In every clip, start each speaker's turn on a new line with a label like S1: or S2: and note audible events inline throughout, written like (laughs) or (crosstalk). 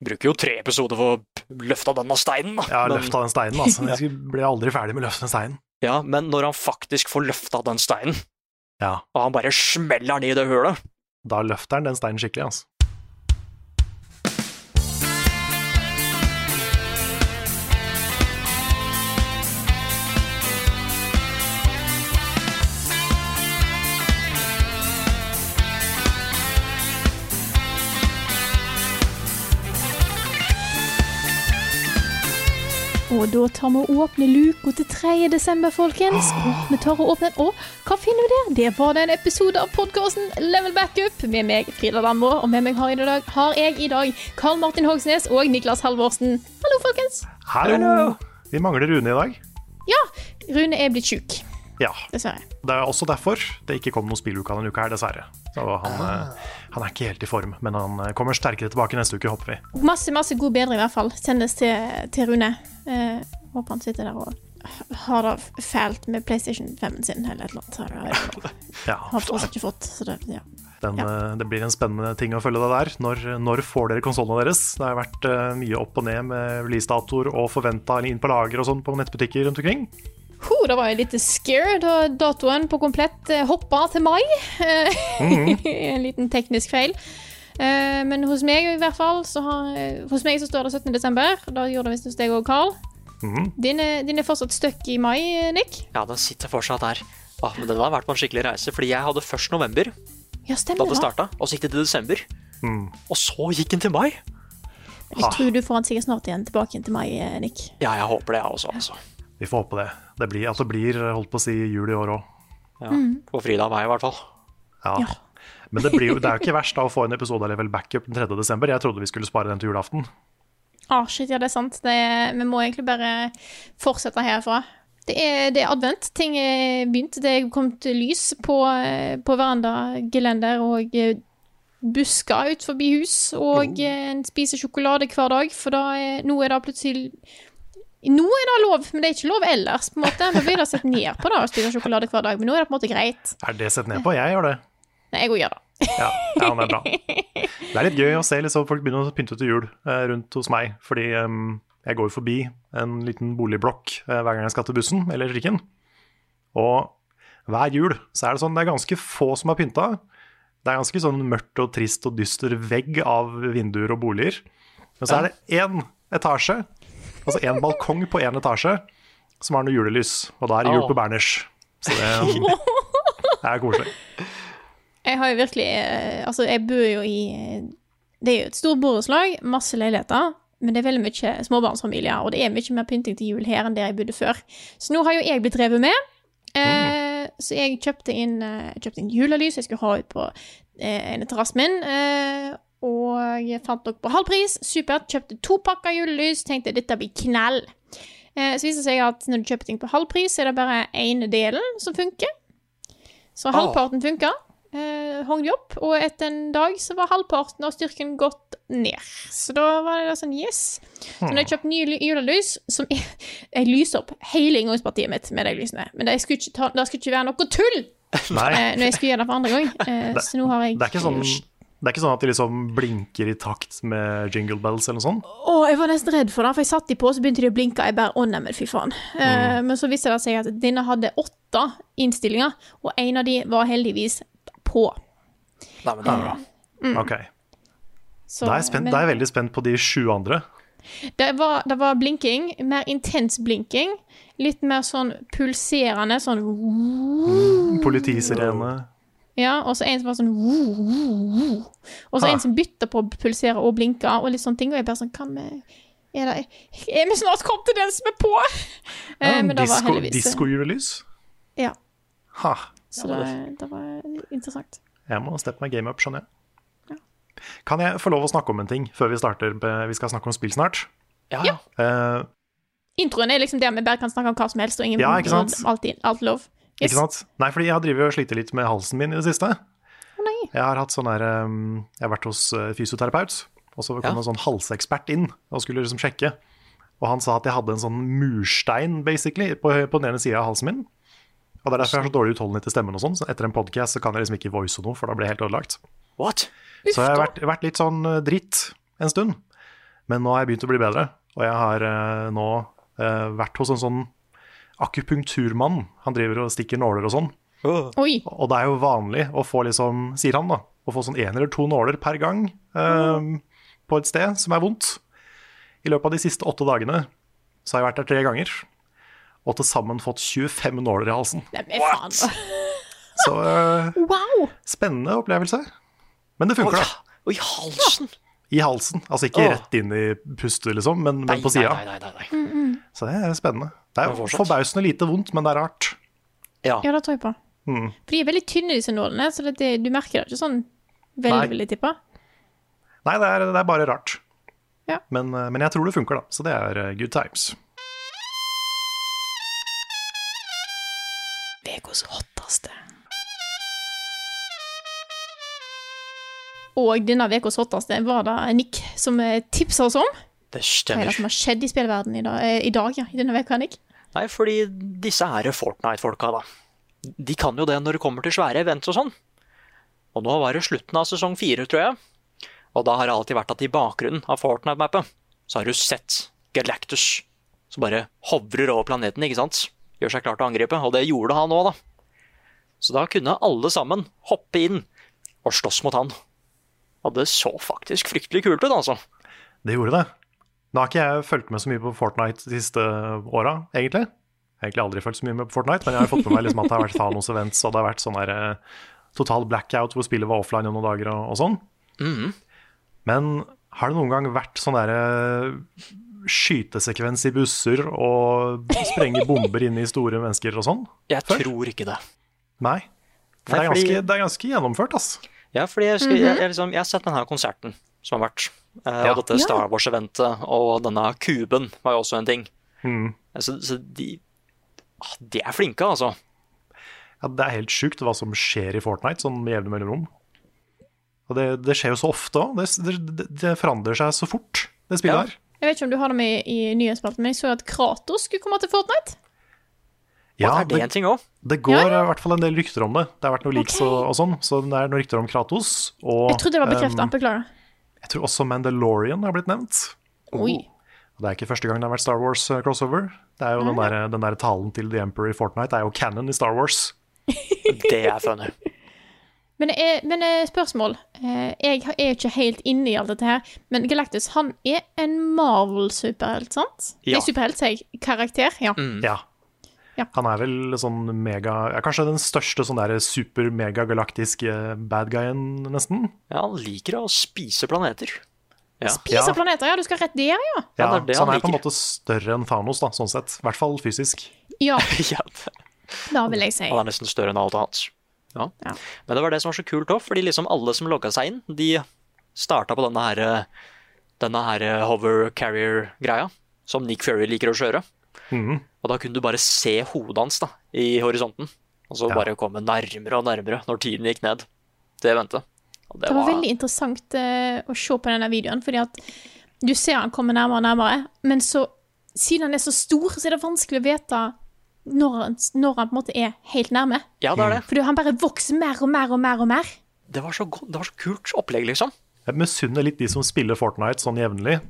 S1: Bruker jo tre episoder for å løfte denne steinen, da.
S2: Ja,
S1: Men-
S2: løfta den steinen, altså. Jeg skulle- ble aldri ferdig med å løfte den steinen.
S1: ja, men når han faktisk får løfta den steinen,
S2: Ja,
S1: og han bare smeller den i det hølet
S2: da løfter han den steinen skikkelig, altså.
S3: Og da tar vi og åpner luka til 3. desember, folkens. Og vi tar og åpner den. Og hva finner vi der? Det var det en episode av podkasten Level Backup med meg, Frida Danmo. Og med meg har, i dag, har jeg i dag Karl Martin Hogsnes og Niklas Halvorsen. Hallo, folkens.
S2: Hallo! Vi mangler Rune i dag.
S3: Ja, Rune er blitt sjuk,
S2: Ja,
S3: dessverre.
S2: Det er også derfor det ikke kom noen spilluke denne uka her, dessverre. Så han, eh, han er ikke helt i form, men han eh, kommer sterkere tilbake neste uke, håper vi.
S3: Masse, masse god bedring, i hvert fall. Sendes til, til Rune. Eh, håper han sitter der og har det fælt med PlayStation 5-en sin eller et eller annet. Har det-
S2: Ja,
S3: Har fortsatt ikke fått, så det, ja.
S2: den, eh, Det blir en spennende ting å følge det der. Når, når får dere konsollene deres? Det har vært eh, mye opp og ned med releasedatoer og forventa inn på lager og sånn på nettbutikker rundt omkring.
S3: Ho, da var jeg litt scared da datoen på komplett eh, hoppa til mai. Eh, (laughs) en liten teknisk feil. Eh, Men hos meg i hvert fall så har, eh, Hos meg så står det 17. desember. Da gjorde det visst hos deg òg, Carl.
S2: Mhm.
S3: Din, er- din er fortsatt stuck i mai, eh, Nick.
S1: Ja, den sitter fortsatt her. Ah, men den har vært på en skikkelig reise, fordi jeg hadde først november,
S3: Ja,
S1: da
S3: stemmer
S1: det
S3: det. da.
S1: starta, og så gikk det til desember.
S2: Mm.
S1: Og så gikk den til mai!
S3: Jeg tror du får han sikkert snart igjen tilbake igjen til mai, eh, Nick.
S1: Ja, jeg håper det, jeg også, altså.
S2: Vi får håpe det. det blir, at det blir holdt på å si jul i år òg.
S1: Ja.
S3: Mm.
S1: For Frida og meg, i hvert fall.
S2: Ja.
S3: Ja.
S2: Men det, blir jo, det er jo ikke verst da å få en episode av Level Backup den 3. desember. Jeg trodde vi skulle spare den til julaften.
S3: Ah, shit, ja, det er sant. Det, er- vi må egentlig bare fortsette herfra. Det er, det er advent. Ting er begynt. Det er kommet lys på, eh, på veranda, gelender og eh, busker ut forbi hus. Og eh, en spiser sjokolade hver dag, for da er, nå er det plutselig Nå er det lov, men det er ikke lov ellers. på en måte. Nå blir det sett ned på da, å spise sjokolade hver dag, men nå er det på en måte greit.
S2: Er det sett ned på? Jeg gjør det.
S3: Nei, jeg òg gjør det.
S2: Ja, ja det er bra. Det er litt gøy å se liksom, folk begynner å pynte til jul eh, rundt hos meg, fordi em, jeg går forbi en liten boligblokk eh, hver gang jeg skal til bussen eller trikken. Og hver jul så er det sånn, det er ganske få som har pynta. Det er ganske sånn mørkt og trist og dyster vegg av vinduer og boliger. Men så er det én etasje, altså én balkong på én etasje, som har noe julelys. Og da er det jul på Berners. Så det, det er koselig.
S3: Jeg har jo virkelig eh, Altså, jeg bor jo i eh, Det er jo et stort borettslag, masse leiligheter. Men det er veldig mye småbarnsfamilier, og det er mye mer pynting til jul her enn der jeg bodde før. Så nå har jo jeg blitt drevet med. Eh, Så jeg kjøpte inn, eh, kjøpte inn julelys jeg skulle ha ut på eh, en av terrassen min. eh, Og jeg fant nok på halv pris. Supert. Kjøpte to pakker julelys. Tenkte dette blir knall. Eh, Så viser det seg at når du kjøper ting på halv pris, så er det bare ene delen som funker. Så halvparten funker eh, hang de opp, og etter en dag så var halvparten av styrken gått ned. Så da var det da sånn yes. Så når jeg kjøpte nye ly- julelys, som (laughs) jeg, jeg lyser opp hele inngangspartiet mitt med de lysene, men det skulle ikke, ta, det skulle ikke være noe tull
S2: Nei.
S3: eh, når jeg skulle gjøre det for andre gang. Eh,
S2: (laughs) Det-
S3: så nå har jeg
S2: Det er ikke sånn, det er ikke sånn at de liksom blinker i takt med jingle bells eller noe sånt?
S3: Å, jeg var nesten redd for det, for jeg satt de på, så begynte de å blinke. Jeg bare Å, neimen, fy faen. Eh,
S2: Mm.
S3: men så viste det seg at denne hadde åtte innstillinger, og en av de var heldigvis på.
S1: Nei, men det er bra.
S2: Ok.
S3: Så,
S2: Da er jeg,
S3: Mm.
S2: spent,
S3: men-
S2: da er jeg veldig spent på de sju andre.
S3: Det var, det var blinking, mer intens blinking. Litt mer sånn pulserende, sånn
S2: Politisirene.
S3: Ja, og så en som var sånn Og så
S2: Ah.
S3: en som bytta på å pulsere og blinke og litt sånne ting. Og jeg bare sånn Kan vi Er, det, er vi snart kommet til den som er på? Eh,
S2: Ja,
S3: men det var
S2: disco-
S3: heldigvis
S2: Disko-julelys.
S3: Ja.
S2: Ha,
S3: Så det, det var interessant.
S2: jeg må steppe meg game up, skjønner jeg. Kan jeg få lov å snakke om en ting før vi starter? med- Vi skal snakke om spill snart.
S1: Ja,
S3: Ja.
S1: ja.
S2: Eh,
S3: Introen er liksom der vi bare kan snakke om hva som helst, og ingen
S2: Ja, ikke sant?
S3: alt, i- alt lov. Yes.
S2: Ikke sant? Nei, fordi jeg har drevet og slitt litt med halsen min i det siste.
S3: Å nei.
S2: Jeg har, hatt sånn der, um, jeg har vært hos eh, fysioterapeut, og så kom
S1: Ja.
S2: en sånn halsekspert inn og skulle liksom sjekke. Og han sa at jeg hadde en sånn murstein basically, på, på den ene sida av halsen min. Og det er derfor jeg har så dårlig utholdenhet i stemmen. og sånn, så Etter en podcast så kan jeg liksom ikke voice noe, for da blir jeg helt ødelagt.
S1: What?
S2: Så jeg har vært, vært litt sånn eh, dritt en stund. Men nå har jeg begynt å bli bedre. Og jeg har eh, nå eh, vært hos en sånn akupunkturmann. Han driver og stikker nåler og sånn.
S1: Åh.
S3: Oi.
S2: Og det er jo vanlig å få liksom, sier han da, å få sånn en eller to nåler per gang ehm, på et sted som er vondt. I løpet av de siste åtte dagene så har jeg vært der tre ganger, og til sammen fått 25 nåler i halsen.
S3: Nei, men faen.
S2: Så eh,
S3: Wow!
S2: spennende opplevelse. Men det funker, da.
S1: Oi, halsen!
S2: I halsen. Altså ikke
S1: Åh.
S2: rett inn i pustet, liksom, men,
S1: Nei,
S2: men på
S1: nei,
S2: sida.
S1: nei, nei, nei, nei.
S2: Så det er spennende. Det er
S1: Men
S2: jo
S1: fortsatt.
S2: forbausende lite vondt, men det er rart.
S1: Ja.
S3: Ja, det tror jeg på.
S2: Mm.
S3: For de er veldig tynne, disse nålene, så det, det, du merker det ikke sånn
S2: Nei.
S3: veldig, veldig tippa.
S2: Nei, det er, det er bare rart.
S3: Ja.
S2: Men, eh, men jeg tror det funker, da. Så det er eh, good times.
S3: Vegos hotteste. Og denne ukas hotteste var det Nick som eh, tipsa oss om. Hva er
S1: Det
S3: det
S1: stemmer.
S3: som har skjedd i spillverdenen i dag, eh, i, dag ja, i denne veka, Nick?
S1: Nei, fordi disse her Fortnite-folka, da. De kan jo det når det kommer til svære events og sånn. Og nå var det slutten av sesong fire, tror jeg. Og da har det alltid vært at i bakgrunnen av Fortnite-mappet, så har du sett Galactus som bare hovrer over planeten, ikke sant? Gjør seg klar til å angripe, og det gjorde han òg, da. Så da kunne alle sammen hoppe inn og slåss mot han. Og det så faktisk fryktelig kult ut, altså.
S2: Det gjorde det. Nå har ikke jeg fulgt med så mye på Fortnite de siste åra, egentlig. Jeg har egentlig aldri fulgt så mye med på Fortnite, men jeg har fått med meg liksom at det har vært Thanos events, og det har vært sånn der eh, total blackout hvor spillet var offline i noen dager og, og sånn. Men har det noen gang vært sånn derre skytesekvens i busser og sprenge bomber inn i store mennesker og sånn?
S1: Jeg
S2: Før?
S1: tror ikke det.
S2: Nei. For det
S1: Nei,
S2: er
S1: fordi-
S2: ganske, det er ganske gjennomført, ass.
S1: Ja, fordi jeg, husker, jeg, jeg, liksom, jeg har sett denne konserten som har vært. eh,
S2: Mhm. Ja.
S1: Og dette Star Wars-eventet og denne kuben var jo også en ting. Eh,
S2: Mm.
S1: Så, så de, ah, de er flinke, altså.
S2: Ja, det er helt sjukt hva som skjer i Fortnite, sånn med jevne mellomrom. Og det, det skjer jo så ofte òg. Det, det, det forandrer seg så fort,
S1: Ja.
S2: det spillet her.
S3: Jeg vet ikke om du har det med i, i nyhetsspalten, men jeg så at Kratos skulle komme til Fortnite.
S2: Ja,
S1: er det, en
S2: det,
S1: ting òg?
S2: det går i hvert fall en del rykter om det. Det har vært noen leaks
S3: Ok.
S2: og, og sånn, så det er noen rykter om Kratos. Og
S3: Jeg trodde det var bekrefta.
S2: ehm,
S3: Beklager.
S2: jeg tror også Mandalorian har blitt nevnt.
S3: Oi.
S2: Og det er ikke første gang det har vært Star Wars eh, crossover. Det er jo den, der, den der talen til The Emperor i Fortnite er jo canon i Star Wars.
S1: Det er funny.
S3: Men, eh, men eh, spørsmål. Eh, Jeg har- er ikke helt inne i alt dette her, men Galactus han er en Marvel-superhelt, sant?
S1: Ja.
S3: Nei, superhelt, sier jeg. Karakter, ja.
S1: Mm.
S2: Ja.
S3: Ja.
S2: Han er vel sånn mega ja, Kanskje den største sånn der super-megagalaktiske bad guyen, nesten.
S1: Ja, han liker å spise planeter. (laughs) Ja.
S3: Spiser
S2: Ja.
S3: planeter, ja. Du skal rett der, ja.
S2: Ja,
S1: Ja, det er det
S2: så han
S1: han
S2: er på en
S1: liker.
S2: måte større enn Thanos, da, sånn sett. I hvert fall fysisk.
S3: Ja,
S1: ja,
S3: da vil jeg si.
S1: han er nesten større enn alt annet. Ja.
S3: Ja.
S1: Men det var det som var så kult òg, fordi liksom alle som logga seg inn, de starta på denne her, eh, denne her eh, hover carrier-greia, som Nick Fury liker å kjøre.
S2: Mhm.
S1: Og da kunne du bare se hodet hans da, i horisonten. Og så
S2: Ja.
S1: bare komme nærmere og nærmere når tiden gikk ned. Det ventet. Og
S3: Det var veldig interessant eh, å se på denne videoen, fordi at du ser han kommer nærmere og nærmere, men så, siden han er så stor, så er det vanskelig å vite når han, når han på en måte er helt nærme.
S1: Ja, det er det.
S3: For han bare vokser mer og mer og mer og mer.
S1: Det var så, godt, det var så kult opplegg, liksom.
S2: Jeg misunner litt de som spiller Fortnite sånn jevnlig.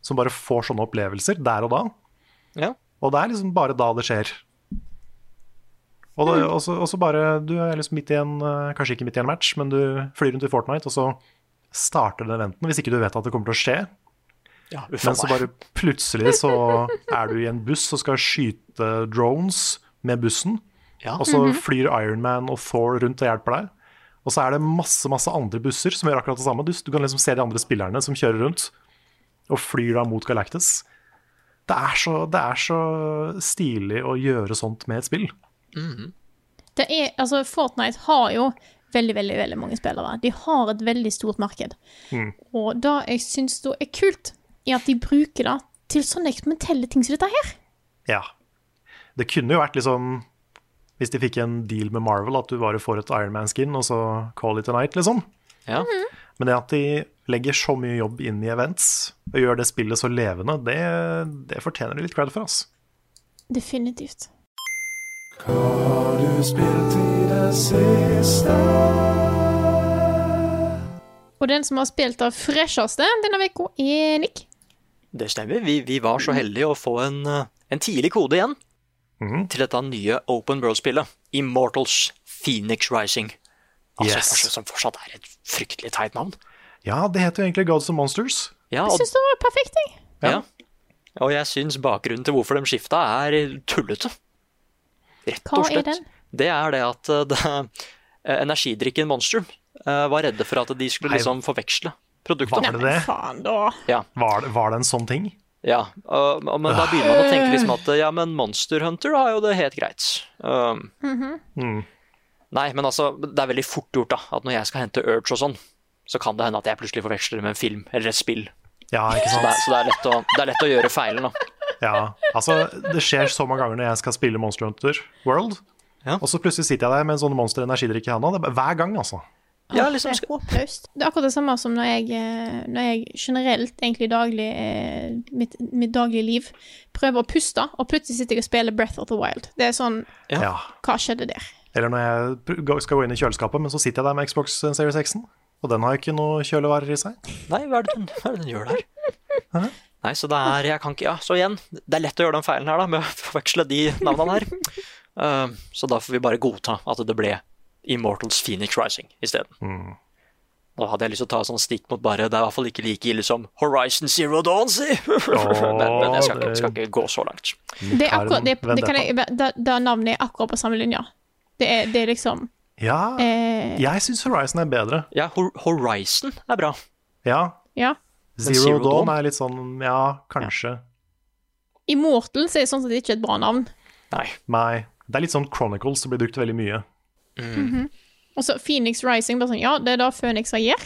S2: Som bare får sånne opplevelser der og da.
S1: Ja.
S2: Og det er liksom bare da det skjer. Og det-
S1: Mm.
S2: og så og så bare Du er liksom midt i en eh, Kanskje ikke midt i en match, men du flyr rundt i Fortnite, og så starter den eventen. Hvis ikke du vet at det kommer til å skje,
S1: ja uff a
S2: men så
S1: meg.
S2: bare plutselig så er du i en buss og skal skyte drones med bussen.
S1: Ja.
S2: Og så flyr Ironman og Thor rundt og hjelper deg. Og så er det masse masse andre busser som gjør akkurat det samme. Du, du kan liksom se de andre spillerne som kjører rundt og flyr da mot Galactus. Det er så, det er så stilig å gjøre sånt med et spill.
S3: Det er, altså, Fortnite har jo veldig, veldig, veldig mange spillere. De har et veldig stort marked.
S2: Mm.
S3: Og det jeg syns da er kult, er at de bruker det til sånne eksperimentelle ting som dette her.
S2: Ja. Det kunne jo vært liksom Hvis de fikk en deal med Marvel, at du bare får et Ironman-skin, og så call it a night, liksom.
S1: Ja.
S2: Men det at de legger så mye jobb inn i events, og gjør det spillet så levende, det, det fortjener de litt cred for, ass.
S3: Definitivt. Og den som har spilt det fresheste denne uka, er Nick.
S1: Det stemmer. Vi, vi var så heldige å få en, eh, en tidlig kode igjen
S2: Mhm.
S1: til dette nye Open World-spillet. Immortals Phoenix Rising. Altså,
S2: Yes.
S1: fortsatt- Som fortsatt er et fryktelig teit navn.
S2: Ja, det heter jo egentlig Gods and Monsters.
S1: Ja,
S3: Jeg
S1: og,
S3: syns det var perfekt, jeg.
S1: ja. og jeg syns bakgrunnen til hvorfor de skifta, er tullete. Rett
S3: Hva
S1: og
S3: er
S1: slett.
S3: den?
S1: Det er det at eh, (laughs) det, eh, energidrikken Monster eh, var redde for at de skulle
S2: Nei.
S1: liksom forveksle
S2: Var
S1: produktet.
S2: det det?
S3: Faen, da.
S2: Var, det- var det en sånn ting?
S1: Ja, og- og- men da begynner man å tenke liksom at ja, men Monster Hunter har jo det helt greit. Um,
S3: Mm-hmm.
S2: Mm.
S1: Nei, men altså, det er veldig fort gjort da, at når jeg skal hente Urge og sånn, så kan det hende at jeg plutselig forveksler det med en film eller et spill.
S2: Ja,
S1: Så
S2: ikke
S1: det
S2: sant?
S1: er, så det er, lett, å, det er lett å gjøre feilen da.
S2: Ja. Altså, det skjer så mange ganger når jeg skal spille Monster Hunter World,
S1: Ja.
S2: og så plutselig sitter jeg der med en sånn monster energidrikk i handa. Det er bare- Hver gang, altså.
S1: Ja, liksom,
S3: Det er håpløst. Det er akkurat det samme som når jeg, eh, når jeg generelt, egentlig daglig, eh, mitt, mitt daglige liv, prøver å puste, og plutselig sitter jeg og spiller Breath of the Wild. Det er sånn,
S1: Ja.
S2: Ja.
S3: hva skjedde der?
S2: Eller når jeg pr- gå- skal gå inn i kjøleskapet, men så sitter jeg der med Xbox Series X-en, og den har jo ikke noe kjølevarer i seg.
S1: nei, hva er det den, hva er det den gjør der? Nei, så det er, jeg kan ikke, ja, så igjen, det er lett å gjøre den feilen her da, med å forveksle de navnene her. Um, så da får vi bare godta at det ble Immortals Phoenix Rising i stedet. Da hadde jeg lyst til å ta sånn stikk mot bare, det er i hvert fall ikke like ille som Horizon Zero Dawn, si! (laughs) men, men jeg skal ikke, skal ikke gå så langt.
S3: Det, er akkurat, det,
S2: Vent
S3: det, kan jeg, det, det navnet er akkurat på samme linja. Det er, det er liksom
S2: Ja,
S3: eh,
S2: jeg syns Horizon er bedre.
S1: Ja, Hor- Horizon er bra.
S2: Ja,
S3: Ja.
S2: Zero,
S1: Zero
S2: Dawn,
S1: Dawn?
S2: er litt sånn ja, kanskje.
S3: Immortals er sånn sett ikke et bra navn.
S1: Nei.
S2: Nei. Det er litt sånn Chronicles som blir brukt veldig mye.
S3: Og så Phoenix Rising, bare sånn, ja, det er da Phoenix Ayer.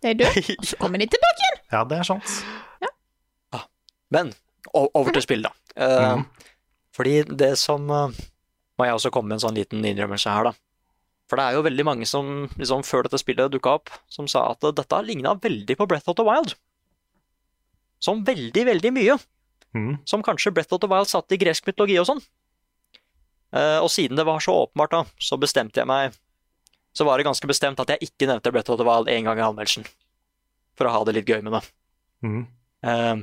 S3: Det er
S1: (laughs)
S3: død, og så kommer de tilbake igjen.
S2: Ja, det er sant.
S1: Men o- over til spill, da. Eh, Fordi det som eh, Må jeg også komme med en sånn liten innrømmelse her, da. For det er jo veldig mange som liksom, før dette spillet dukka opp, som sa at eh, dette ligna veldig på Breath of the Wild. Som veldig, veldig mye.
S2: Mm.
S1: som kanskje Breath of the Wild satt i gresk mytologi og sånn. Eh, og siden det var så åpenbart, da, så bestemte jeg meg Så var det ganske bestemt at jeg ikke nevnte Breath of the Wild én gang i anmeldelsen. For å ha det litt gøy med det.
S2: Mm.
S1: Eh,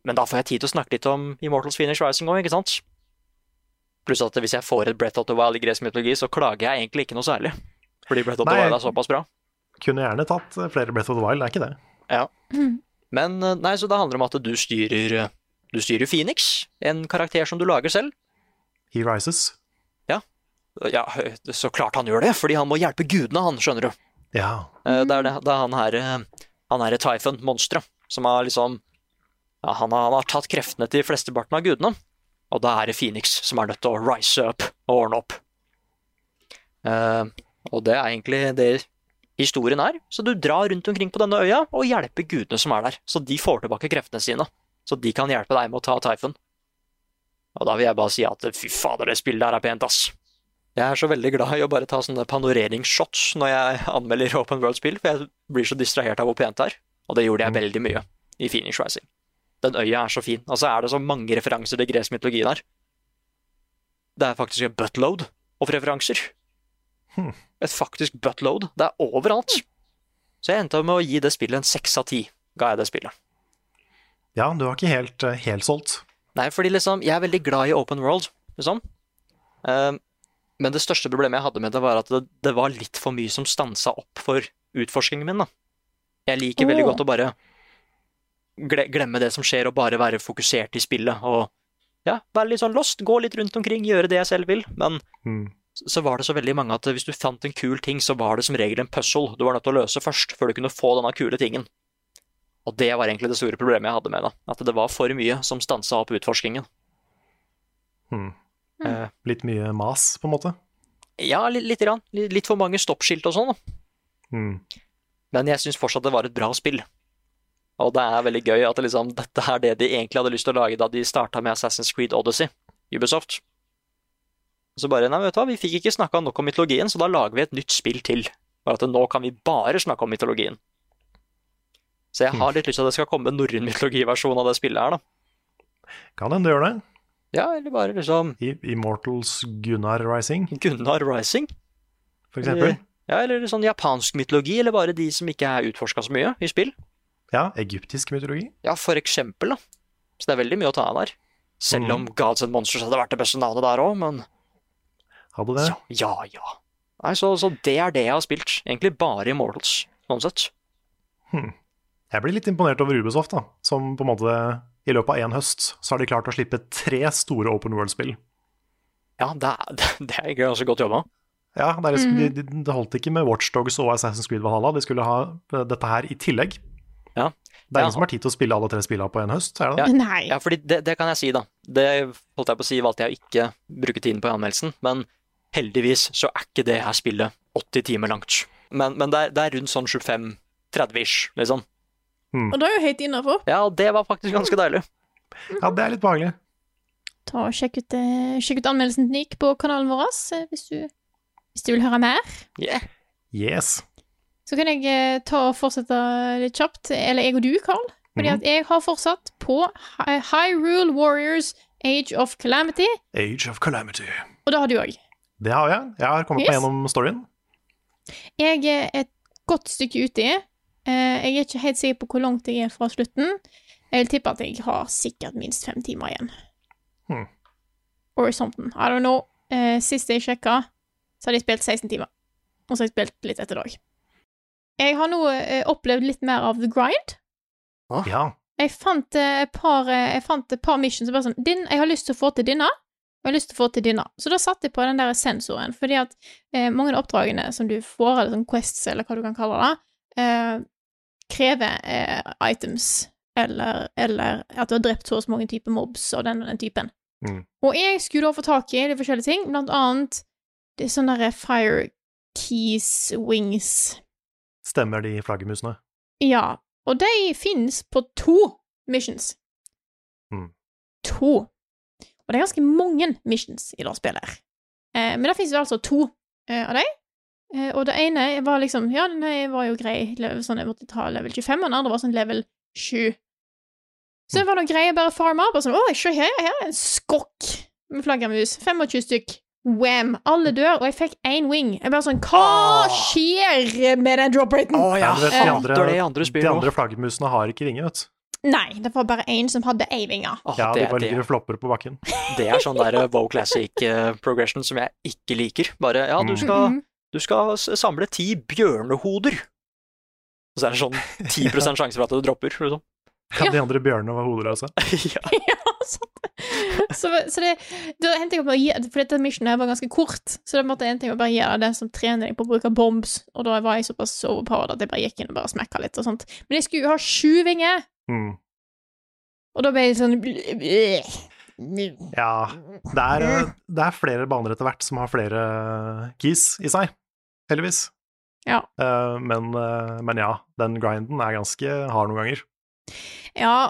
S1: men da får jeg tid til å snakke litt om Immortals Phoenix Rising òg, ikke sant? Pluss at hvis jeg får et Breath of the Wild i gresk mytologi, så klager jeg egentlig ikke noe særlig. Fordi Breath of the
S2: Nei.
S1: Wild er såpass bra.
S2: Kunne gjerne tatt eh, flere Breath of the Wild, det er ikke det.
S1: Men eh, nei, så det handler om at du styrer eh, Du styrer Phoenix, en karakter som du lager selv.
S2: He Rises.
S1: Ja, så klart han gjør det, fordi han må hjelpe gudene, han, skjønner du.
S2: Ja.
S1: Eh, Det er, det, det er han her eh, Han her Typhon, monsteret, som har liksom ja, han, har, han har tatt kreftene til flesteparten av gudene, og da er det Phoenix som er nødt til å rise up og ordne opp. Eh, og det er egentlig det historien er. Så du drar rundt omkring på denne øya og hjelper gudene som er der, så de får tilbake kreftene sine. Så de kan hjelpe deg med å ta Typhon. Og da vil jeg bare si at fy fader, det spillet der er pent, ass. Jeg er så veldig glad i å bare ta sånne panoreringsshots når jeg anmelder Open World-spill, for jeg blir så distrahert av hvor pent det er. Og det gjorde jeg veldig mye i Phoenix Rising. Den øya er så fin, og så er det så mange referanser til gresk mytologi der. Det er faktisk en buttload av referanser.
S2: Hmm.
S1: Et faktisk buttload. Det er overalt. Så jeg endte opp med å gi det spillet en seks av ti, ga jeg det spillet.
S2: ja, du har ikke helt, eh, helt solgt.
S1: Nei, fordi liksom, jeg er veldig glad i open world, liksom. Eh, men det største problemet jeg hadde med det, var at det, det var litt for mye som stansa opp for utforskningen min, da. Jeg liker veldig
S3: Åh.
S1: godt å bare gle glemme det som skjer, og bare være fokusert i spillet, og ja, være litt sånn lost, gå litt rundt omkring, gjøre det jeg selv vil, men
S2: Mm.
S1: s- så var det så veldig mange at hvis du fant en kul ting, så var det som regel en puzzle du var nødt til å løse først, før du kunne få denne kule tingen. Og det var egentlig det store problemet jeg hadde med det, at det var for mye som stansa opp utforskningen.
S2: Mm.
S1: Eh,
S2: Litt mye mas, på en måte.
S1: Ja, li- lite grann. Li- Litt for mange stoppskilt og sånn. da.
S2: Mm.
S1: Men jeg syns fortsatt det var et bra spill. Og det er veldig gøy at det liksom, dette er det de egentlig hadde lyst til å lage da de starta med Assassin's Creed Odyssey, Ubisoft. Og så bare Nei, vet du hva, vi fikk ikke snakka nok om mytologien, så da lager vi et nytt spill til. Bare at nå kan vi bare snakke om mytologien. Så jeg har litt lyst til at det skal komme en norrøn mytologiversjon av det spillet her, da.
S2: Kan hende det gjør det.
S1: Ja, eller bare liksom
S2: I Immortals Gunnar Rising,
S1: Gunnar Rising.
S2: for eksempel.
S1: Ja, eller sånn japansk mytologi, eller bare de som ikke er utforska så mye i spill.
S2: Ja, egyptisk mytologi.
S1: Ja, for eksempel, da. Så det er veldig mye å ta av der. Selv om Gods and Monsters hadde vært det beste navnet der òg, men
S2: Hadde det.
S1: ja, ja. ja. Nei, så, så det er det jeg har spilt. Egentlig bare Immortals, sånn sett.
S2: Jeg blir litt imponert over Ubisoft, da, som på en måte i løpet av én høst så har de klart å slippe tre store open world-spill.
S1: Ja, det er, (laughs) det er egentlig ganske godt jobba.
S2: Ja, Det er liksom, de, de, det holdt ikke med Watchdogs og Assassin's Creed Valhalla, de skulle ha eh, dette her i tillegg.
S1: Ja.
S2: Det er
S1: Ja.
S2: ingen som har tid til å spille alle tre spillene på en høst, er det det?
S3: (laughs) Nei.
S1: Ja, fordi det, det kan jeg si, da. Det holdt jeg på å si, valgte jeg å ikke bruke tiden på i anmeldelsen, men heldigvis så er ikke det her spillet 80 timer langt. Men, men det, er, det er rundt sånn 25-30-ish, liksom.
S3: Og da er jo høyt innafor.
S1: Ja, og det var faktisk ganske deilig.
S2: Ja, det er litt behagelig.
S3: Ta og sjekk ut, eh, sjekk ut anmeldelsen til Nick på kanalen vår eh, hvis du, hvis du vil høre mer.
S1: Yeah.
S2: Yes.
S3: Så kan jeg eh, ta og fortsette litt kjapt, eller jeg og du, Carl. Fordi
S1: Mhm.
S3: at jeg har fortsatt på Hy- Hyrule Warriors Age of Calamity,
S2: Age of Calamity.
S3: og det har du òg.
S2: Det har jeg. Jeg har
S3: Yes.
S2: kommet meg gjennom storyen.
S3: Jeg er et godt stykke uti. Eh, Jeg er ikke helt sikker på hvor langt jeg er fra slutten. Jeg vil tippe at jeg har sikkert minst fem timer igjen.
S2: Hmm.
S3: Or something. I don't know. Eh, Sist jeg sjekka, så hadde jeg spilt 16 timer. Og så har jeg spilt litt etter dag. Jeg har nå eh, opplevd litt mer av the grind.
S1: Ah.
S2: Ja.
S3: Jeg fant eh, et par, eh, jeg fant et par missions og bare sånn din, Jeg har lyst til å få til denne, og jeg har lyst til å få til denne. Så da satte jeg på den der sensoren, fordi at eh, mange av oppdragene som du får, eller sånn quests, eller hva du kan kalle det, eh, krever eh, items, eller, eller at du har drept så og så mange typer mobs, og den og den typen.
S2: Mm.
S3: Og jeg skulle da få tak i de forskjellige ting, blant annet det er sånne der fire keys wings
S2: Stemmer de flaggermusene.
S3: ja, og de finnes på to missions.
S2: Mm.
S3: To. Og det er ganske mange missions i det spillet her. Eh, men det finnes jo altså to eh, av de. Eh, og det ene var liksom Ja, den her var jo grei, le- sånn jeg måtte ta level 25, og den andre var sånn level 7. Så det var noe greie bare farme opp, og sånn Å, se her, her er en skokk med flaggermus. 25 stykk. Wham! Alle dør, og jeg fikk én wing. Jeg bare sånn Hva
S1: Åh.
S3: skjer med den drop raten?
S2: Ja, du vet, de
S3: eh,
S2: andre,
S1: det er det i andre spill
S2: de
S1: også.
S2: andre flaggermusene har ikke vinger, vet du.
S3: Nei, det var bare én som hadde ei
S1: (laughs)
S3: vinge.
S1: Åh,
S2: Ja,
S1: Ah,
S2: de
S1: det,
S2: bare
S1: det,
S2: ligger og flopper på bakken.
S1: det er sånn der eh, Wow Classic eh, progression som jeg ikke liker. Bare ja, du
S2: Mm.
S1: skal,
S3: Mhm.
S1: du skal s- samle ti bjørnehoder. Og så er det sånn 10 sjanse for at du dropper, (laughs) liksom.
S2: Ja, de andre bjørnene var hodeløse.
S1: ja.
S3: Så, så det, da endte jeg opp med å gi For dette missionet her var ganske kort, så da måtte jeg endte jeg med å bare gi deg den som trener deg på å bruke bombs, og da var jeg såpass overpowered at jeg bare gikk inn og bare smekka litt og sånt. Men jeg skulle jo ha sju vinger,
S2: Mm.
S3: og da ble jeg sånn Ja,
S2: Ja, det er, eh, det er flere baner etter hvert som har flere eh, keys i seg, heldigvis.
S3: Ja.
S2: Eh, men, eh, men ja, den grinden er ganske hard noen ganger.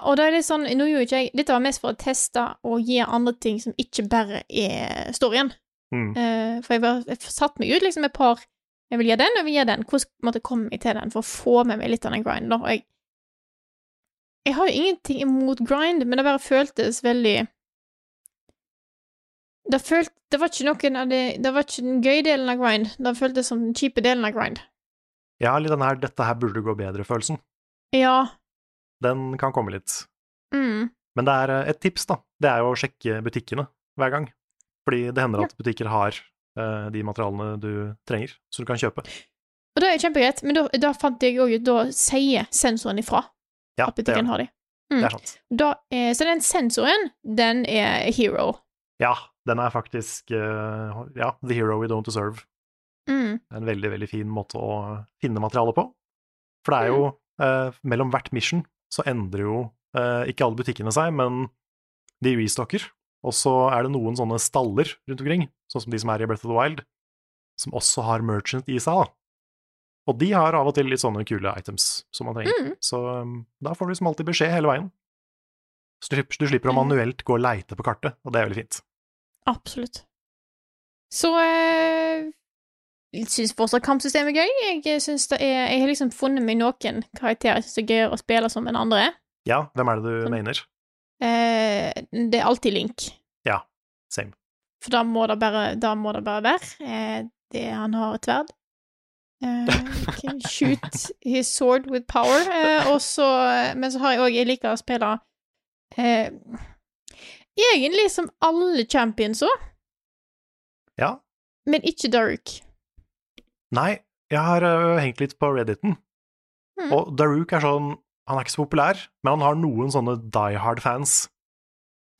S3: og da er det sånn Nå gjorde ikke jeg Dette var mest for å teste og gi andre ting som ikke bare er storyen.
S2: Mm.
S3: Eh, for jeg, var, jeg satt meg ut liksom et par Jeg vil gjøre den, og jeg vil gjøre den. Hvordan måtte jeg komme meg til den for å få med meg litt av den grinden? da? Og jeg, jeg har jo ingenting imot grind, men det bare føltes veldig det, følt, det var ikke noen av de Det var ikke den gøye delen av grind. Det føltes som den kjipe delen av grind.
S2: Ja, litt den her 'dette her burde gå bedre'-følelsen.
S3: Ja.
S2: Den kan komme litt.
S3: Mm.
S2: Men det er eh, et tips, da. Det er jo å sjekke butikkene hver gang. Fordi det hender at butikker har eh, de materialene du trenger, så du kan kjøpe.
S3: Og det er kjempegreit, men da, da fant jeg òg ut Da sier sensoren ifra
S2: Ja,
S3: at
S2: det er,
S3: butikken
S2: det
S3: har Mm. de.
S2: Det er sant.
S3: Da, eh, så den sensoren, den er hero.
S2: Ja, den er faktisk eh, ja, the hero we don't deserve.
S3: Mm.
S2: en veldig, veldig fin måte å finne materiale på. For det er jo eh, Mellom hvert mission så endrer jo eh, ikke alle butikkene seg, men de restocker. Og så er det noen sånne staller rundt omkring, sånn som de som er i Breath of the Wild, som også har merchant i seg. da. Og de har av og til litt sånne kule items som man
S3: Mm.
S2: trenger. Så um, da får du som alltid beskjed hele veien. Så du, slipper- du slipper å manuelt gå og leite på kartet, og det er veldig fint.
S3: Absolutt. Så eh, Jeg syns fortsatt kampsystemet er gøy. Jeg, synes det er, jeg har liksom funnet meg noen karakterer jeg syns er gøyere å spille som enn andre.
S2: Ja, hvem er det du mener?
S3: Eh, det er alltid Link,
S2: Same.
S3: for da må det bare, da må det bare være. Eh, det, han har et sverd. Eh, can shoot his sword with power. Eh, og så, men så har jeg òg Jeg liker å spille eh, Egentlig som alle champions òg,
S2: Ja.
S3: men ikke Daruk.
S2: Nei, jeg har øh, hengt litt på Redditen.
S3: Mm.
S2: Og Darouk er sånn Han er ikke så populær, men han har noen sånne die hard-fans.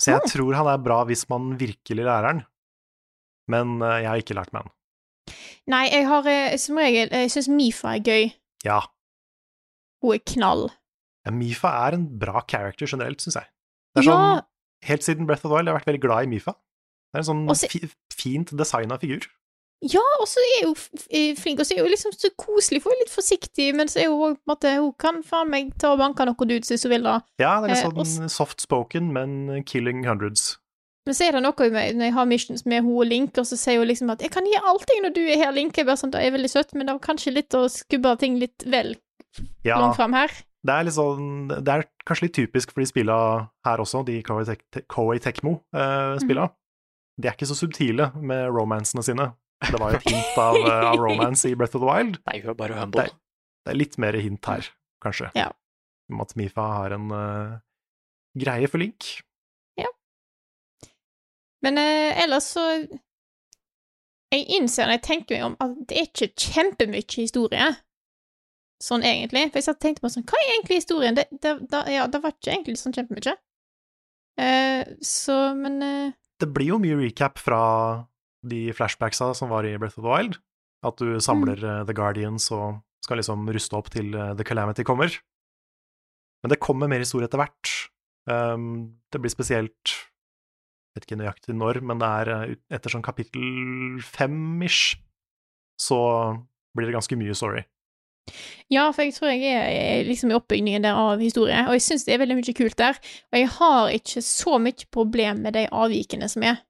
S2: Så jeg tror han er bra hvis man virkelig lærer han. Men øh, jeg har ikke lært meg han.
S3: Nei, jeg har eh, som regel Jeg syns Mifa er gøy.
S2: Ja,
S3: Hun er knall.
S2: Mifa er en bra character generelt, syns jeg. Det er
S3: Ja.
S2: sånn, Helt siden Breath of the Wild har jeg vært veldig glad i Mifa. Det er en sånn
S3: Og se-
S2: fi, fint designa figur.
S3: Ja, og så er hun f- f- flink, og så er hun liksom så koselig, for hun er litt forsiktig, men så er hun også, på en måte Hun kan faen meg ta og banke noen dudes hvis hun vil, da.
S2: Ja, det er
S3: Eh,
S2: litt
S3: og s-
S2: sånn soft-spoken, men killing hundreds.
S3: Men så er det noe med, når jeg har missions med hun og Link, og så sier hun liksom at 'jeg kan gi alt jeg når du er her, Link'. Jeg bare sånn, det er veldig søtt, men det var kanskje litt å skubbe ting litt vel
S2: Ja,
S3: langt fram her.
S2: det er litt sånn Det er kanskje litt typisk for de spilla her også, de Koei Tek- Koei Tekmo-spilla. De er ikke så subtile med romansene sine. Det var jo et hint av, eh, av romance i Breath of the Wild.
S1: Nei, hun er bare humble.
S2: Nei. Det er litt mer hint her, kanskje.
S3: Ja.
S2: Om at Mifa har en eh, greie for Link.
S3: Men eh, ellers så Jeg innser når jeg tenker meg om, at det er ikke kjempemye historie. Sånn egentlig. For jeg satt og tenkte på sånn Hva er egentlig historien? Det, det, da, ja, det var ikke egentlig sånn kjempemye. Eh, så, men eh,
S2: det blir jo mye recap fra de flashbacksa som var i Breath of the Wild. At du samler eh, The Guardians og skal liksom ruste opp til eh, The Calamity kommer. Men det kommer mer historie etter hvert. Um, det blir spesielt Vet ikke nøyaktig når, men det er eh, ut- etter sånn kapittel fem-ish, så blir det ganske mye story.
S3: Ja, for jeg tror jeg er, er liksom i oppbygningen der av historie, og jeg syns det er veldig mye kult der. Og jeg har ikke så mye problem med de avvikene som er.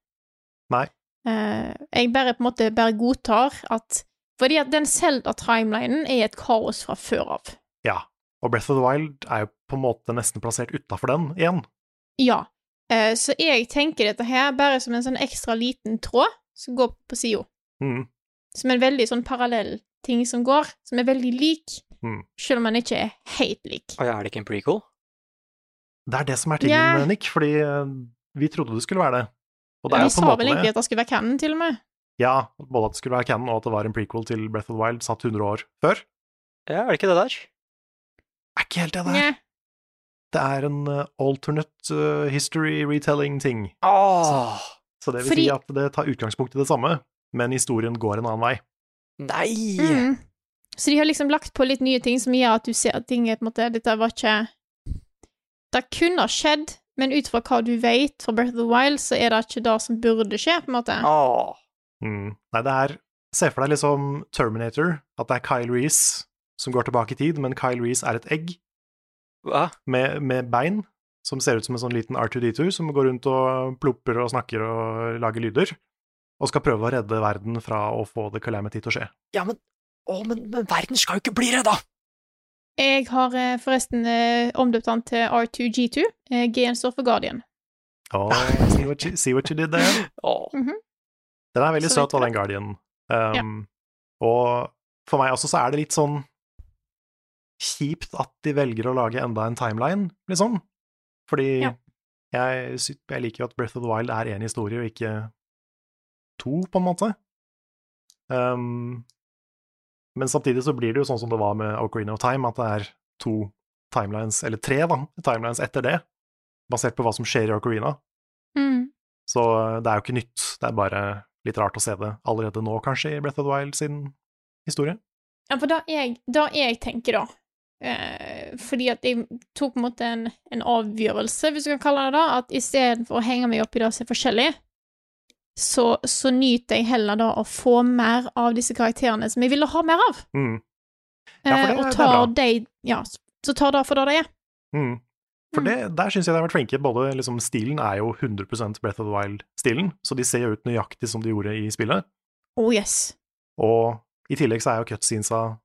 S2: Nei.
S3: Eh, jeg bare på en måte bare godtar at Fordi at den Zelda-timelinen er et kaos fra før av.
S2: Ja. Og Breath of the Wild er jo på en måte nesten plassert utafor den igjen.
S3: Ja. Eh, så jeg tenker dette her bare som en sånn ekstra liten tråd som går på sida.
S2: Mm.
S3: Som en veldig sånn parallell ting som går, som er veldig lik,
S2: Mm.
S3: selv om den ikke er helt lik.
S1: Og er det ikke en prequel?
S2: Det er det som er tingen,
S3: Nja.
S2: Nick, fordi eh, vi trodde det skulle være det. Og det er
S3: Vi
S2: jo på en
S3: sa
S2: måte
S3: vel egentlig
S2: det.
S3: at det skulle være canon, til og med.
S2: Ja, både at det skulle være canon, og at det var en prequel til Breath of the Wild satt 100 år før.
S1: Ja, er det ikke det der?
S2: Er ikke helt det der.
S3: Nei.
S2: Det er en eh, alternate eh, history retelling-ting.
S1: Åh,
S2: Så det vil
S3: Fordi-
S2: si at det tar utgangspunkt i det samme, men historien går en annen vei.
S1: nei!
S3: Mm. Så de har liksom lagt på litt nye ting som gjør at du ser at ting er på en måte Dette var ikke Det kunne ha skjedd, men ut fra hva du vet fra Breath of the Wild, så er det ikke det som burde skje, på en måte.
S1: Åh.
S2: Mm. Nei, det er Se for deg liksom Terminator, at det er Kyle Reese som går tilbake i tid, men Kyle Reese er et egg
S1: Hva?
S2: med, med bein som ser ut som en sånn liten R2D2 som går rundt og plopper og snakker og lager lyder, og skal prøve å redde verden fra å få The Calamity til å skje.
S1: Ja, men, å, men, men verden skal jo ikke bli redda!
S3: Jeg har eh, forresten eh, omdøpt han til R2G2. Eh, G1 står for Guardian.
S2: Oh, see, what you, see what you did there.
S1: Åh.
S2: Den er veldig
S3: Så
S2: søt, da, den Guardian.
S3: Ja.
S2: Um, Og for meg også så er det litt sånn kjipt at de velger å lage enda en timeline, liksom. Fordi
S3: Ja.
S2: jeg, sy- jeg liker jo at Breath of the Wild er én historie og ikke to, på en måte. Um, men samtidig så blir det jo sånn som det var med Ocarina of Time, at det er to timelines, eller tre, da, timelines etter det, basert på hva som skjer i Ocarina.
S3: Mm.
S2: Så eh, det er jo ikke nytt, det er bare litt rart å se det allerede nå, kanskje, i Breath of the Wild sin historie.
S3: Ja, for det jeg, det jeg tenker, da eh, Fordi at jeg tok på en måte en, en avgjørelse, hvis du kan kalle det det, at istedenfor å henge meg opp i det som er forskjellig, så, så nyter jeg heller da å få mer av disse karakterene som jeg ville ha mer av.
S2: Mm. Ja, for
S3: Eh,
S2: det-
S3: og
S2: det er
S3: tar
S2: bra.
S3: de Ja, s- så tar det for det det er.
S2: Mm. For det, der syns jeg de har vært flinke. Både liksom, Stilen er jo 100 Breath of the Wild-stilen, så de ser jo ut nøyaktig som de gjorde i spillet.
S3: Oh yes.
S2: Og i tillegg så er jo cutscenesa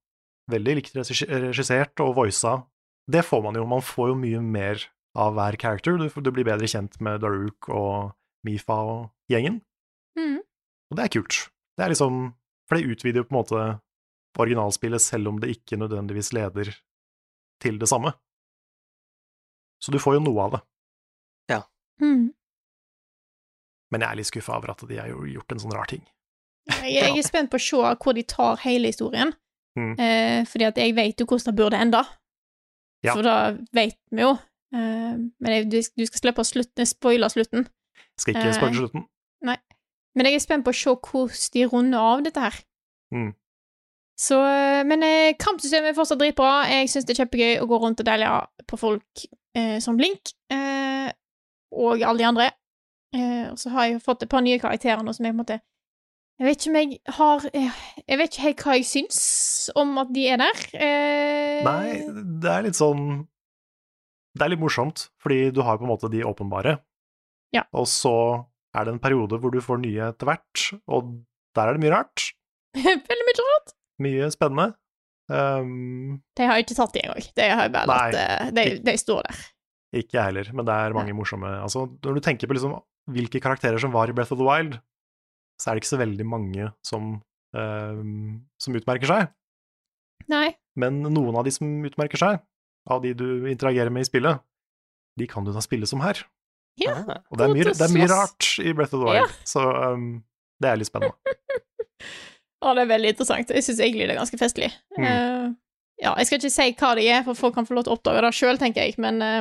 S2: veldig likt regi- regissert og voisa. Det får man jo. Man får jo mye mer av hver character. Du, du blir bedre kjent med Daruk og Mifa og gjengen,
S3: Mm.
S2: og det er kult. Det er liksom For det utvider jo på en måte originalspillet, selv om det ikke nødvendigvis leder til det samme. Så du får jo noe av det.
S3: Mm.
S2: Men jeg er litt skuffa over at de har jo gjort en sånn rar ting.
S3: Eh, Jeg, jeg er spent på å se hvor de tar hele historien,
S2: Mm.
S3: eh, fordi at jeg vet jo hvordan det burde enda.
S2: Ja.
S3: For da vet vi jo. Eh, men jeg, du, du skal slippe å slutte, spoile slutten.
S2: Skal ikke
S3: Eh.
S2: spørre til slutten.
S3: Men jeg er spent på å se hvordan de runder av dette her.
S2: Mm.
S3: Så, eh, men eh, kampsystemet er fortsatt dritbra. Jeg syns det er kjempegøy å gå rundt og dælje på folk eh, som Blink, eh, og alle de andre. Eh, og så har jeg jo fått et par nye karakterer nå som jeg på en måte Jeg vet ikke om jeg har eh, Jeg vet ikke helt hva jeg syns om at de er der. Eh, (laughs)
S2: Nei, det er litt sånn Det er litt morsomt, fordi du har på en måte de åpenbare.
S3: Ja.
S2: Og så er det en periode hvor du får nye etter hvert, og der er det mye rart.
S3: Veldig mye rart.
S2: Mye spennende. Ehm,
S3: De har jeg ikke tatt de engang. De har jeg bare
S2: Nei.
S3: latt eh, de, de står der.
S2: ikke jeg heller, men det er mange morsomme Altså, når du tenker på liksom hvilke karakterer som var i Breath of the Wild, så er det ikke så veldig mange som, ehm, som utmerker seg.
S3: Nei.
S2: Men noen av de som utmerker seg, av de du interagerer med i spillet, de kan du da spille som her.
S3: Ja.
S1: Ah,
S2: Og det er, mye,
S3: Godt å
S2: det er mye
S3: slåss.
S2: rart i Breath of the Wild, så um, det er litt spennende.
S3: Ja, det er veldig interessant. Jeg syns egentlig det er ganske festlig.
S2: Mm.
S3: Eh, ja, jeg skal ikke si hva de er, for folk kan få lov til å oppdage det sjøl, tenker jeg, men eh,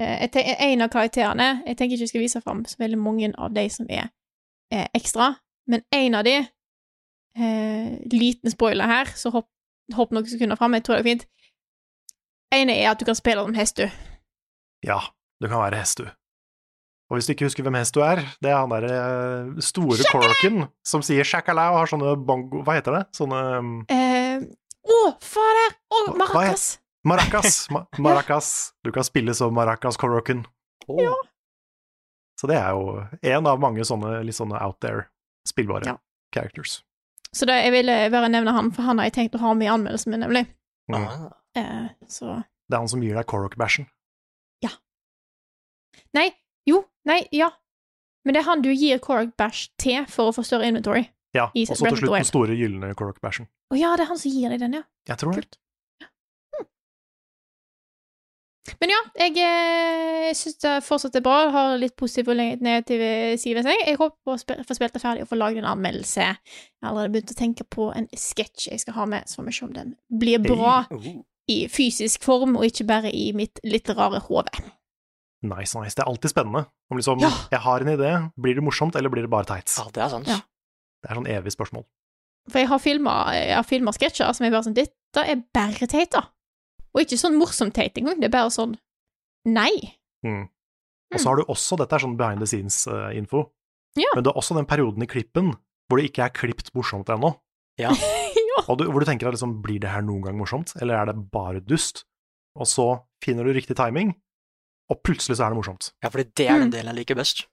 S3: eh, jeg ten- en av karakterene Jeg tenker ikke jeg skal vise fram så veldig mange av de som er eh, ekstra, men en av de eh, Liten spoiler her, så hopp, hopp noen sekunder fram, jeg tror det er fint. En er at du kan spille som hest, du.
S2: Ja, du kan være hest, du. Og hvis du ikke husker hvem hest du er, det er han derre eh, store Koroken som sier shakalau og har sånne bongo... Hva heter det? Sånne um,
S3: Eh, Å, fader! Å,
S2: Hva- hva het-
S3: Maracas!
S2: maracas. Ma
S3: (laughs)
S2: maracas. Du kan spille som maracas Koroken.
S1: oh.
S2: Så det er jo en av mange sånne litt sånne out there spillbare
S3: Ja.
S2: characters.
S3: Så da, jeg ville bare nevne han, for han har jeg tenkt å ha med i anmeldelsen min, nemlig.
S2: Mm.
S1: Ah.
S3: Eh, så
S2: Det er han som gir deg Korok-bæsjen.
S3: Nei, jo, nei, ja. Men det er han du gir Korg Bæsj til for å få større inventory.
S2: Ja,
S3: I
S2: og så
S3: Breath of
S2: til
S3: the
S2: slutt
S3: Wild.
S2: den store gylne Korok-bæsjen.
S3: Å ja, det er han som gir deg den, ja.
S2: Jeg tror det.
S3: Kult. Men ja, jeg eh, syns det fortsatt er bra. Har litt positive og negative sider ved seg. Jeg håper å sp- få spilt det ferdig og få lagd en anmeldelse. Jeg har allerede begynt å tenke på en sketsj jeg skal ha med, så får vi se om den blir bra
S1: Oh.
S3: i fysisk form, og ikke bare i mitt litterære hode.
S2: Nice, nice. Det er alltid spennende. Om liksom,
S3: Ja.
S2: jeg har en idé, blir det morsomt, eller blir det bare teit?
S1: Ja, det er sant.
S3: Ja.
S2: Det er sånn evig spørsmål.
S3: For jeg har filma, jeg har filma sketsjer som er bare sånn Dette er bare teit, da. Og ikke sånn morsomt teit engang. Det er bare sånn Nei.
S2: Mm. Og så har du også, dette er sånn behind the scenes-info,
S3: Mm. Ja.
S2: men du har også den perioden i klippen hvor det ikke er klipt morsomt ennå.
S1: Ja.
S3: (laughs) Ja.
S2: Og du, hvor du tenker at liksom, blir det her noen gang morsomt, eller er det bare dust? Og så finner du riktig timing, og plutselig så er det morsomt.
S1: ja, fordi det er
S3: Mm.
S1: den delen jeg liker best.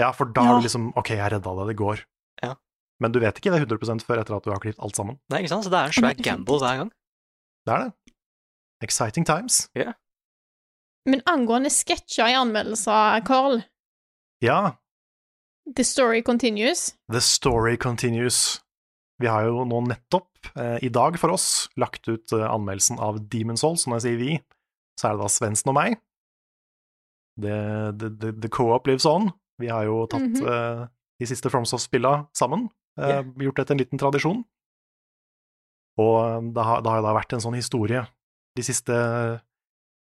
S2: Ja, for da
S3: Ja.
S2: er du liksom Ok, jeg redda det, det går.
S1: Ja.
S2: Men du vet ikke det 100 før etter at du har klippet alt sammen.
S1: Nei, ikke sant? Så det er en svær
S3: Nei, definitivt.
S1: gamble hver gang.
S2: Det er det. Exciting times.
S3: Men angående sketsjer i anmeldelser, Carl
S2: Ja,
S3: The story continues.
S2: The story continues. Vi har jo nå nettopp, eh, i dag for oss, lagt ut eh, anmeldelsen av Demon's Souls. Så når jeg sier vi, så er det da Svendsen og meg. Det, det, det, the co-op lives on. Vi har jo tatt
S3: Mhm.
S2: eh, de siste FromSoft-spilla sammen. eh,
S1: Ja.
S2: Gjort det til en liten tradisjon. Og eh, det har, det har da vært en sånn historie de siste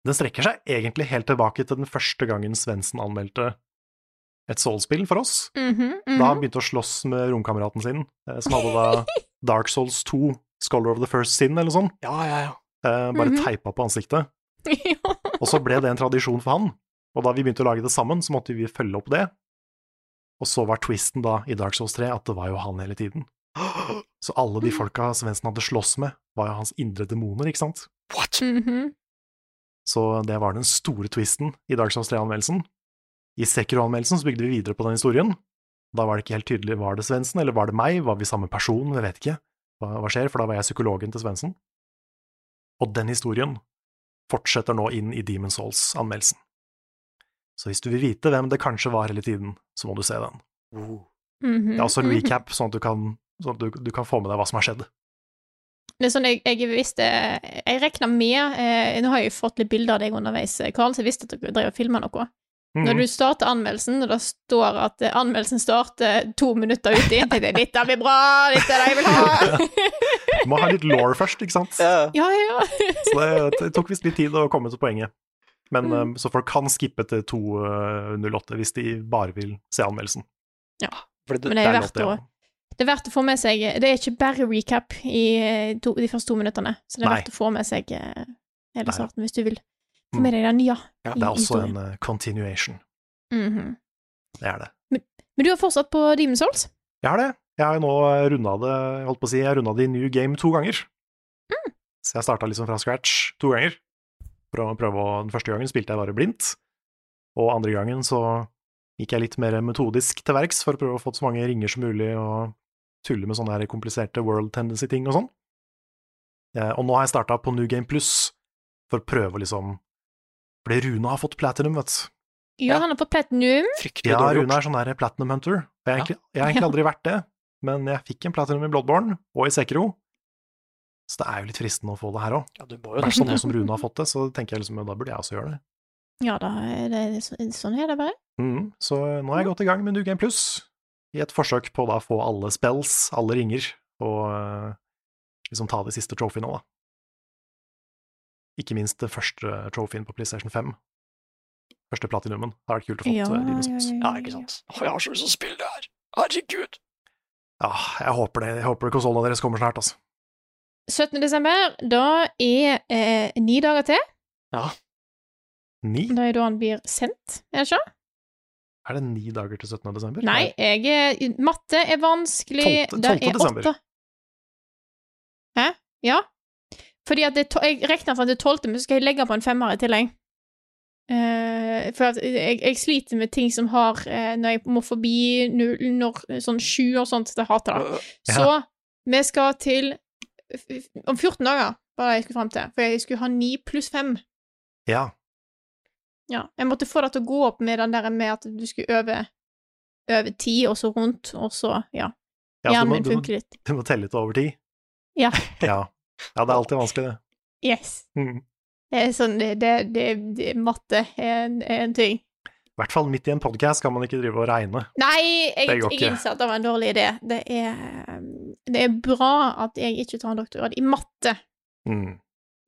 S2: Den strekker seg egentlig helt tilbake til den første gangen Svendsen anmeldte et Souls-spill for oss.
S3: Mhm, mhm.
S2: Da han begynte å slåss med romkameraten sin, eh, som hadde
S3: (laughs)
S2: da Dark Souls 2, Scholar of the First Sin eller sånn,
S1: Ja, ja, ja.
S2: eh, bare
S3: Mhm.
S2: teipa på ansiktet.
S3: (laughs) Ja.
S2: Og så ble det en tradisjon for han. Og da vi begynte å lage det sammen, så måtte vi følge opp det. Og så var twisten da i Dark Souls 3 at det var jo han hele tiden. Så alle
S3: Mm.
S2: de folka Svendsen hadde slåss med, var jo hans indre demoner, ikke sant?
S1: What?
S3: Mhm.
S2: Så det var den store twisten i Dark Souls 3-anmeldelsen. I Sekiro-anmeldelsen så bygde vi videre på den historien. Da var det ikke helt tydelig var det Svendsen eller var det meg, var vi samme person, jeg vet ikke hva, hva skjer, for da var jeg psykologen til Svendsen. Og den historien fortsetter nå inn i Demon Souls-anmeldelsen. Så hvis du vil vite hvem det kanskje var hele tiden, så må du se den.
S3: Mhm.
S2: Det er også en
S3: Mhm.
S2: recap, sånn at du kan, sånn at du, du kan få med deg hva som har skjedd.
S3: Det er sånn jeg, jeg visste Jeg regna med eh, Nå har jeg jo fått litt bilder av deg underveis, Karl, så jeg visste at dere drev og filma noe.
S2: Mhm.
S3: Når du starter anmeldelsen, og det står at eh, anmeldelsen starter to minutter uti, tenkte jeg dette blir bra, dette er det jeg vil ha.
S2: (laughs) Du må ha litt law først, ikke sant?
S3: ja, ja, ja.
S2: Så det, det tok visst litt tid å komme til poenget. Men
S3: Mm.
S2: eh, Så folk kan skippe til 2.08 hvis de bare vil se anmeldelsen.
S1: Fordi det,
S3: Men det er
S2: Der
S3: verdt
S2: nådde jeg
S3: å Det er verdt å få med seg eh, Det er ikke bare recap i eh, to, de første to minuttene, så det er
S2: Nei.
S3: verdt å få med seg eh, hele
S2: Nei. Mm.
S3: starten hvis du vil få med deg den nye.
S1: Ja,
S3: i
S2: Det er også
S3: historien.
S2: en eh, continuation.
S3: Mhm.
S2: Det er det.
S3: Men du har fortsatt på Demon Souls?
S2: Jeg har det. Jeg har jo nå runda det jeg holdt på å si, jeg har runda det i New Game to ganger. Så jeg starta liksom fra scratch to ganger. For å prøve å, den første gangen spilte jeg bare blindt. Og andre gangen så gikk jeg litt mer metodisk til verks for å prøve å få så mange ringer som mulig og tulle med sånne her kompliserte world tendency-ting og sånn. Eh, Og nå har jeg starta på New Game Plus for å prøve å liksom Fordi Rune har fått platinum, vet du.
S3: Ja,
S1: Ja.
S3: han har fått platinum.
S1: Fryktelig
S2: Ja,
S1: dårlig
S2: Rune
S1: gjort.
S2: er sånn der platinum hunter. og Jeg har egentlig, jeg har egentlig aldri vært det, men jeg fikk en platinum i Bloodborne og i Sekiro. Så det er jo litt fristende å få det her òg.
S1: Ja, du må
S2: I
S1: jo
S2: hvert
S1: nesten
S2: fall nå
S1: det.
S2: som Rune har fått det, så tenker jeg liksom, ja, da burde jeg også gjøre det.
S3: Ja da, er det, det, så- sånn er det bare.
S2: Mhm, Så nå er jeg godt i gang med New Game Plus, i et forsøk på da å få alle spells, alle ringer, og eh, liksom ta de siste trophyene, da. Ikke minst det første trophyen på PlayStation 5. Første platinumen. Det har vært kult å få
S3: Ja,
S2: eh, Demon's
S3: ja,
S2: Souls.
S3: ja,
S1: Ja, ikke sant. Å, jeg har så lyst til å spille det her. Herregud.
S2: Ja, jeg håper det. Jeg håper konsollene deres kommer snart, altså.
S3: 17. desember, da er eh, ni dager til.
S2: Ni?
S3: Da er da han blir sendt, er det ikke?
S2: Er det ni dager til 17. desember?
S3: Nei, jeg er, matte er vanskelig. Det
S2: Tolvte- tolvte
S3: er
S2: desember.
S3: åtte. Hæ? Ja. Fordi at det, er to- jeg regner for at det er tolvte, men så skal jeg legge på en femmer i tillegg. Eh, for at jeg, jeg sliter med ting som har eh, Når jeg må forbi null, når, sånn sju og sånt. Jeg hater
S1: Øh,
S3: det. Så vi skal til f- f- Om 14 dager var det jeg skulle fram til. For jeg skulle ha ni pluss fem.
S2: Ja.
S3: Ja, jeg måtte få det til å gå opp med den der med at du skulle øve over ti, og så rundt, og så ja.
S2: ja så du,
S3: Hjernen
S2: må,
S3: min
S2: du, må,
S3: funker litt.
S2: du må telle til over ti?
S3: Ja.
S2: (laughs) ja. Ja, det er alltid vanskelig, det.
S3: Yes.
S2: Mm.
S3: Det er sånn det, det, det, det Matte er en, er en ting.
S2: I hvert fall midt i en podkast kan man ikke drive og regne.
S3: Nei, jeg,
S2: Det går
S3: jeg
S2: ikke.
S3: innser at det var en dårlig idé. Det er, det er bra at jeg ikke tar en doktorgrad i matte.
S2: Mm.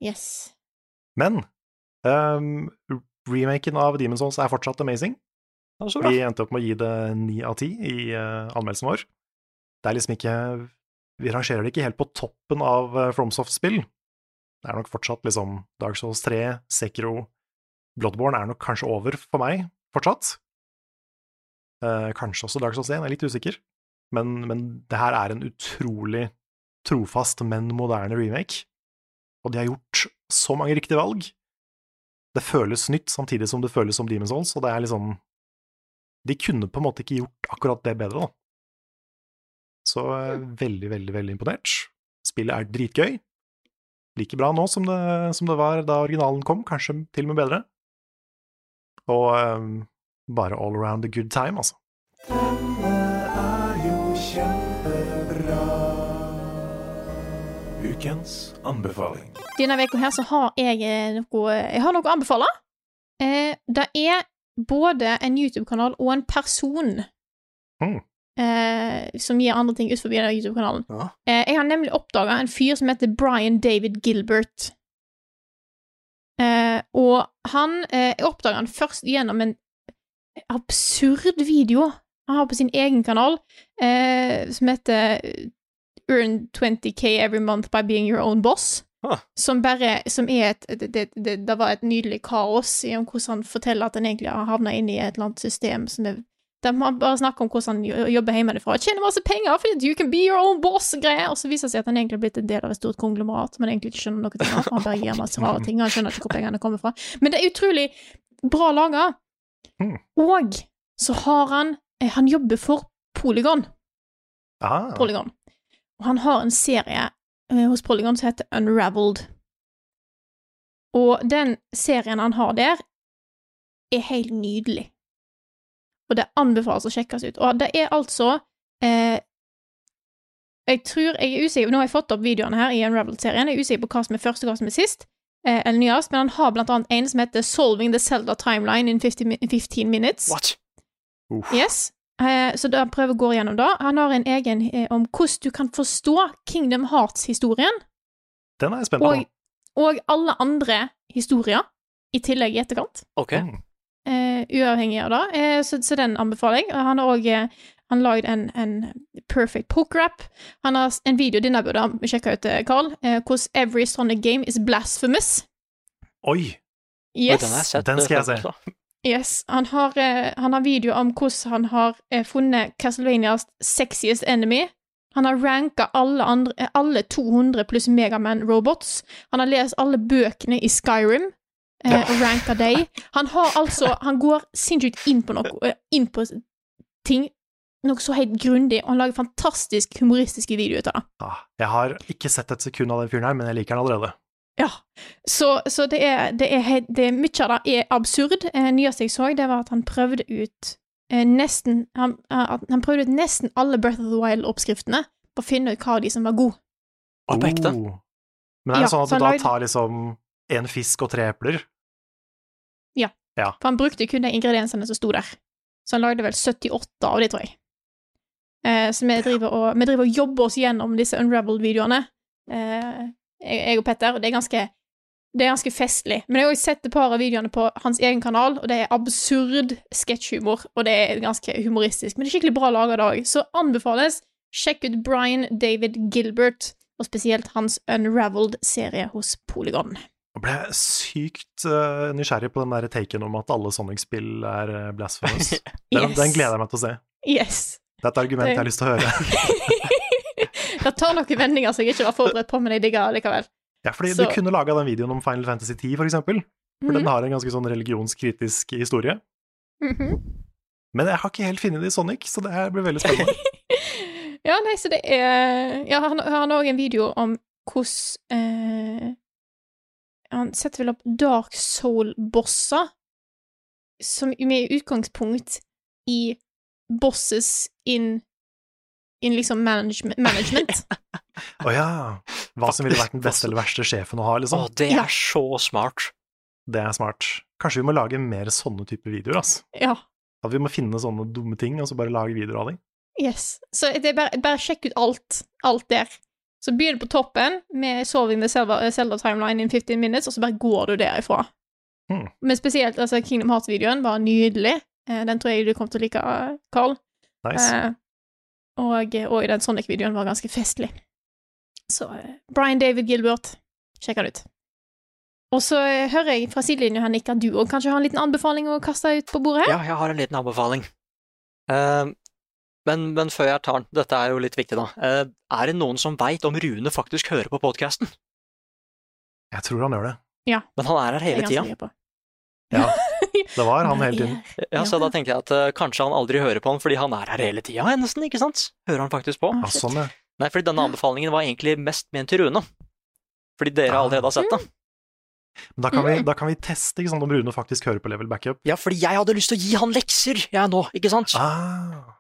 S3: Yes.
S2: Men ehm, remaken av Demon's Souls er fortsatt amazing.
S1: Ja, så bra.
S2: Vi endte opp med å gi det ni av ti i eh, anmeldelsen vår. Det er liksom ikke Vi rangerer det ikke helt på toppen av eh, FromSoft-spill. Det er nok fortsatt liksom Dark Souls 3, Sekiro Bloodborne er nok kanskje over for meg fortsatt. Eh, kanskje også Dark Souls 1, jeg er litt usikker. Men, men det her er en utrolig trofast, men moderne remake. Og de har gjort så mange riktige valg. Det føles nytt, samtidig som det føles som Demon's Souls, og det er liksom de kunne på en måte ikke gjort akkurat det bedre, da. Så eh, veldig, veldig, veldig imponert. Spillet er dritgøy. Like bra nå som det, som det var da originalen kom, kanskje til og med bedre. Og eh, bare all around a good time, altså.
S4: Ukens anbefaling.
S3: Denne uka her så har jeg eh, noe Jeg har noe å anbefale. Eh, det er både en YouTube-kanal og en person
S2: Mm.
S3: eh, som gir andre ting utenfor den YouTube-kanalen.
S1: Ja.
S3: Eh, jeg har nemlig oppdaga en fyr som heter Brian David Gilbert. Eh, og han eh, Jeg oppdaga han først gjennom en absurd video han har på sin egen kanal, eh, som heter eh, Earn 20K every month by being your own boss som bare som er et, det, det, det, det var et nydelig kaos i om hvordan han forteller at han egentlig har havna inn i et eller annet system som er De har bare snakket om hvordan han jo- jobber hjemmefra og tjener masse penger fordi at you can be your own boss og greier, og så viser det seg at han egentlig har blitt en del av et stort konglomerat, men egentlig ikke skjønner noe til for han bare gir masse rare ting, og han skjønner ikke hvor pengene kommer fra. Men det er utrolig bra laga.
S2: Mm.
S3: Og så har han eh, Han jobber for Polygon.
S2: Ah,
S3: Polygon. Og han har en serie eh, hos Polygon som heter Unraveled. Og den serien han har der, er helt nydelig. Og det anbefales å sjekkes ut. Og det er altså eh, Jeg tror jeg er usikker Nå har jeg fått opp videoene her i Unraveled-serien. Jeg er usikker på hva som er først og hva som er sist. Eh, eller nyest, men han har blant annet en som heter Solving the Zelda Timeline in 50 mi- 15 Minutes.
S1: What?
S2: uff.
S3: Yes. Eh, Så da prøver jeg å gå gjennom det. Han har en egen eh, om hvordan du kan forstå Kingdom Hearts-historien,
S2: Den er jeg spent på.
S3: og, og alle andre historier, i tillegg i etterkant.
S1: Ok.
S2: Mm.
S3: Eh, uavhengig av det. Eh, så, så den anbefaler jeg. Og Han har òg eh, han lagd en, en perfect poker-app. Han har s- en video denne burde han sjekke ut, eh, Carl. Eh, hvordan every sonic game is blasphemous.
S2: Oi!
S1: Oi,
S3: Yes.
S1: Den, har jeg sett,
S2: Den skal jeg
S1: eh,
S2: se.
S3: Yes, han har, eh, han har video om hvordan han har eh, funnet Castlevanias sexiest enemy. Han har ranka alle, andre, eh, alle 200 pluss Megaman-robots. Han har lest alle bøkene i Skyrim eh, og ranka dem. Han har altså Han går sinnssykt inn på noe, eh, inn på ting, noe så helt grundig, og han lager fantastisk humoristiske videoer ut av det.
S2: Ah, jeg har ikke sett et sekund av den fyren her, men jeg liker han allerede.
S3: Ja. Så, så det, er, det, er, helt- det er Mye av det er absurd. Eh, nyeste jeg så, det var at han prøvde ut eh, nesten han, eh, at han prøvde ut nesten alle Breath of the Wild-oppskriftene for å finne ut hva av de som var gode.
S1: Oi, på ekte.
S2: Oh. Men er det
S3: Ja,
S2: sånn
S3: så
S2: at
S3: han
S2: du da
S3: lagde-
S2: tar liksom en fisk og tre epler?
S3: For han brukte kun de ingrediensene som sto der. Så han lagde vel 78 av de, tror jeg. Eh, så vi driver, og, vi driver og jobber oss gjennom disse Unraveled-videoene, eh, jeg, jeg og Petter, og det er ganske det er ganske festlig. Men jeg har også sett et par av videoene på hans egen kanal, og det er absurd sketsjhumor, og det er ganske humoristisk. Men det er skikkelig bra laga i dag, så anbefales sjekk ut Brian David Gilbert, og spesielt hans Unraveled-serie hos Polygon.
S2: Jeg ble sykt eh, nysgjerrig på den der taken om at alle Sonic-spill er uh, blasphemous. den, den gleder jeg meg til å se.
S3: Yes.
S2: Det er et argument
S3: Det-
S2: jeg har lyst til å høre. (laughs)
S3: (laughs) Det tar noen vendinger som jeg ikke var forberedt på, men jeg digger det likevel.
S2: Ja, fordi
S3: Så-
S2: Du kunne laga den videoen om Final Fantasy 10, for eksempel. For den har en ganske sånn religionskritisk historie.
S3: Mhm. (laughs)
S2: Men jeg har ikke helt funnet det i Sonic, så det her blir veldig spennende.
S3: (laughs) Ja, nei, så det er Ja, han han har òg en video om hvordan eh, Han setter vel opp Dark Soul-bosser, som med utgangspunkt i bosses in In liksom management. management.
S2: Å ja. Hva som ville vært den beste eller verste sjefen å ha,
S1: Å,
S2: liksom.
S1: det
S3: Ja.
S1: er så smart.
S2: Det er smart. Kanskje vi må lage mer sånne type videoer, ass.
S3: ja.
S2: At vi må finne sånne dumme ting, og så bare lage videoer av dem.
S3: Yes. Så det er bare, bare sjekk ut alt. Alt der. Så begynn på toppen med 'Solving the Zelda, eh, Zelda Timeline in 15 minutes', og så bare går du derifra.
S2: Hmm.
S3: Men spesielt altså, Kingdom Hearts-videoen var nydelig. Eh, Den tror jeg du kommer til å like, Carl.
S2: Nice.
S3: Eh, og, eh, og den Sonic-videoen var ganske festlig. Så eh, Brian David Gilbert, sjekk han ut. Og så eh, hører jeg fra sidelinja her nikker du òg. Kanskje har en liten anbefaling å kaste ut på bordet? her?
S1: Ja, jeg har en liten anbefaling. Eh, men, men før jeg tar den, dette er jo litt viktig, da. Eh, er det noen som veit om Rune faktisk hører på podkasten?
S2: Jeg tror han gjør det.
S1: Men han er her
S3: Det er
S1: hele
S3: ganske
S1: tida.
S3: mye på.
S2: Det var han hele tiden.
S1: Ja, så da tenker jeg at eh, kanskje han aldri hører på den fordi han er her hele tida, nesten, ikke sant? Hører han faktisk på?
S3: Ah,
S2: Ja,
S3: shit.
S2: sånn, ja.
S1: Nei, fordi denne anbefalingen var egentlig mest ment til Rune. Fordi dere
S2: Ah.
S1: allerede har sett det.
S2: Men da kan,
S3: Mm.
S2: vi, da kan vi teste ikke sant, om Rune faktisk hører på level backup.
S1: Ja, fordi jeg hadde lyst til å gi han lekser, jeg nå, ikke sant?
S2: Ah,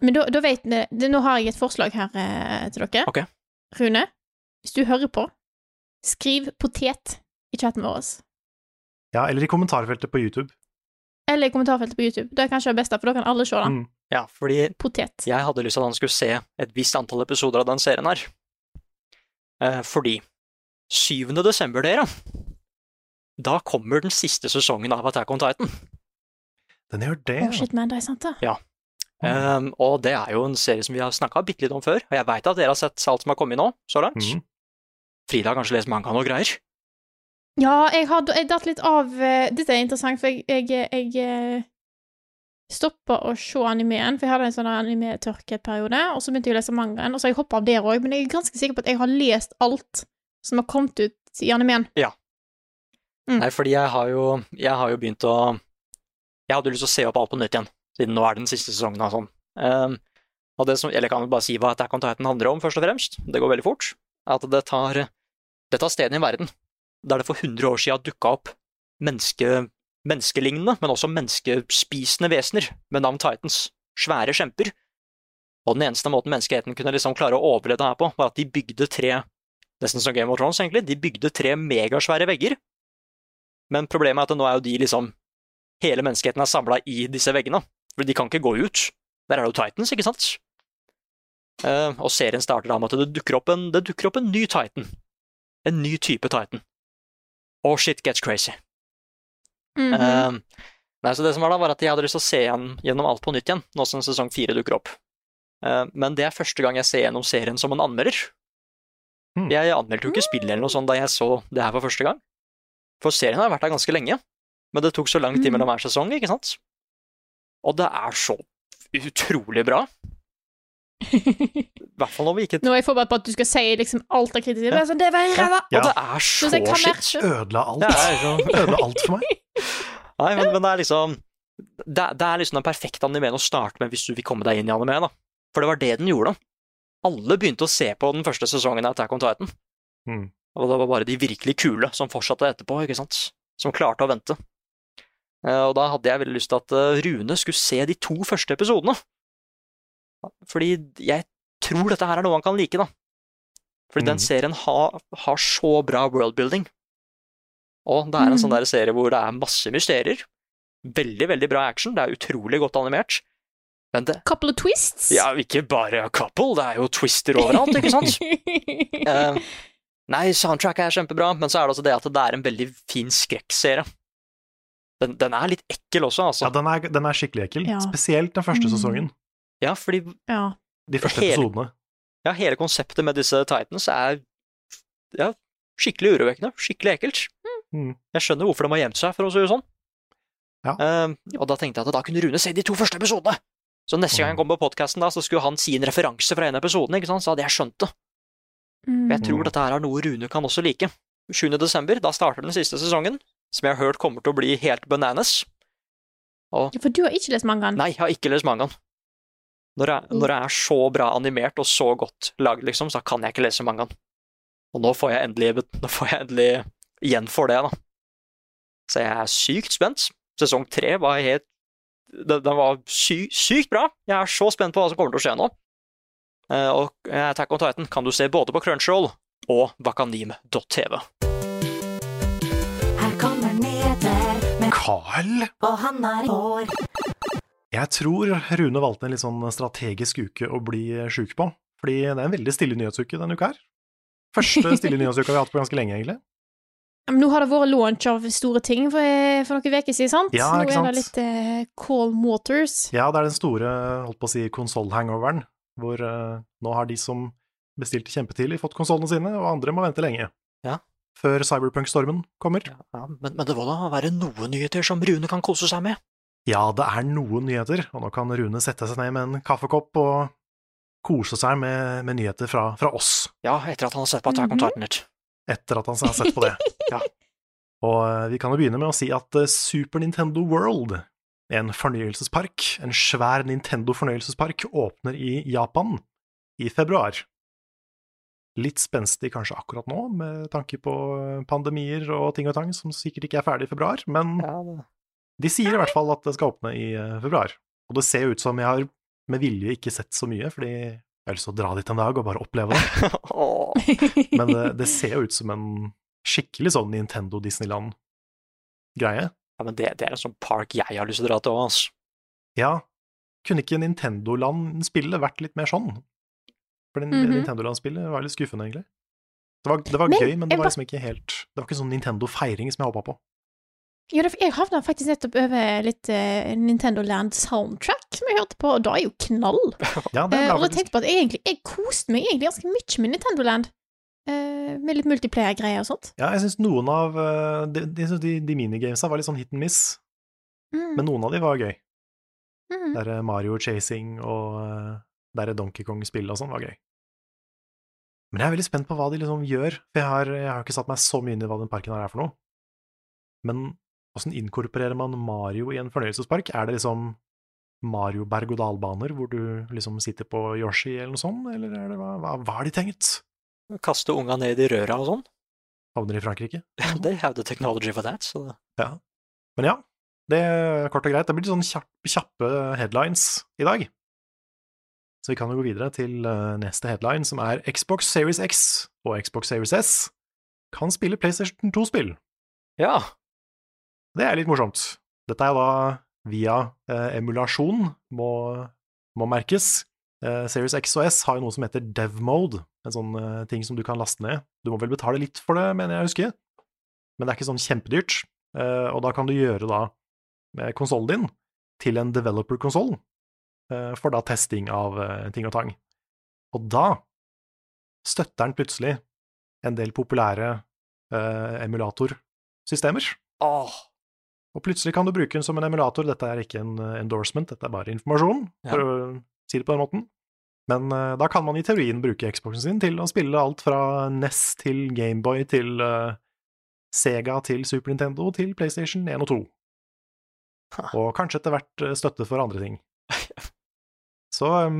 S3: Men da, da vet dere det, Nå har jeg et forslag her eh, til dere.
S1: Ok.
S3: Rune, hvis du hører på, skriv 'potet' i chatten vår.
S2: ja, eller i kommentarfeltet på YouTube.
S3: Eller i kommentarfeltet på YouTube. Det er kanskje det beste, for da kan alle se den.
S2: Mm.
S1: Ja, fordi
S3: Potet.
S1: jeg hadde lyst til at han skulle se et visst antall episoder av den serien her. Eh, fordi 7. desember, dere, da kommer den siste sesongen av Attack on Titan.
S2: Den gjør det.
S3: Å, shit, man, det er sant, da.
S2: Mm.
S1: Eh, og det er jo en serie som vi har snakka bitte litt om før, og jeg veit at dere har sett alt som har kommet nå, så langt.
S2: Mhm.
S1: Frida har kanskje lest mangaen og greier.
S3: Ja, jeg har jeg datt litt av eh, Dette er interessant, for jeg, jeg, jeg eh, stoppa å se animeen, for jeg hadde en sånn anime-tørkeperiode. Og så begynte jeg å lese mangaen, og så har jeg hoppa av der òg. Men jeg er ganske sikker på at jeg har lest alt som har kommet ut i animeen. Mm.
S1: Nei, fordi jeg har jo, jeg har jo begynt å Jeg hadde jo lyst til å se opp alt på nytt igjen, siden nå er det den siste sesongen og sånn. Ehm, og det som, eller jeg kan jo bare si hva Attack on Titan handler om, først og fremst. Det går veldig fort. At det tar, det tar stedet i en verden der det for 100 år siden dukka opp menneske, menneskelignende, men også menneskespisende vesener med navn Titans. Svære kjemper. Og den eneste måten menneskeheten kunne liksom klare å overleve det her på, var at de bygde tre Nesten som Game of Thrones, egentlig. De bygde tre megasvære vegger men problemet er at nå er jo de liksom Hele menneskeheten er samla i disse veggene. For de kan ikke gå ut. Der er det jo Titans, ikke sant? Eh, og serien starter da med at det dukker, opp en, det dukker opp en ny Titan. En ny type Titan. Oh shit gets crazy.
S3: Mhm.
S1: Eh, nei, så det som var da, var at jeg hadde lyst til å se igjen, gjennom alt på nytt igjen, nå som sesong fire dukker opp. Eh, men det er første gang jeg ser gjennom serien som en anmelder.
S2: Hmm.
S1: Jeg anmeldte jo ikke spillet eller noe sånt da jeg så det her for første gang. For serien har vært der ganske lenge, men det tok så lang tid
S3: Hmm.
S1: mellom hver sesong, ikke sant? Og det er så utrolig
S3: (laughs)
S1: bra. I hvert fall når vi ikke
S3: Nå er jeg forberedt på at du skal si liksom alt av kritikk. Ja. Sånn, det var ræva!
S2: Ja.
S1: Og det er så
S3: Så jeg kan
S1: shit.
S3: merke-
S2: Ødela alt.
S1: Det er sånn. så
S2: (laughs) Ødela alt
S3: (laughs)
S2: for meg.
S1: Nei, men, men det er liksom det, det er liksom den perfekte animeen å starte med hvis du vil komme deg inn i animeen, da. For det var det den gjorde. Alle begynte å se på den første sesongen av Attack on Titan.
S2: Mm.
S1: Og det var bare de virkelig kule som fortsatte etterpå, ikke sant. Som klarte å vente. Eh, Og da hadde jeg veldig lyst til at eh, Rune skulle se de to første episodene. Fordi jeg tror dette her er noe han kan like, da. Fordi
S2: Mhm.
S1: den serien har, har så bra worldbuilding. Og det er en
S3: Mhm.
S1: sånn der serie hvor det er masse mysterier. Veldig, veldig bra action. Det er utrolig godt animert. Men det
S3: Couple of twists.
S1: Ja, ikke bare a couple, det er jo twister overalt, ikke
S3: (laughs)
S1: sant? Eh, nei, soundtracket er kjempebra, men så er det også det at det er en veldig fin skrekkserie. Den, den er litt ekkel også, altså.
S2: Ja, den er, den er skikkelig ekkel.
S3: Ja.
S2: Spesielt den første
S3: Mm.
S2: sesongen.
S1: Ja, fordi
S3: ja.
S2: De første
S1: Hele-
S2: episodene.
S1: ja, hele konseptet med disse Titans er ja, skikkelig urovekkende. Skikkelig ekkelt.
S2: Mm.
S1: Jeg skjønner hvorfor de har gjemt seg, for å si det sånn.
S2: Ja.
S1: Eh, og da tenkte jeg at da kunne Rune se de to første episodene! Så neste
S2: Mm.
S1: gang han kom på podkasten, så skulle han si en referanse fra en av episodene, ikke sant? så hadde jeg skjønt det.
S3: Mm.
S1: For jeg tror dette her er noe Rune kan også like. 7. desember, da starter den siste sesongen, som jeg har hørt kommer til å bli helt bananas.
S3: Ja, For du har ikke lest mangaen?
S1: Nei, jeg har ikke lest mangaen. Når jeg, når jeg er så bra animert og så godt lagd, liksom, så kan jeg ikke lese mangaen. Og nå får jeg endelig, bet- nå får jeg endelig igjen for det, da. Så jeg er sykt spent. Sesong tre var helt Den, den var sy, sykt bra. Jeg er så spent på hva som kommer til å skje nå. Eh, og eh, Attack on Titan kan du se både på Crunchroll og vakanim.tv.
S5: Her kommer Neder,
S2: Carl!
S5: og han er i år.
S2: Jeg tror Rune valgte en litt sånn strategisk uke å bli sjuk på. Fordi det er en veldig stille nyhetsuke
S3: (laughs)
S2: denne uka her. Første stille nyhetsuka vi har hatt på ganske lenge, egentlig.
S3: Men (laughs) nå har det vært launch av store ting for, eh, for noen uker siden, sant?
S2: Ja, ikke
S3: Nå er det litt
S2: sant?
S3: eh, Call Waters.
S2: Ja, det er den store, holdt på å si, konsollhangoveren, hvor eh, nå har de som bestilte kjempetidlig, fått konsollene sine, og andre må vente lenge.
S1: Ja.
S2: Før Cyberpunk-stormen kommer.
S1: Ja, ja, men, men det må da være noen nyheter som Rune kan kose seg med.
S2: Ja, det er noen nyheter, og nå kan Rune sette seg ned med en kaffekopp og kose seg med, med nyheter fra, fra oss,
S1: Ja, etter at han har sett på Attack
S3: Mhm.
S1: on Titan litt.
S2: etter at han har sett på det.
S1: Ja.
S2: Og eh, vi kan jo begynne med å si at eh, Super Nintendo World, en fornøyelsespark, en svær Nintendo-fornøyelsespark, åpner i Japan i februar. Litt spenstig kanskje akkurat nå, med tanke på eh, pandemier og ting og tang som sikkert ikke er ferdig i februar, men
S1: Ja, det...
S2: de sier i hvert fall at det skal åpne i eh, februar. Og det ser jo ut som jeg har med vilje ikke sett så mye, fordi jeg har lyst til å dra dit en dag og bare oppleve det.
S1: Åh.
S2: Men eh, det, det ser jo ut som en skikkelig sånn Nintendo-Disneyland-greie.
S1: Ja, men det, det er en sånn park jeg har lyst til å dra til òg, altså.
S2: Ja, kunne ikke Nintendo-land-spillet vært litt mer sånn? For den-
S3: Mhm.
S2: Nintendo-land-spillet var litt skuffende, egentlig. Det var, det var
S3: Men
S2: gøy, men det
S3: jeg
S2: var
S3: ba-
S2: liksom ikke helt Det var ikke sånn Nintendo-feiring som jeg håpa
S3: (laughs)
S2: på.
S3: (laughs) Ja, det- jeg havna faktisk nettopp over litt eh, Nintendo Land soundtrack som jeg hørte på, og da er jo knall. Eh,
S2: Ja, det er
S3: og
S2: bra,
S3: jeg
S2: faktisk.
S3: tenkte på at jeg egentlig jeg koste meg egentlig ganske mye med Nintendo Land. Eh, med litt multiplayer-greier og sånt.
S2: Ja, jeg syns noen av eh, de, de, jeg synes de, de minigamesa var litt sånn hit and miss,
S3: Mm.
S2: men noen av de var gøy. Der eh, Mario chasing og eh, der er Donkey Kong-spill og sånn var gøy. Men jeg er veldig spent på hva de liksom gjør, for jeg har, jeg har ikke satt meg så mye inn i hva den parken her er for noe. Men åssen inkorporerer man Mario i en fornøyelsespark? Er det liksom Mario berg-og-dal-baner, hvor du liksom sitter på Yoshi eller noe sånt, eller er det, hva, hva, hva har de tenkt?
S1: Kaste unga ned i røra og sånn.
S2: Havner i Frankrike?
S1: (laughs) They have the technology for that. Så det-
S2: Men ja, det er kort og greit. Det blir litt sånn kjapp, kjappe headlines i dag. Så vi kan jo gå videre til eh, neste headline, som er Xbox Series X og Xbox Series S kan spille PlayStation 2-spill.
S1: ja.
S2: Det er litt morsomt. Dette er da via eh, emulasjon, må, må merkes. Eh, Series X og S har jo noe som heter dev mode, en sånn eh, ting som du kan laste ned. Du må vel betale litt for det, mener jeg å huske, men det er ikke sånn kjempedyrt. Eh, og da kan du gjøre da eh, konsollen din til en developer-konsoll, eh, for da testing av eh, ting og tang. Og da støtter den plutselig en del populære eh, emulatorsystemer.
S1: Åh,
S2: Og plutselig kan du bruke den som en emulator. Dette er ikke en eh, endorsement, dette er bare informasjon,
S1: Ja.
S2: for å si det på den måten. Men eh, da kan man i teorien bruke Xboxen sin til å spille alt fra NES til Gameboy til eh, Sega til Super Nintendo til PlayStation 1 og 2.
S1: Ha.
S2: Og kanskje etter hvert eh, støtte for andre
S1: (laughs)
S2: ting. Så eh,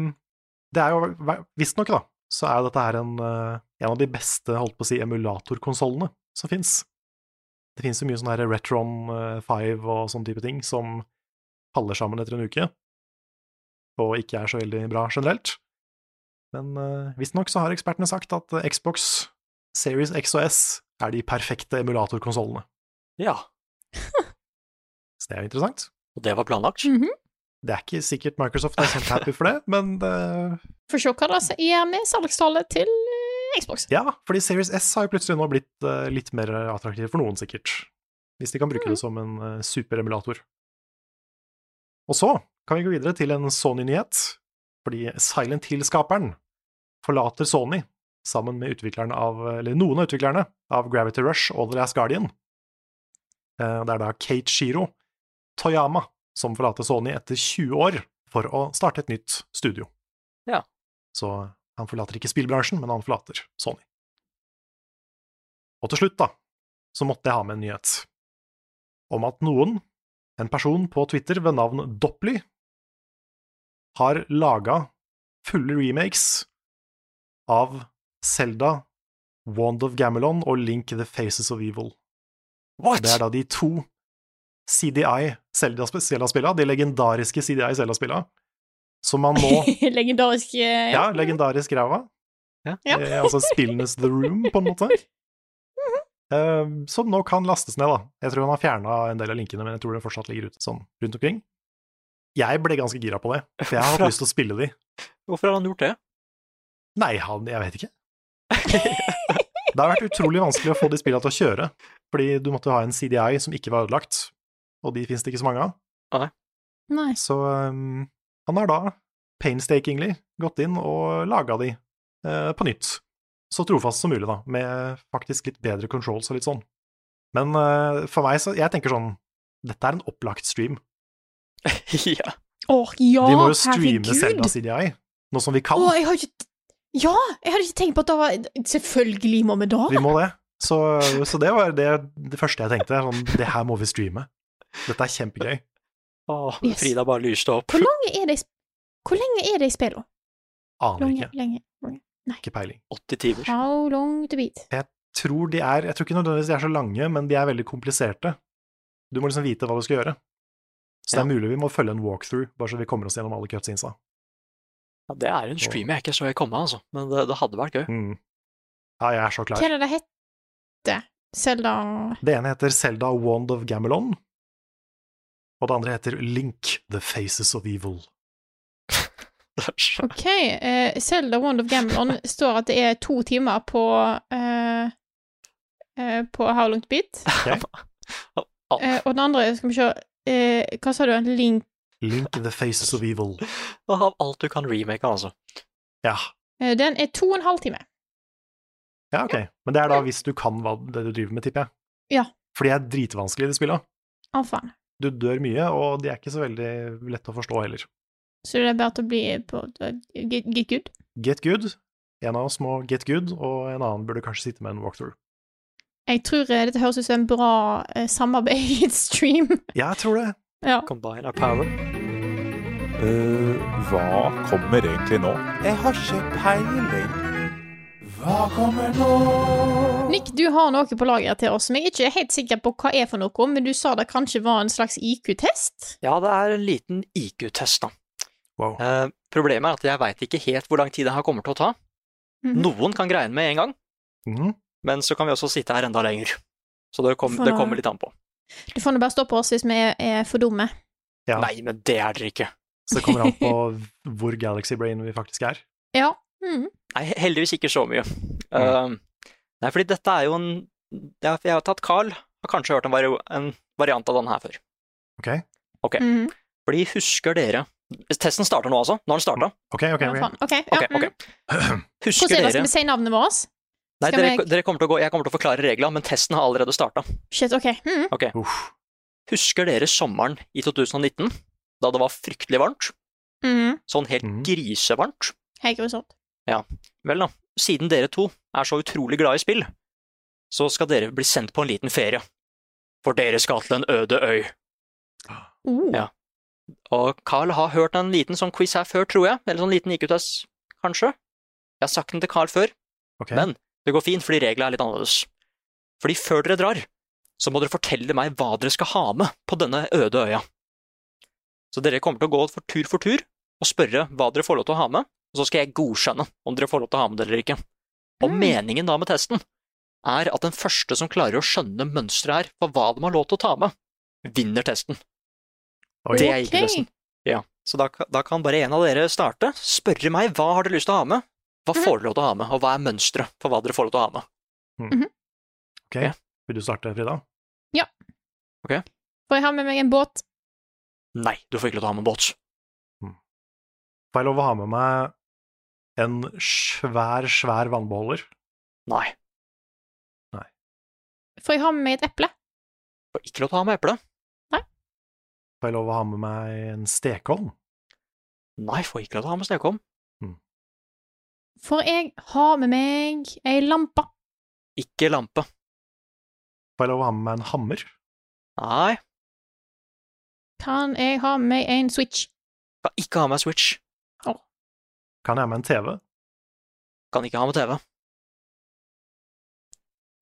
S2: det er jo Visstnok, da, så er dette her en, eh, en av de beste, holdt på å si, emulatorkonsollene som fins. Det finnes jo mye sånn her Retron eh, 5 og sånne type ting som faller sammen etter en uke, og ikke er så veldig bra generelt. Men eh, visstnok så har ekspertene sagt at eh, Xbox Series X og S er de perfekte emulatorkonsollene.
S1: ja.
S2: Så det er jo interessant.
S1: Og det var planlagt.
S3: Mhm.
S2: Det er ikke sikkert Microsoft er kjempehappy for det, men det,
S3: Får se hva det gjør med salgstallet til eh, Xbox. (laughs)
S2: Ja, fordi Series S har jo plutselig nå blitt eh, litt mer attraktiv for noen, sikkert. Hvis de kan bruke det som en eh, superemulator. Og så kan vi gå videre til en Sony-nyhet, fordi Silent Hill-skaperen forlater Sony sammen med utvikleren av, eller noen av utviklerne av Gravity Rush og The Last Guardian. Eh, Det er da Kate Shiro Toyama som forlater Sony etter 20 år for å starte et nytt studio.
S1: Ja.
S2: Så han forlater ikke spillbransjen, men han forlater Sony. Og til slutt, da, så måtte jeg ha med en nyhet om at noen, en person på Twitter ved navn Dopply, har laga fulle remakes av Selda, Wand of Gamelon og Link the Faces of Evil.
S1: What?
S2: Det er da de to CDI Selda-spillene, de legendariske CDI Selda-spillene, som man nå
S3: Legendarisk eh,
S2: Ja, legendarisk ræva.
S1: Ja.
S3: Ja.
S2: Eh, altså spillenes The Room, på en måte. Eh, som nå kan lastes ned, da. Jeg tror han har fjerna en del av linkene, men jeg tror det fortsatt ligger ute sånn rundt omkring. Jeg ble ganske gira på det, for jeg har hatt lyst til å spille de.
S1: Hvorfor har han gjort det?
S2: Nei, han, jeg vet ikke. Det har vært utrolig vanskelig å få de spillene til å kjøre, fordi du måtte ha en CDI som ikke var ødelagt, og de fins det ikke så mange av.
S3: Nei.
S2: Så um, han har da painstakingly gått inn og laga de eh, på nytt. Så trofast som mulig, da, med faktisk litt bedre controls og litt sånn. Men eh, for meg, så Jeg tenker sånn Dette er en opplagt stream.
S1: ja.
S3: Åh, ja,
S2: vi må jo streame Selda
S3: herregud.
S2: CDI, nå som vi kan.
S3: Åh, jeg har ikke Ja, jeg hadde ikke tenkt på at det var Selvfølgelig må vi da.
S2: Vi må det. Så, så det var det, det første jeg tenkte. Sånn, det her må vi streame. Dette er kjempegøy.
S1: Åh,
S3: Yes.
S1: Frida bare lyste opp.
S3: Hvor lange er de Hvor lenge er de i spillet?
S2: Aner
S3: Lange,
S2: ikke.
S3: lenge.
S2: Ikke peiling.
S1: 80 timer.
S3: How long to beat?
S2: tror de er Jeg tror ikke nødvendigvis de er så lange, men de er veldig kompliserte. Du må liksom vite hva du skal gjøre. Så det er mulig vi må følge en walkthrough, bare så vi kommer oss gjennom alle cutscenesa.
S1: Ja, det er en stream jeg ikke så jeg komme, altså. Men det, det hadde vært gøy.
S2: Mm. Ja, jeg er så
S3: Hva
S2: klar.
S3: er det det heter? Selda
S2: Det ene heter Selda Wand of Gamelon, og det andre heter Link The Faces of Evil.
S1: Det
S3: OK. eh, Zelda Wand of Gamelon står at det er to timer på eh, eh, På How long to beat. Eh, og den andre, skal vi se eh, Hva sa du? En link
S2: Link The Faces of Evil.
S1: er alt du kan remake, altså.
S2: Ja,
S3: eh, Den er to og en halv time.
S2: ja ok. Men det er da hvis du kan hva det du driver med, tipper jeg.
S3: Ja.
S2: For de er dritvanskelige, de spilla.
S3: Å, faen.
S2: Du dør mye, og de er ikke så veldig lette å forstå heller.
S3: Så det er bare til å bli på eh, get, get good.
S2: Get good. En av oss må get good, og en annen burde kanskje sitte med en walkthrough.
S3: Jeg tror eh, dette høres ut som en bra eh, samarbeidsstream. (laughs)
S2: Jeg tror det.
S3: ja.
S1: Combine our power.
S6: Eh, hva kommer egentlig nå? Jeg har ikke peiling.
S4: Hva kommer nå?
S3: Nick, du har noe på lageret til oss som jeg ikke er helt sikker på hva er for noe, men du sa det kanskje var en slags IQ-test?
S1: Ja, det er en liten IQ-test, da.
S2: Wow.
S1: Eh, problemet er at jeg veit ikke helt hvor lang tid det her kommer til å ta.
S3: Mhm.
S1: Noen kan greie den med en gang,
S2: Mhm.
S1: men så kan vi også sitte her enda lenger. Så det, kom,
S3: For
S1: det
S3: da-
S1: kommer litt an på.
S3: Du får nå bare stoppe oss hvis vi er, er for dumme.
S2: Ja.
S1: Nei, men det er dere ikke.
S2: Så det kommer an på hvor Galaxy Brain vi faktisk er.
S3: Ja. Mm.
S1: Nei, he- heldigvis ikke så mye. Eh, nei, fordi dette er jo en Jeg, jeg har tatt Carl, har kanskje hørt en, vari en variant av den her før.
S2: Ok,
S3: Mm.
S1: Fordi husker dere Testen starter nå, altså. Nå har den starta.
S2: ok, ok.
S3: Ja,
S2: ok.
S3: faen. Ok, ja.
S1: Ok, ok.
S3: Mm.
S1: Husker
S3: Hvordan er det?
S1: dere
S3: Skal vi si navnet vårt?
S1: Nei,
S3: Skal
S1: dere,
S3: vi-
S1: dere kommer til å gå, jeg kommer til å forklare reglene, men testen har allerede starta.
S3: Shit, ok. Mm.
S2: Uff.
S1: Husker dere sommeren i 2019? Da det var fryktelig varmt?
S3: Mm.
S1: Sånn helt
S2: Mhm.
S1: grisevarmt?
S3: Helt grusomt.
S1: Vel da, siden dere to er så utrolig glade i spill, så skal dere bli sendt på en liten ferie. For dere skal til en øde øy.
S3: Oh.
S1: Ja. Og Carl har hørt en liten sånn quiz her før, tror jeg. Eller sånn liten IQ-test, kanskje. Jeg har sagt den til Carl før.
S2: Ok.
S1: Men det går fint, fordi reglene er litt annerledes. Fordi før dere drar, så må dere fortelle meg hva dere skal ha med på denne øde øya. Så dere kommer til å gå for tur for tur og spørre hva dere får lov til å ha med, og så skal jeg godkjenne om dere får lov til å ha med det eller ikke. Og
S3: Mm.
S1: meningen da med testen er at den første som klarer å skjønne mønsteret her for hva de har lov til å ta med, vinner testen.
S2: Oi.
S1: Det er
S3: Ok.
S1: IQ-testen. Ja. Så da, da kan bare en av dere starte. Spørre meg hva har dere lyst til å ha med, hva
S3: Mhm.
S1: får dere lov til å ha med, og hva er mønsteret for hva dere får lov til å ha med.
S2: Ok, Vil du starte, Frida?
S3: For jeg har med meg en båt.
S1: Nei, du får ikke lov til å ha med båt.
S2: Får jeg lov å ha med meg en svær, svær vannbeholder?
S1: Nei,
S3: For jeg har med meg et eple.
S1: du får ikke lov til å ha med eple.
S2: Får jeg lov å ha med meg en stekeovn?
S1: Nei, du får ikke lov til å ha med snøkom.
S3: For jeg har med meg ei lampe.
S1: Ikke lampe.
S2: Får jeg lov å ha med meg en hammer?
S1: Nei,
S3: Kan jeg ha med meg en switch?
S1: kan ikke ha med Switch.
S2: Kan jeg ha med en TV?
S1: Kan ikke ha med TV.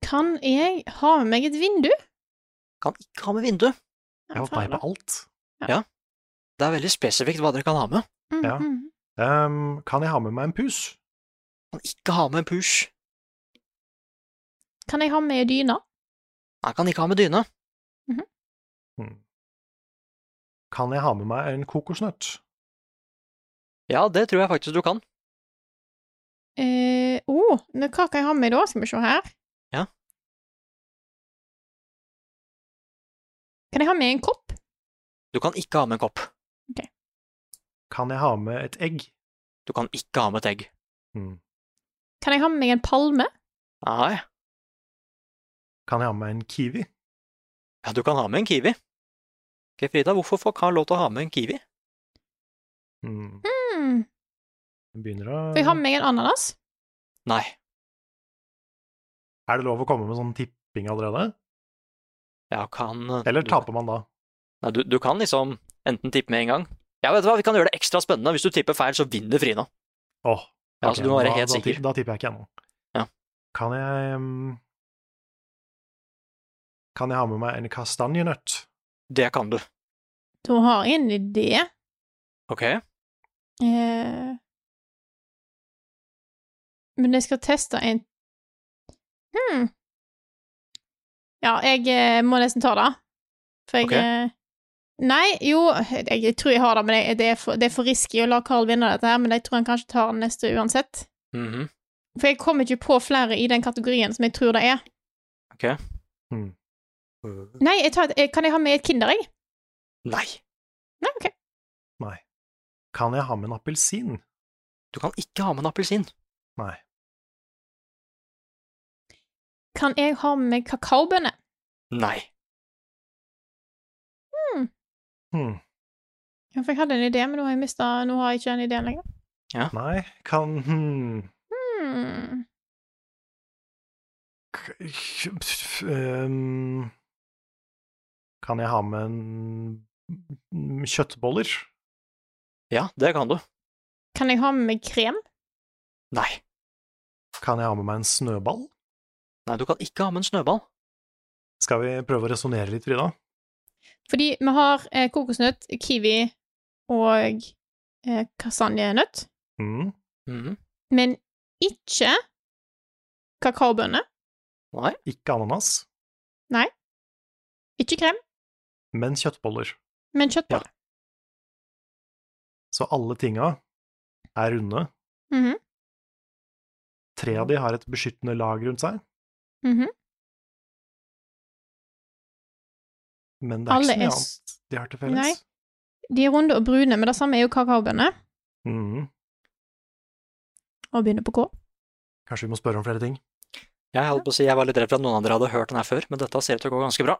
S3: Kan jeg ha med meg et vindu?
S1: Kan ikke ha med vindu.
S2: Jeg har fått meg på alt.
S1: Det er veldig spesifikt hva dere kan ha med.
S3: Mm,
S2: Ja.
S3: mm.
S2: Ehm, kan jeg ha med meg en pus?
S1: Kan ikke ha med en push.
S3: Kan jeg ha med ei dyne?
S1: Nei, kan ikke ha med dyne.
S2: Hmm. Kan jeg ha med meg en kokosnøtt?
S1: Ja, det tror jeg faktisk du kan.
S3: Eh, oh, nå, hva kan jeg ha med meg da? Skal vi se her.
S1: Ja.
S3: Kan jeg ha med en kopp?
S1: Du kan ikke ha med en kopp.
S2: Kan jeg ha med et egg?
S1: Du kan ikke ha med et egg.
S2: Hmm.
S3: Kan jeg ha med meg en palme?
S1: Nei,
S2: Kan jeg ha med en kiwi?
S1: ja, du kan ha med en kiwi. Ok, Frida, hvorfor får Karl lov til å ha med en kiwi? Mm.
S2: Hmm.
S3: Hmm.
S2: Jeg Begynner å...
S3: Får jeg ha med meg en ananas?
S1: Nei,
S2: Er det lov å komme med sånn tipping allerede?
S1: ja, kan eh,
S2: Eller taper man da?
S1: Nei, du, du kan liksom enten tippe med en gang. Ja, vet du hva, vi kan gjøre det ekstra spennende. Hvis du tipper feil, så vinner Frida.
S2: Åh,
S1: Ja, så
S2: ok,
S1: Altså, du må være
S2: da-
S1: helt
S2: da,
S1: sikker.
S2: Da, tipper jeg ikke ennå.
S1: Ja.
S2: Kan jeg mm, Kan jeg ha med meg en kastanjenøtt?
S1: Det kan du.
S3: Da har jeg en idé.
S1: Ok.
S3: Eh, men jeg skal teste en hmm. Ja, jeg eh, må nesten ta det. For jeg
S1: Ok.
S3: eh, Nei, jo, jeg, jeg tror jeg har det, men jeg, det, er for, det er for risky å la Carl vinne dette her, men jeg tror han kanskje tar den neste uansett.
S1: Mhm.
S3: For jeg kommer ikke på flere i den kategorien som jeg tror det er.
S1: Ok.
S2: Hmm.
S3: Nei, jeg tar, et- eh, kan jeg ha med et Kinder, jeg?
S1: Nei,
S3: Nei, ok.
S2: Nei. Kan jeg ha med en appelsin?
S1: du kan ikke ha med en appelsin.
S2: Nei.
S3: Kan jeg ha med kakaobønner?
S1: Nei.
S3: Hmm.
S2: Hmm.
S3: Ja, for jeg hadde en idé, men nå har jeg mista Nå har jeg ikke den ideen lenger.
S2: Nei, kan hmm.
S3: Hmm.
S2: K- pff, ehm, Kan jeg ha med en mm, kjøttboller?
S1: Ja, det kan du.
S3: Kan jeg ha med meg krem?
S1: Nei.
S2: Kan jeg ha med meg en snøball?
S1: Nei, du kan ikke ha med en snøball.
S2: Skal vi prøve å resonnere litt, Frida?
S3: Fordi vi har eh, kokosnøtt, kiwi og eh, kastanjenøtt,
S2: Mm.
S1: Mhm.
S3: men ikke kakaobønner,
S1: Nei.
S2: Ikke ananas,
S3: ikke krem,
S2: men kjøttboller.
S3: men kjøttboller.
S2: Så alle tinga er runde.
S3: Mhm,
S2: Tre av de har et beskyttende lag rundt seg,
S3: mhm.
S2: men det er
S3: Alle
S2: ikke så mye
S3: er s-
S2: annet de har til felles.
S3: Nei. De er runde og brune, men det samme er jo kakaobønner,
S2: Mm.
S3: og begynner på K.
S2: Kanskje vi må spørre om flere ting.
S1: Jeg holdt på å si, jeg var litt redd for at noen andre hadde hørt den her før, men dette ser ut til å gå ganske bra.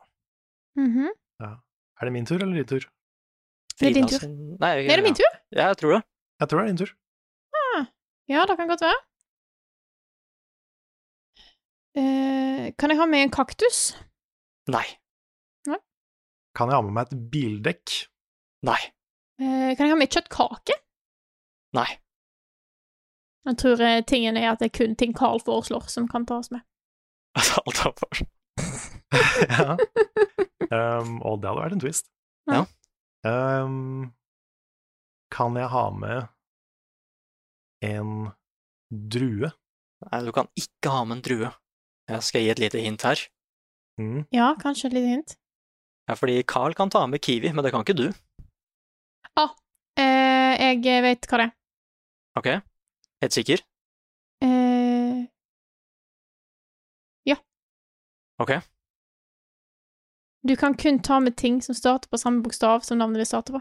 S3: Mhm.
S2: Er det min tur eller din tur?
S3: Er det din
S1: Frida
S3: tur?
S1: sin- Nei,
S3: Er det min tur?
S1: Ja, jeg tror det.
S2: Jeg tror det er din tur.
S3: Ja, det kan godt være. Eh, kan jeg ha med en kaktus?
S1: Nei.
S2: Kan jeg ha med meg et bildekk?
S1: Nei.
S3: Eh, kan jeg ha med kjøttkake?
S1: Nei. (laughs)
S3: Jeg tror eh, tingen er at det er kun ting Carl foreslår som kan tas med.
S1: Altså, Alt er for- (laughs)
S2: ja. um, og det hadde vært en twist.
S1: Ja.
S2: Um, kan jeg ha med en drue?
S1: Nei, du kan ikke ha med en drue. Jeg skal gi et lite hint her.
S2: Mm.
S3: Ja, kanskje et lite hint.
S1: Ja, fordi Carl kan ta med kiwi, men det kan ikke du.
S3: Eh, jeg vet hva det er.
S1: Ok? Helt sikker?
S3: Eh, ja.
S1: Ok.
S3: Du kan kun ta med ting som starter på samme bokstav som navnet ditt starter på.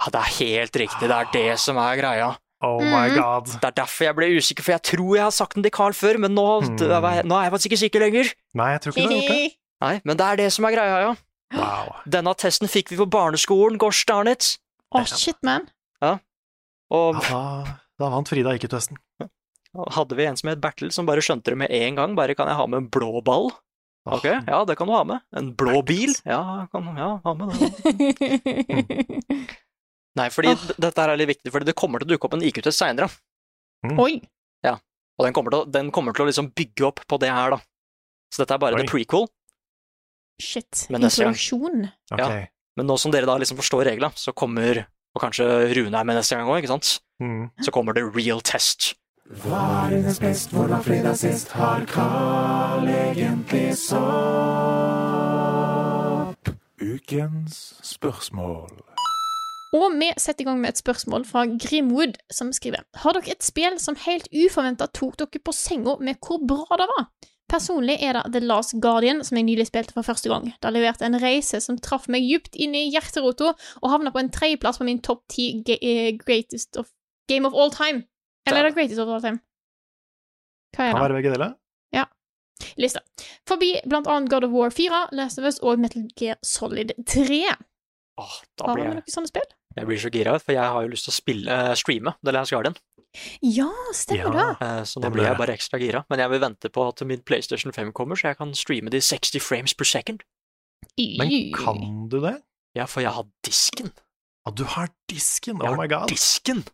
S1: Ja, det er helt riktig. Det er det som er greia.
S2: Oh my
S1: Mm.
S3: Mhm.
S2: god.
S1: Det er derfor jeg ble usikker, for jeg tror jeg har sagt den til Carl før, men nå,
S2: Mm.
S1: nå er jeg faktisk ikke sikker lenger.
S2: Nei, jeg tror ikke det.
S1: (laughs)
S2: Okay.
S1: Nei, men det er det som er greia, ja.
S2: Wow.
S1: Denne testen fikk vi på barneskolen, gosh darn it.
S3: Å, shit, man.
S1: Og
S2: Ja, da, da vant Frida ikke testen.
S1: hadde vi en som het Bertil, som bare skjønte det med en gang. Bare kan jeg ha med en blå ball?
S2: Ah,
S1: Ok, ja, det kan du ha med. En blå bil? Ja, kan, ja ha med det.
S2: (laughs)
S1: Nei, fordi
S3: Ah.
S1: d- dette her er litt viktig, fordi det kommer til å dukke opp en IQ-test seinere.
S3: Oi.
S1: Og den kommer, til å, den kommer til å liksom bygge opp på det her, da. Så dette er bare
S2: Oi.
S1: the prequel.
S3: Shit.
S1: Men neste gang.
S3: Introduksjon.
S2: ok.
S1: ja. Men nå som dere da liksom forstår reglene, så kommer Og kanskje Rune er med neste gang òg, ikke sant?
S2: Mm.
S1: Så kommer the real test.
S4: Hva er hennes best? Hvor var fredag sist? Har Carl egentlig sopp?
S6: Ukens spørsmål.
S3: Og vi setter i gang med et spørsmål fra Grimwood, som skriver Har dere et spill som helt uforventa tok dere på senga med hvor bra det var? Personlig er det The Last Guardian, som jeg nylig spilte for første gang. Det leverte en reise som traff meg djupt inn i hjerterota, og havna på en tredjeplass på min topp ti ge- eh, greatest of game of all time. Eller er det greatest of all time? Hva er
S2: Kan
S3: det?
S2: være begge deler.
S3: lista. Forbi blant annet God of War 4, Last of Us og Metal Gear Solid 3.
S1: Åh, da
S3: Har vi
S1: blir jeg,
S3: noe sånt spill?
S1: jeg blir så gira, for jeg har jo lyst til å spille, eh, streame The Last Guardian.
S3: Ja, stemmer
S2: Ja.
S3: det.
S1: Eh, Så
S2: Det
S1: nå
S2: blir
S1: blir jeg
S2: det.
S1: bare ekstra gira. Men jeg vil vente på at min PlayStation 5 kommer, så jeg kan streame de 60 frames per second.
S2: Men
S3: Ui.
S2: kan du det?
S1: Ja, for jeg har disken.
S2: Ja, du har disken!
S1: Jeg
S2: Oh
S1: har
S2: my god.
S1: Disken!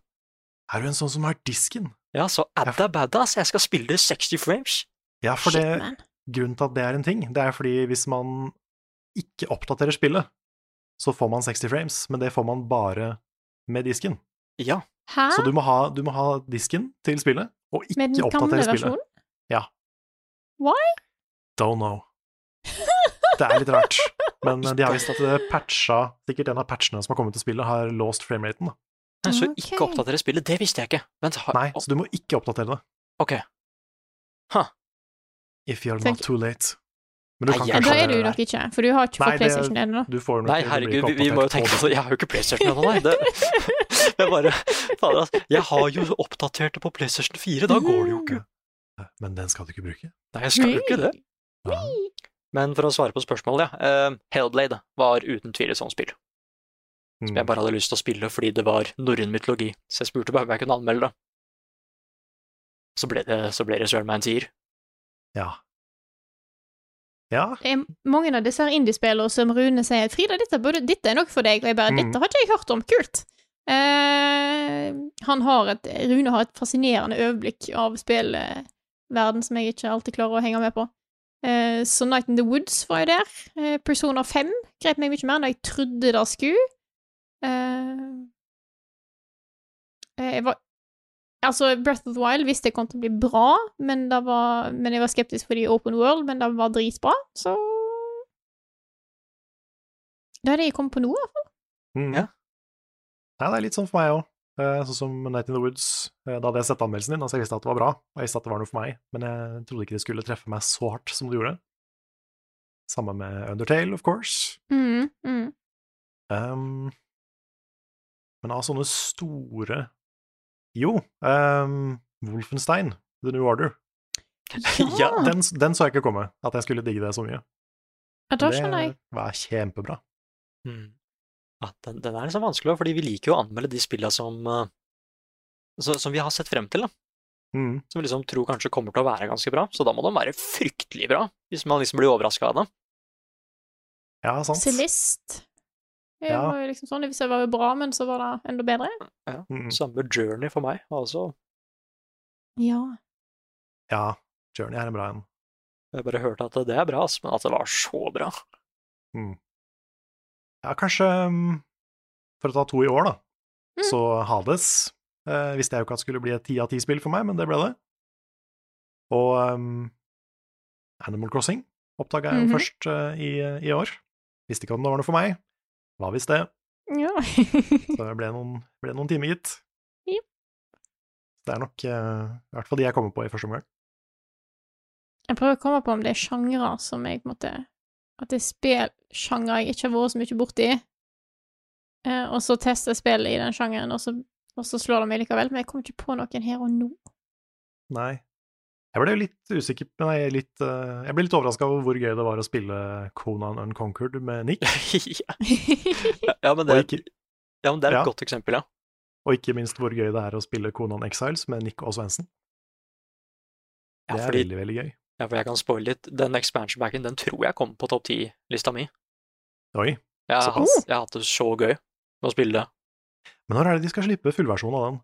S2: Er du en sånn som har disken?
S1: Ja, så adda badass, jeg skal spille 60 frames.
S2: Ja, for
S3: Shit,
S2: det,
S3: man.
S2: grunnen til at det er en ting, det er fordi hvis man ikke oppdaterer spillet, så får man 60 frames, men det får man bare med disken.
S1: Ja.
S3: Hæ?
S2: Så du må ha, du må ha disken til spillet, og ikke
S3: Ah. Med den gamle
S2: oppdatere spillet.
S3: versjonen?
S2: Don't know. Det er litt rart. Men de har visst at det patcha Sikkert en av patchene som har kommet til spillet, har låst frameraten. da.
S1: Nei, Så
S3: Ok.
S1: ikke oppdatere spillet, det visste jeg ikke. Vent, har
S3: Ah,
S2: Nei, så du må ikke oppdatere det.
S1: Ok. Huh.
S2: If you're
S3: Tenk-
S2: not too late. Men du
S1: Nei,
S2: kan
S1: jeg-
S2: kanskje
S3: Da er du
S2: det
S3: nok ikke, for du har ikke
S2: Nei,
S3: fått
S2: det-
S3: PlayStation ennå.
S2: Du får nok
S1: Nei,
S2: ikke- du blir
S1: herregud,
S2: ikke
S1: vi, vi må jo
S2: oppdatert
S1: tenke sånn.
S2: på
S1: på det. Jeg har jo ikke PlayStation ennå, nei. Det, (laughs) jeg bare Fader, altså. Jeg har jo oppdatert det på PlayStation 4,
S2: Mhm.
S1: da går det jo ikke.
S2: det. Men den skal du ikke bruke.
S1: Nei, jeg skal jo ikke det. Men for å svare på spørsmålet, ja. eh, Hellblade var uten tvil et sånt spill.
S2: Mm,
S1: Som jeg bare hadde lyst til å spille fordi det var norrøn mytologi. Så jeg spurte bare om jeg kunne anmelde det. Så ble det, så ble det søren meg en sier.
S2: Ja. Ja,
S3: Det er mange av disse her indiespillene som Rune sier 'Frida, dette, burde, dette er noe for deg', og jeg bare
S2: Mm.
S3: 'Dette har ikke jeg hørt om. Kult'. Eh, han har et, Rune har et fascinerende øyeblikk av spillverden som jeg ikke alltid klarer å henge med på. Eh, så Night in the Woods var jo der. Eh, Persona 5 grep meg mye mer enn jeg trodde det skulle. Eh, eh, jeg var Altså, Breath of the Wild visste jeg kom til å bli bra, men, det var, men jeg var skeptisk fordi Open World, men det var dritbra, så Det er det jeg kom på nå, da.
S2: Mm.
S1: Ja.
S2: Nei, det er litt sånn for meg òg. Sånn som Night in the Woods. eh, Da hadde jeg sett anmeldelsen din, altså jeg visste at det var bra, og jeg visste at det var noe for meg, men jeg trodde ikke det skulle treffe meg så hardt som det gjorde. Samme med Undertale, of course.
S3: Mm, mm.
S2: Ehm, men av sånne store Jo, ehm, Wolfenstein, The New Order.
S3: (laughs) Ja,
S2: Den, den så jeg ikke komme, at jeg skulle digge det så mye.
S3: ja da skjønner jeg.
S2: Det var kjempebra.
S1: Mm. Ja, den, den er liksom vanskelig, fordi vi liker jo å anmelde de spillene som, eh, så, som vi har sett frem til, da.
S2: Mm.
S1: som vi liksom tror kanskje kommer til å være ganske bra. Så da må de være fryktelig bra, hvis man liksom blir overraska av det.
S2: Ja, sant.
S3: Celeste. Det
S2: Ja.
S3: var jo liksom sånn, Hvis det var jo bra, men så var det enda bedre.
S2: Mm.
S1: Samme journey for meg, altså.
S3: Ja.
S2: Ja, Journey er en bra en.
S1: Jeg bare hørte at det er bra, ass, men at det var så
S2: (laughs)
S1: bra.
S2: Ja, kanskje mm, For å ta to i år, da.
S3: Mm.
S2: Så Hades eh, visste jeg jo ikke at skulle bli et ti av ti-spill for meg, men det ble det. Og mm, Animal Crossing oppdaga jeg jo
S3: Mhm.
S2: først eh, i, i år. Visste ikke om det var noe for meg. Hva hvis det?
S3: ja. (laughs)
S2: Så det ble noen, ble noen timer, gitt.
S3: Jep.
S2: Det er nok eh, i hvert fall de jeg kommer på i første omgang.
S3: jeg prøver å komme på om det er sjangre som jeg på en måte At det er spillsjangre jeg ikke har vært så mye borti. Eh, og så tester jeg spillet i den sjangeren, og så, og så slår det meg likevel. Men jeg kommer ikke på noen her og nå. (laughs)
S2: Nei. Jeg ble jo litt usikker Nei, litt, eh, jeg ble litt overraska over hvor gøy det var å spille Conan Unconquered med Nick.
S1: ja, ja, men det,
S2: Og ikke,
S1: ja, men det er et
S2: ja.
S1: godt eksempel, ja.
S2: Og ikke minst hvor gøy det er å spille Konan Exiles med Nick og Svendsen.
S1: Ja,
S2: Det er
S1: fordi-
S2: veldig, veldig gøy.
S1: ja. For jeg kan spoile litt. Den expansion backen, den tror jeg kommer på topp ti-lista mi.
S2: Oi.
S1: Jeg har, hatt,
S2: Såpass.
S1: jeg har hatt det så gøy med å spille det.
S2: Men når er det de skal slippe fullversjonen av den?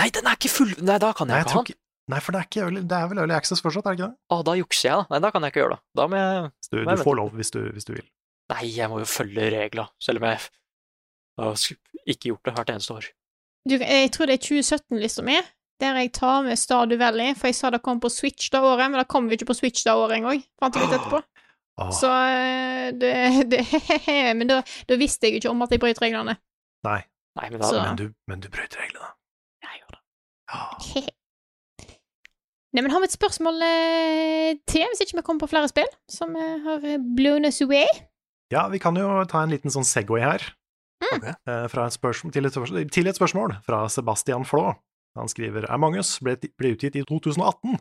S1: Nei, den er ikke full! Nei, da kan jeg,
S2: Nei, jeg
S1: ikke ha
S2: tror
S1: den!
S2: ikke... Nei, for det er, ikke early... det er vel Early Access fortsatt, er det ikke det?
S1: Å, da jukser jeg, da. Nei, da kan jeg ikke gjøre det. Da må jeg
S2: Så Du,
S1: Nei,
S2: du
S1: vent.
S2: får lov hvis du, hvis du vil.
S1: Nei, jeg må jo følge regler, selv om jeg har sk- ikke gjort det hvert eneste år.
S3: Du, jeg tror det er 2017-lista mi, der jeg tar med Stardew Valley, for jeg sa det kom på Switch det året, men det kom jo ikke på Switch det året engang, fant jeg ut etterpå.
S2: Åh,
S3: Så eh, det, (laughs) det Men da, da visste jeg jo ikke om at jeg brøt reglene.
S2: Nei,
S1: Nei, men da,
S3: Så-
S2: men du, men du brøt reglene.
S3: Jeg gjorde det.
S2: Åh,
S3: (laughs) Nei, men har vi et spørsmål eh, til, hvis ikke vi kommer på flere spill som eh, har eh, blown us away?
S2: Ja, vi kan jo ta en liten sånn Segway her. Eh, Fra et spørsmål, til, et spørsmål, til et spørsmål fra Sebastian Flå. Han skriver Among Us ble, ble utgitt i 2018,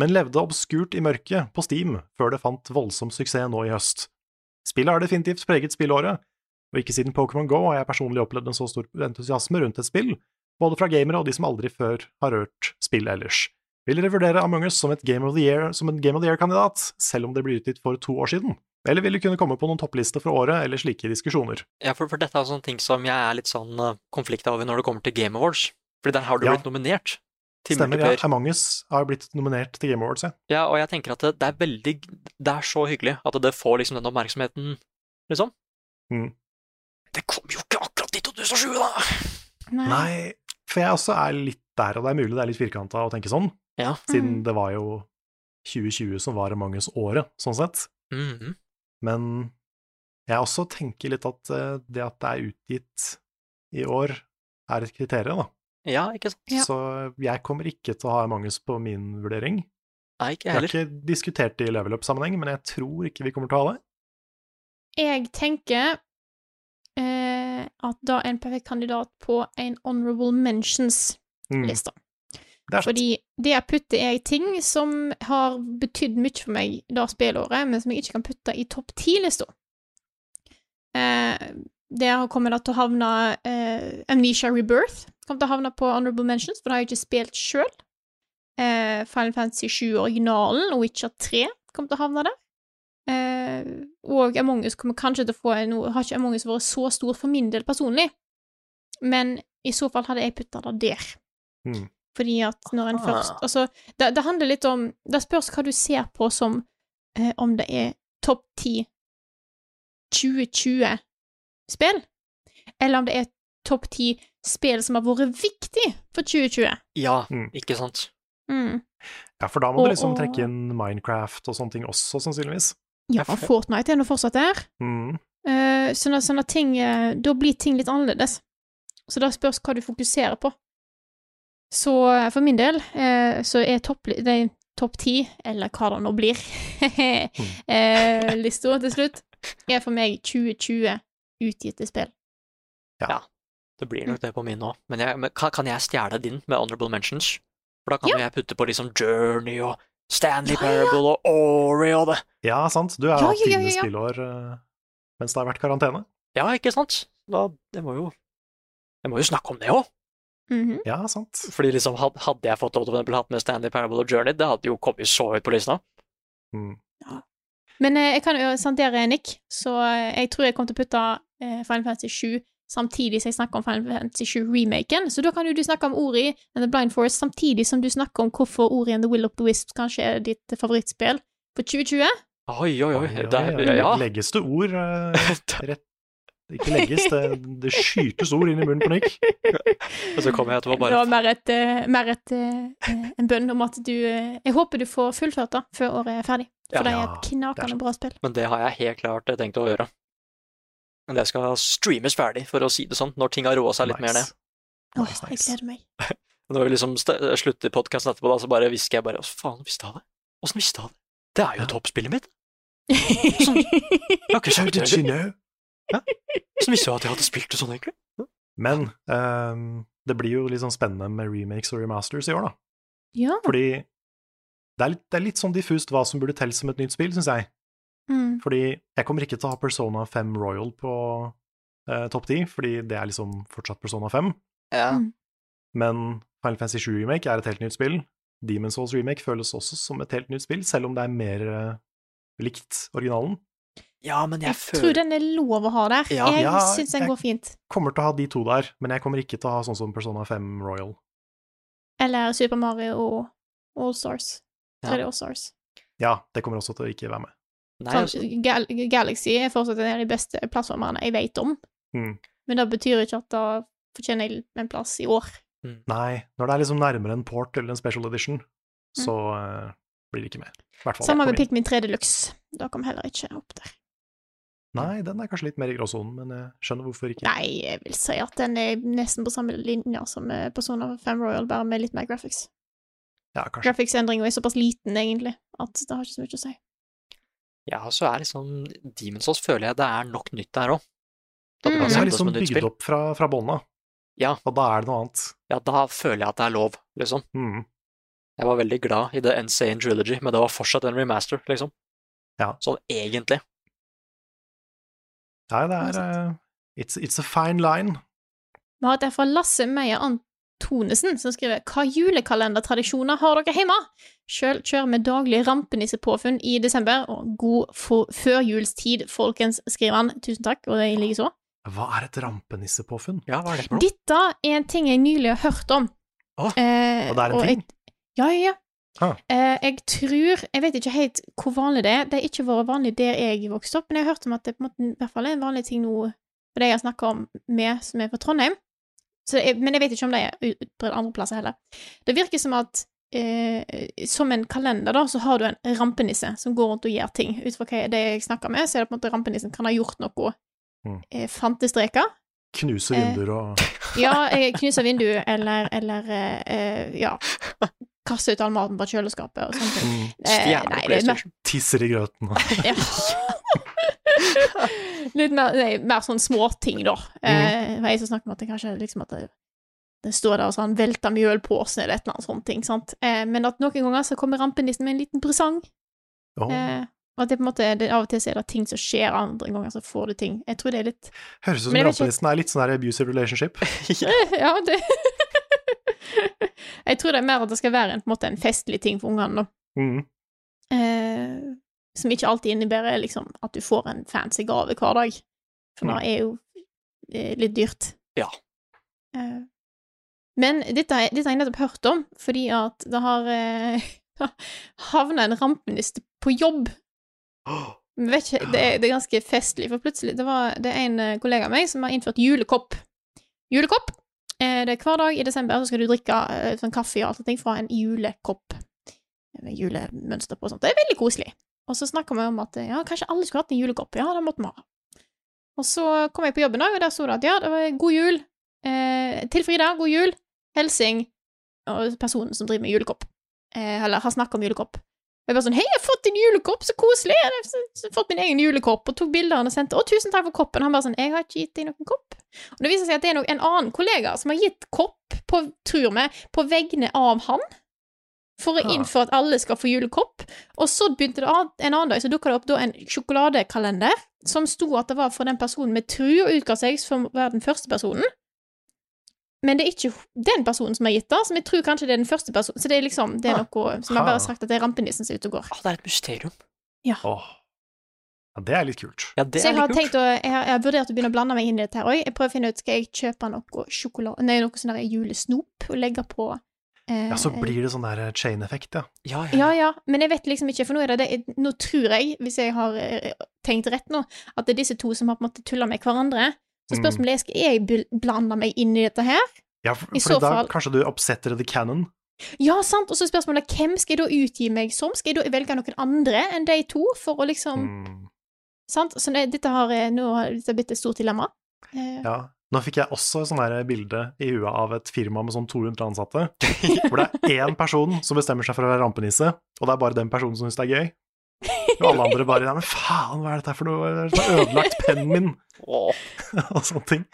S2: men levde obskurt i mørket på Steam før det fant voldsom suksess nå i høst. Spillet har definitivt preget spillåret, og ikke siden Pokémon Go har jeg personlig opplevd en så stor entusiasme rundt et spill, både fra gamere og de som aldri før har hørt spill ellers. Vil dere vurdere Among Us som, et Game of the Year, som en Game of the Year-kandidat, selv om det ble utgitt for to år siden? Eller vil du kunne komme på noen topplister fra året, eller slike diskusjoner?
S1: ja, for, for dette er sånne ting som jeg er litt sånn eh, konflikta over når det kommer til Game Awards. Fordi der har du
S2: Ja.
S1: blitt nominert til
S2: Stemmer, ja.
S1: multiplayer.
S2: Among Us har blitt nominert til Game Awards, ja.
S1: Ja, og jeg tenker at det, det er veldig Det er så hyggelig at det får liksom den oppmerksomheten, liksom.
S2: Mm.
S1: Det kom jo ikke akkurat i 2007, da!
S3: Mm.
S2: Nei, for jeg også er litt der, og det er mulig det er litt firkanta å tenke sånn,
S1: Ja.
S2: siden
S3: Mm.
S2: det var jo 2020 som var Among Us-året, sånn sett.
S1: Mhm.
S2: Men jeg også tenker litt at eh, det at det er utgitt i år, er et kriterium, da.
S1: Ja, ikke sant?
S3: Ja.
S2: Så jeg kommer ikke til å ha Among Us på min vurdering.
S1: Nei, ikke
S2: Vi
S1: jeg
S2: har
S1: heller.
S2: ikke diskutert det i level up-sammenheng, men jeg tror ikke vi kommer til å ha det.
S3: Jeg tenker eh, at da er en perfekt kandidat på en honorable mentions-liste.
S2: Mm, det er sant.
S3: Fordi der putter jeg ting som har betydd mye for meg det spillåret, men som jeg ikke kan putte i topp ti-lista. Eh, Der kommer det til å havne eh, Amnesia Rebirth. Kommer til å havne på Honorable Mentions, for det har jeg ikke spilt sjøl. Eh, Final Fantasy 7-originalen og Witcher 3 kommer til å havne der. Eh, og Among us kommer kanskje til å få en Nå har ikke Among us vært så stor for min del personlig, men i så fall hadde jeg putta det der.
S2: Mm.
S3: Fordi at når en
S1: Ah.
S3: først Altså, det, det handler litt om Det spørs hva du ser på som eh, om det er topp 10 2020-spill, eller om det er topp 10 spill som har vært viktig for 2020.
S1: Ja,
S2: Mm.
S1: ikke sant?
S3: Mm.
S2: Ja, for da må
S3: Og-
S2: du liksom
S3: og-
S2: trekke inn Minecraft og sånne ting også, sannsynligvis.
S3: Ja, Fortnite er nå fortsatt der.
S2: Mm.
S3: Eh, sånn at, sånn at ting eh, Da blir ting litt annerledes. Så da spørs hva du fokuserer på. Så eh, for min del eh, så er topp nei, topp ti, eller hva det nå blir, eh, lista til slutt, er for meg 2020 utgitte spill.
S1: Det blir
S3: Mm.
S1: nok det på min òg. Men, jeg- men kan, kan jeg stjele din med honorable mentions? For da kan jo jeg putte på liksom Journey og Stanley
S3: Ja, ja, ja.
S1: Parable og Ori og det.
S2: Ja, sant. Du er
S3: Ja,
S2: hatt
S3: ja, ja,
S2: dine
S3: ja.
S2: spillår eh, mens det har vært karantene.
S1: Ja, ikke sant? Da, det må jo Jeg må jo snakke om det òg.
S3: Mhm.
S2: Ja, sant.
S1: Fordi liksom, had- hadde jeg fått lov til å for eksempel hatt med Stanley Parable og Journey, det hadde jo kommet så høyt på lista.
S2: Mm.
S3: Men eh, jeg kan jo sandere Nick, så eh, jeg tror jeg kommer til å putte eh, Final Fantasy 7 samtidig som jeg snakker om Final Fantasy 7-remaken. Så da kan jo du snakke om Ori and The Blind Forest samtidig som du snakker om hvorfor Ori and The Will of the Wisps kanskje er ditt favorittspill for 2020.
S1: Oi, oi, oi.
S2: Oi,
S1: Det,
S2: oi,
S1: er-
S2: oi.
S1: ja.
S2: Legges det ord eh, rett Ikke legges, det, det skytes ord inn i munnen på Nick.
S1: (laughs) Og så kommer jeg etterpå
S3: Det
S1: og bare
S3: var mer, et, eh, mer et, eh, eh, en bønn om at du eh, Jeg håper du får fullført det før året er ferdig, for
S1: Ja,
S3: det er
S2: ja,
S3: et
S2: det er
S3: knakende
S2: sant.
S3: bra spill.
S1: Men det har jeg helt klart eh, tenkt å gjøre. Men det skal streames ferdig, for å si det sånn, når ting har roa seg litt mer ned.
S3: Åh,
S2: Nice,
S3: jeg
S2: nice.
S3: gleder meg.
S1: Når vi liksom st- slutter podkasten etterpå, da, så bare hvisker jeg bare Åssen faen visste jeg det? Åssen visste jeg det? Det er jo
S2: Ja.
S1: toppspillet mitt!
S2: (laughs)
S1: Jeg har ikke
S2: How
S1: sagt det.
S2: did you know?
S1: Åssen visste du at jeg hadde spilt det sånn, egentlig?
S2: Men ehm, det blir jo litt sånn spennende med remakes og remasters i år, da.
S3: Ja.
S2: Fordi det er litt, det er litt sånn diffust hva som burde telles som et nytt spill, syns jeg.
S3: Mm.
S2: Fordi jeg kommer ikke til å ha Persona 5 Royal på eh, topp 10, fordi det er liksom fortsatt Persona 5.
S1: Ja.
S3: Mm.
S2: Men Final Fantasy 7 Remake er et helt nytt spill. Demon Souls Remake føles også som et helt nytt spill, selv om det er mer eh, likt originalen.
S1: ja, men jeg,
S3: Jeg
S1: føler
S3: tror den er lov å ha der.
S1: Ja.
S3: jeg
S2: Ja,
S3: syns den
S2: jeg-
S3: går fint.
S2: Kommer til å ha de to der, men jeg kommer ikke til å ha sånn som Persona 5 Royal.
S3: Eller Super Mario og All Stars.
S1: Ja.
S3: 3D All Stars.
S2: Ja, det kommer også til å ikke være med.
S1: Nei,
S3: Sånn,
S1: altså,
S3: Gal Galaxy er fortsatt en av de beste plattformene jeg vet om,
S2: Mm.
S3: men det betyr ikke at da fortjener jeg en plass i år.
S2: Nei, når det er liksom nærmere en port eller en special edition, så eh, blir det ikke med. I hvert fall
S3: Mm. Samme
S2: på
S3: med Pikmin
S2: min.
S3: 3 Deluxe. Da kom heller ikke opp der.
S2: Nei, den er kanskje litt mer i gråsonen, men jeg skjønner hvorfor ikke.
S3: Nei, jeg vil si at den er nesten på samme linje som eh, Persona 5 Royal, bare med litt mer graphics.
S2: Ja, kanskje.
S3: Graphics-endringa er såpass liten, egentlig, at det har ikke så mye å si.
S1: ja, så er liksom Demon's Souls føler jeg det er nok nytt der òg. Da det
S3: Mm.
S1: kan
S2: Det er
S1: sendes
S2: liksom
S1: som et nytt
S2: bygd
S1: spill.
S2: opp fra, fra bånda.
S1: Ja.
S2: Og da er det noe annet.
S1: Ja, da føler jeg at det er lov, liksom.
S2: Mm.
S1: Jeg var veldig glad i The Insane Trilogy, men det var fortsatt en remaster, liksom.
S2: Ja.
S1: Sånn egentlig.
S2: Nei, det
S3: Det
S2: er
S3: er
S2: eh, it's, it's a fine line.
S3: Vi har et fra Lasse Meyer Antonesen, som skriver Hva julekalendertradisjoner har dere hjemme? Sjøl kjører vi daglig rampenissepåfunn i desember, og god for førjulstid, folkens, skriver han. Tusen takk, og det likeså.
S2: Hva er et rampenissepåfunn?
S1: Ja, hva er det for noe?
S3: Dette er en ting jeg nylig har hørt om.
S1: Å,
S3: Eh,
S2: og det er en ting?
S3: Jeg, ja, ja, ja.
S2: Ah.
S3: Eh, jeg tror Jeg vet ikke helt hvor vanlig det er. Det har ikke vært vanlig der jeg vokste opp, men jeg har hørt om at det på en måte, i hvert fall er en vanlig ting nå for det jeg har snakka om med som er fra Trondheim. Så jeg, men jeg vet ikke om det er utbredt andre plasser heller. Det virker som at eh, som en kalender, da, så har du en rampenisse som går rundt og gjør ting. Ut fra hva jeg- det jeg snakker med, så er det på en måte rampenissen kan ha gjort noe
S2: Mm.
S3: eh, fantestreker.
S2: Knuse
S3: Eh.
S2: vinduer og
S3: Ja, eh, knuse vinduet, eller, eller eh, eh, ja Kaste ut all maten på kjøleskapet og sånne ting.
S2: mm,
S3: (laughs) Eh,
S1: Stjerne
S3: nei, det
S1: på
S3: er mer,
S1: PlayStation.
S2: tisser i grøten og (laughs)
S3: ja. Litt mer, nei, mer sånn småting, da. Eh, det var jeg som snakket om at det kanskje liksom at det, det står der og sånn velter mjølpåsen eller et eller annet sånt ting, sant. Eh, men at noen ganger så kommer rampenissen med en liten presang.
S2: Åh,
S3: Eh, Og at det på en måte, det, av og til så er det ting som skjer, andre ganger så får du ting. Jeg tror det er litt
S2: Høres ut som
S3: Men jeg vet ikke-
S2: rampelisten er litt sånn her abusive relationship.
S3: (laughs) Ja, det Jeg tror det er mer at det skal være en, på en, måte, en festlig ting for ungene, da.
S2: Mm.
S3: Eh, som ikke alltid innebærer liksom, at du får en fancy gave hver dag. For det er jo eh, litt dyrt.
S1: Ja.
S3: Eh, men dette, er- dette har jeg nettopp hørt om, fordi at det har eh, (laughs) havna en rampeniste på jobb. Men vet ikke, det er, det er ganske festlig, for plutselig Det, var, det er en eh, kollega av meg som har innført julekopp. Julekopp! Eh, det er hver dag i desember så skal du drikke eh, sånn kaffe og alt sånt fra en julekopp. Med julemønster på og sånt. Det er veldig koselig. Og så snakker vi om at eh, ja, kanskje alle skulle hatt en julekopp. Ja, det måtte vi ha. Og så kom jeg på jobben, i dag, og der sto det at ja, det var god jul. Eh, til Frida, god jul. Helsing og personen som driver med julekopp. Eh, eller har snakket om julekopp. Og jeg bare sånn Hei, jeg har fått en julekopp! Så koselig! Jeg har s- s- fått min egen julekopp, og tok bilder og sendte. Å, tusen takk for koppen! Han bare sånn Jeg har ikke gitt deg noen kopp. Og det viser seg at det er nok en annen kollega som har gitt kopp, på, tror vi, på vegne av han. For å
S2: Ah.
S3: innføre at alle skal få julekopp. Og så begynte det an- en annen dag, så dukka det opp da en sjokoladekalender som sto at det var for den personen vi tror utga seg for å være den første personen. Men det er ikke den personen som har gitt det, som jeg tror kanskje det er den første personen. Så det er liksom, det er noe som har
S2: Ah.
S3: bare sagt at det er rampenissen som er ute og går.
S1: Ah, det er et mysterium.
S2: Åh. Ja, det er litt kult.
S1: Ja, det
S3: så
S1: er
S3: jeg har,
S1: litt
S3: tenkt å, jeg, har, jeg har vurdert å begynne å blande meg inn i dette her òg. Jeg prøver å finne ut skal jeg kjøpe noe sjokolade Nei, noe sånn der julesnop og legge på. eh,
S2: Ja, så blir det sånn der chain-effekt, ja.
S1: Ja,
S3: Ja, ja, men jeg vet liksom ikke, for nå er det det jeg- Nå tror jeg, hvis jeg har eh, tenkt rett nå, at det er disse to som har på en måte tulla med hverandre. Så spørsmålet er skal jeg bl- blande meg inn i dette her.
S2: ja for,
S3: I
S2: for
S3: så
S2: da
S3: fall-
S2: kanskje du oppsetter the canon.
S3: Ja, sant, og så er spørsmålet hvem skal jeg da utgi meg som? Skal jeg da velge noen andre enn de to, for å liksom
S2: Mm.
S3: Sant? Så det, dette har eh, nå har dette blitt et stort dilemma. Eh,
S2: Ja. Nå fikk jeg også sånn her bilde i huet av et firma med sånn 200 ansatte, hvor det er én person som bestemmer seg for å være rampenisse, og det er bare den personen som syns det er gøy. Og alle andre bare Nei, men faen, hva er dette her for noe? Det har ødelagt pennen min, (laughs)
S1: Åh,
S2: og sånne ting.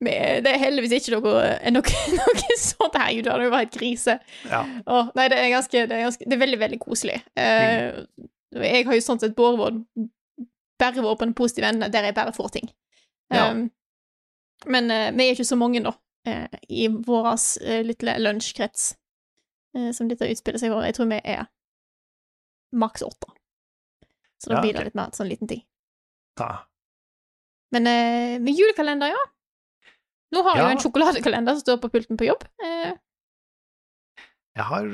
S3: men det er heldigvis ikke noe, eh, noe, (laughs) noe sånt. Herregud, det hadde jo vært grise.
S2: Ja.
S3: Åh, nei, det er, ganske, det, er ganske, det er veldig, veldig koselig. Eh, Jeg har jo sånn sett båret vår bare vært på den positive enden, der jeg bare får ting.
S2: Ja.
S3: Um, men eh, vi er ikke så mange, da, eh, i vår eh, lille lunsjkrets eh, som dette utspiller seg i år. Jeg tror vi er maks åtte. Så da
S2: Ja,
S3: blir det
S2: ok.
S3: litt mer sånn liten ting.
S2: Ja.
S3: Men eh, med julekalender, ja. Nå har
S2: Ja.
S3: jeg jo en sjokoladekalender som står på pulten på jobb.
S2: (laughs)
S3: Eh, (laughs)
S2: Jeg har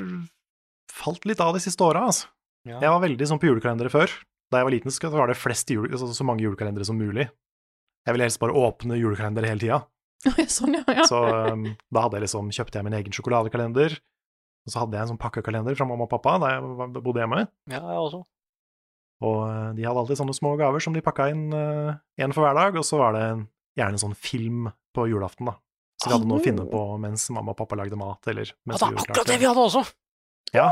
S2: falt litt av de siste åra, altså.
S1: Ja.
S2: Jeg var veldig sånn på julekalendere før. Da jeg var liten, så var det flest jule, så, så mange julekalendere som mulig. Jeg ville helst bare åpne julekalendere hele tida.
S3: sånn, ja, ja.
S2: Så um, da hadde jeg liksom, kjøpte jeg min egen sjokoladekalender, og så hadde jeg en sånn pakkekalender fra mamma og pappa da jeg var- bodde hjemme.
S1: ja, altså. jeg også.
S2: Og eh, de hadde alltid sånne små gaver som de pakka inn én for hver dag, og så var det en- gjerne en sånn film på julaften, da. Så de hadde noe å finne på mens mamma og pappa lagde mat, eller
S1: Ja,
S2: mens
S1: det
S2: vi
S1: er
S2: gjorde klart
S1: Oh. akkurat det
S2: til-
S1: vi hadde også.
S2: ja.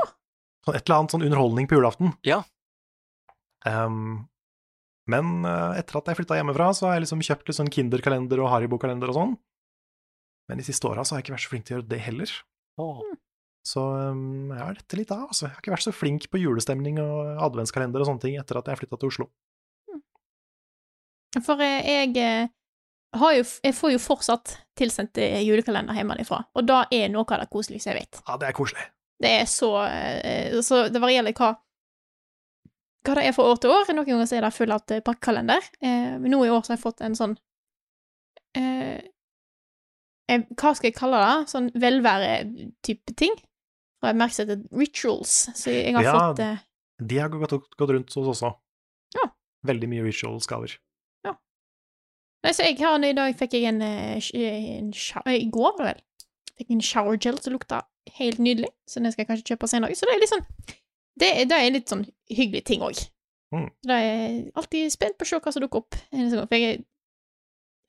S2: Sånn et eller annet sånn underholdning på julaften.
S1: Ah. Ja.
S2: Ehm, men eh, etter at jeg flytta hjemmefra, så har jeg liksom kjøpt litt sånn Kinder-kalender og Haribo-kalender og sånn. Men de siste åra har jeg ikke vært så flink til å gjøre det heller.
S1: Åh.
S3: Hmm.
S2: Så ehm, jeg har dette litt av, altså. Jeg har ikke vært så flink på julestemning og adventskalender og sånne ting etter at jeg flytta til Oslo.
S3: For eh, jeg, eh, har jo, jeg får jo fortsatt tilsendt eh, julekalender hjemmefra, og da er noe av det koseligste jeg vet.
S2: Ja, det er koselig.
S3: Det er så, eh, så Det varierer litt hva, hva det er fra år til år. Noen ganger så er det full av eh, pakkekalender. Eh, men nå i år så har jeg fått en sånn eh, en, Hva skal jeg kalle det? Sånn velvære-type ting. Og jeg merker at det er rituals. Så jeg har
S2: Ja.
S3: fått eh,
S2: De har gått, gått rundt hos oss også.
S3: Ja.
S2: Veldig mye rituals-gaver.
S3: Nei, så jeg har, I dag fikk jeg en, eh, sh- en shower, I går, var det vel. Fikk en shower gel som lukta helt nydelig, så den skal jeg kanskje kjøpe senere. Så det er litt sånn Det, er- det er litt sånn hyggelig ting òg.
S2: Mm.
S3: Da er jeg alltid spent på å se hva som dukker opp. neste gang, For jeg,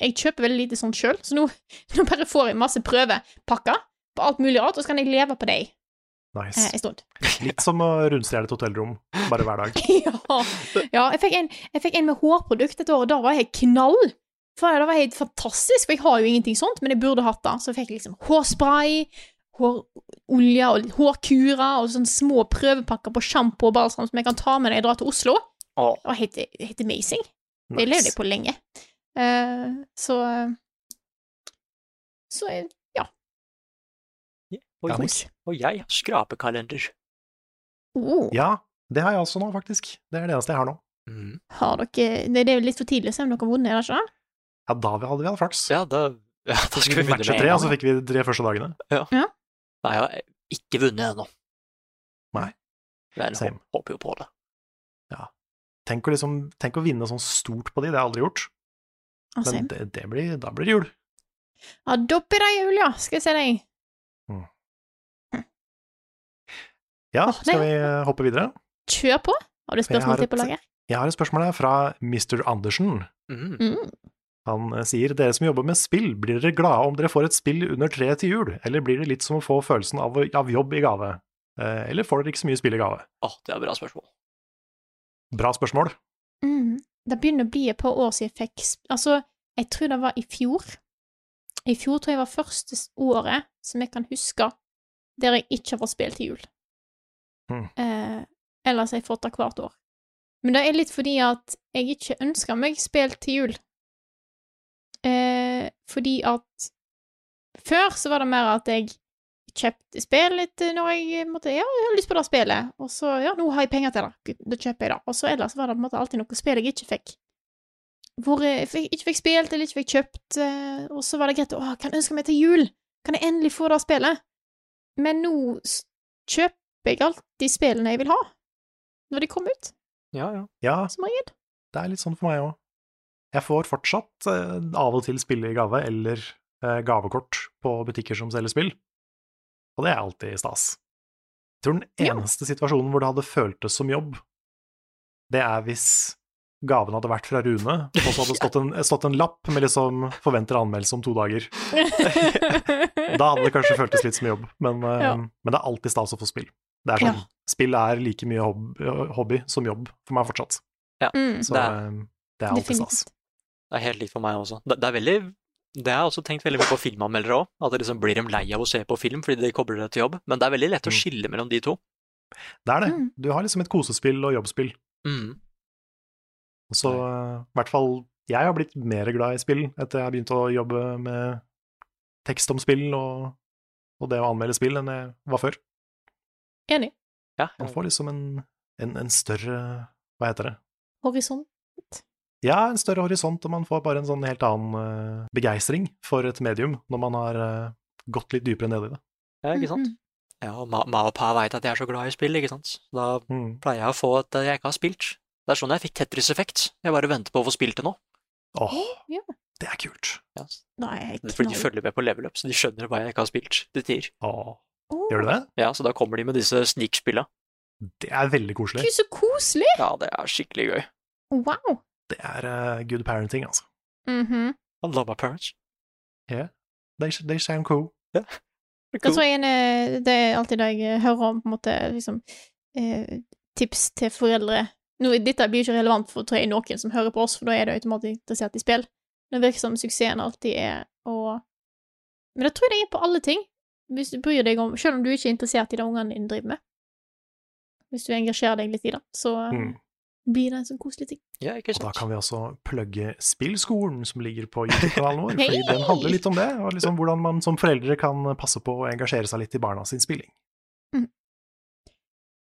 S3: jeg kjøper veldig lite sånt sjøl, så nå, (laughs) nå bare får jeg masse prøvepakker på alt mulig rart, og så kan jeg leve på det
S2: Nice.
S3: eh, en stund.
S2: Litt som å rundstjele et hotellrom, bare hver dag.
S3: (laughs) ja. ja jeg, fikk en, jeg fikk en med hårprodukt et år, og da var jeg helt knall. For Det var helt fantastisk, for jeg har jo ingenting sånt, men jeg burde hatt det. Så jeg fikk liksom hårspray, sånn hårolje og litt hårkurer og sånne små prøvepakker på sjampo og balsam som jeg kan ta med når jeg drar til Oslo.
S1: Åh,
S3: Det var helt, helt amazing. Det levde jeg
S2: Nice.
S3: på lenge. Eh, så Så eh,
S1: og,
S2: Ja,
S1: jeg, og jeg har skrapekalender.
S3: oh,
S2: Ja, det har jeg også nå, faktisk. Det er det eneste jeg har nå.
S1: Mm.
S3: Har dere Det det er jo litt for tidlig å se om dere har vunnet, er det ikke? det?
S2: Ja, da hadde vi hatt flaks.
S1: Ja, da, ja, da skal vi begynne
S2: matcha
S1: med
S2: tre,
S1: en
S2: og så
S1: gang.
S2: fikk vi de tre første dagene.
S1: Nei, jeg har ikke vunnet ennå.
S2: Nei.
S1: Men
S2: Same.
S1: hå- håper jo på det.
S2: Tenk å, liksom, tenk å vinne sånn stort på de, det har jeg aldri gjort.
S3: Altså,
S2: Men det, det blir, da blir det jul.
S3: ja, da blir det jul, ja, skal jeg se deg.
S2: Ja,
S3: Åh,
S2: skal
S3: nei.
S2: vi eh, hoppe videre?
S3: Kjør på. Har du
S2: har
S3: spørsmål til
S2: et-
S3: på lager?
S2: Jeg har et spørsmål her fra Mr. Andersen.
S1: Mm.
S3: Mm.
S2: Han eh, sier dere som jobber med spill, blir dere glade om dere får et spill under treet til jul, eller blir det litt som å få følelsen av, av jobb i gave? Eh, Eller får dere ikke så mye spill i gave?
S1: Åh, det er et bra spørsmål.
S2: Bra spørsmål.
S3: Mm. Det begynner å bli et par år siden jeg fikk sp- Altså, jeg tror det var i fjor. I fjor tror jeg var første s- året som jeg kan huske der jeg ikke har fått spill til jul.
S2: Mm.
S3: Eh, ellers har jeg fått det hvert år. Men det er litt fordi at jeg ikke ønsker meg spill til jul. Eh, fordi at før så var det mer at jeg kjøpte spill litt når jeg måtte Ja, jeg har lyst på det spillet, og så Ja, nå har jeg penger til det, da kjøper jeg det. Og så ellers var det på en måte alltid noe spill jeg ikke fikk. Hvor jeg fikk, ikke fikk spilt eller ikke fikk kjøpt, eh, og så var det greit Å, kan jeg ønske meg til jul? Kan jeg endelig få det spillet? Men nå s- kjøper jeg alltid spillene jeg vil ha, når de kommer ut,
S1: Ja, ja.
S2: Ja,
S3: som regel.
S2: (laughs) det er litt sånn for meg òg. Jeg får fortsatt eh, av og til spille i gave eller eh, gavekort på butikker som selger spill, og det er alltid stas. Jeg tror den
S3: Ja.
S2: eneste situasjonen hvor det hadde føltes som jobb, det er hvis gaven hadde vært fra Rune, og
S3: (laughs)
S2: så hadde det stått en, stått en lapp med liksom 'forventer anmeldelse om to dager'.
S3: Mm.
S2: Da hadde det kanskje føltes litt som jobb, men, eh,
S3: Ja.
S2: men det er alltid stas å få spill. Det er
S3: Ja.
S2: sånn, Spill er like mye hobby, hobby som jobb for meg fortsatt,
S3: mm,
S2: så
S1: Det
S2: det
S1: er-
S2: er, det er alltid stas.
S3: definitivt.
S1: Det er helt likt for meg også. Det, det er veldig det har jeg også tenkt veldig mye på filmanmeldere òg. At det liksom blir dem lei av å se på film fordi de kobler det til jobb. Men det er veldig lett å
S2: Mm.
S1: skille mellom de to.
S2: Det er det.
S3: Mm.
S2: Du har liksom et kosespill og jobbspill.
S1: Mm.
S2: Og så eh, i hvert fall jeg har blitt mer glad i spill etter jeg begynte å jobbe med tekst om spill og, og det å anmelde spill enn jeg var før.
S3: Enig.
S1: Ja.
S2: Man får liksom en, en, en større Hva heter det?
S3: Horisont.
S2: Ja, en større horisont, og man får bare en sånn helt annen eh, begeistring for et medium når man har eh, gått litt dypere ned i det.
S1: ja, ikke sant?
S3: Mm,
S1: Ja, og ma, ma og pa veit at jeg er så glad i spill, ikke sant. Så Da
S2: Mm.
S1: pleier jeg å få at jeg ikke har spilt. Det er sånn jeg fikk Tetris-effekt. Jeg bare venter på å få spilt det nå.
S2: Åh,
S3: ja.
S2: det er kult!
S1: Ja.
S3: mm. Da er jeg
S1: For de
S3: knall.
S1: følger med på level up, så de skjønner hva jeg ikke har spilt til tider.
S2: Åh,
S3: Åh,
S2: gjør du det?
S1: Ja, så da kommer de med disse snikspilla.
S2: Det er veldig koselig.
S3: Gud, så koselig!
S1: Ja, det er skikkelig gøy.
S3: Wow!
S2: Det er eh, good parenting, altså.
S3: Mhm.
S1: I love my parents.
S2: They, they sound cool.
S3: Da tror jeg en, eh, det er alltid det jeg eh, hører om, på en måte, liksom, eh, tips til foreldre. Nå, dette blir jo ikke relevant for tror jeg, noen som hører på oss, for da er det automatisk interessert i spill. Det virker som suksessen alltid er å Men det tror jeg det er på alle ting, hvis du bryr deg om Selv om du ikke er interessert i det ungene dine driver med. Hvis du engasjerer deg litt i det, så eh,
S2: Mm.
S3: blir det en sånn koselig ting.
S1: Ja, ikke
S2: Og da
S1: sant.
S2: kan vi også plugge Spillskolen, som ligger på YouTube-kanalen vår. fordi
S3: Hei!
S2: den handler litt om det, og liksom hvordan man som foreldre kan passe på å engasjere seg litt i barna sin spilling.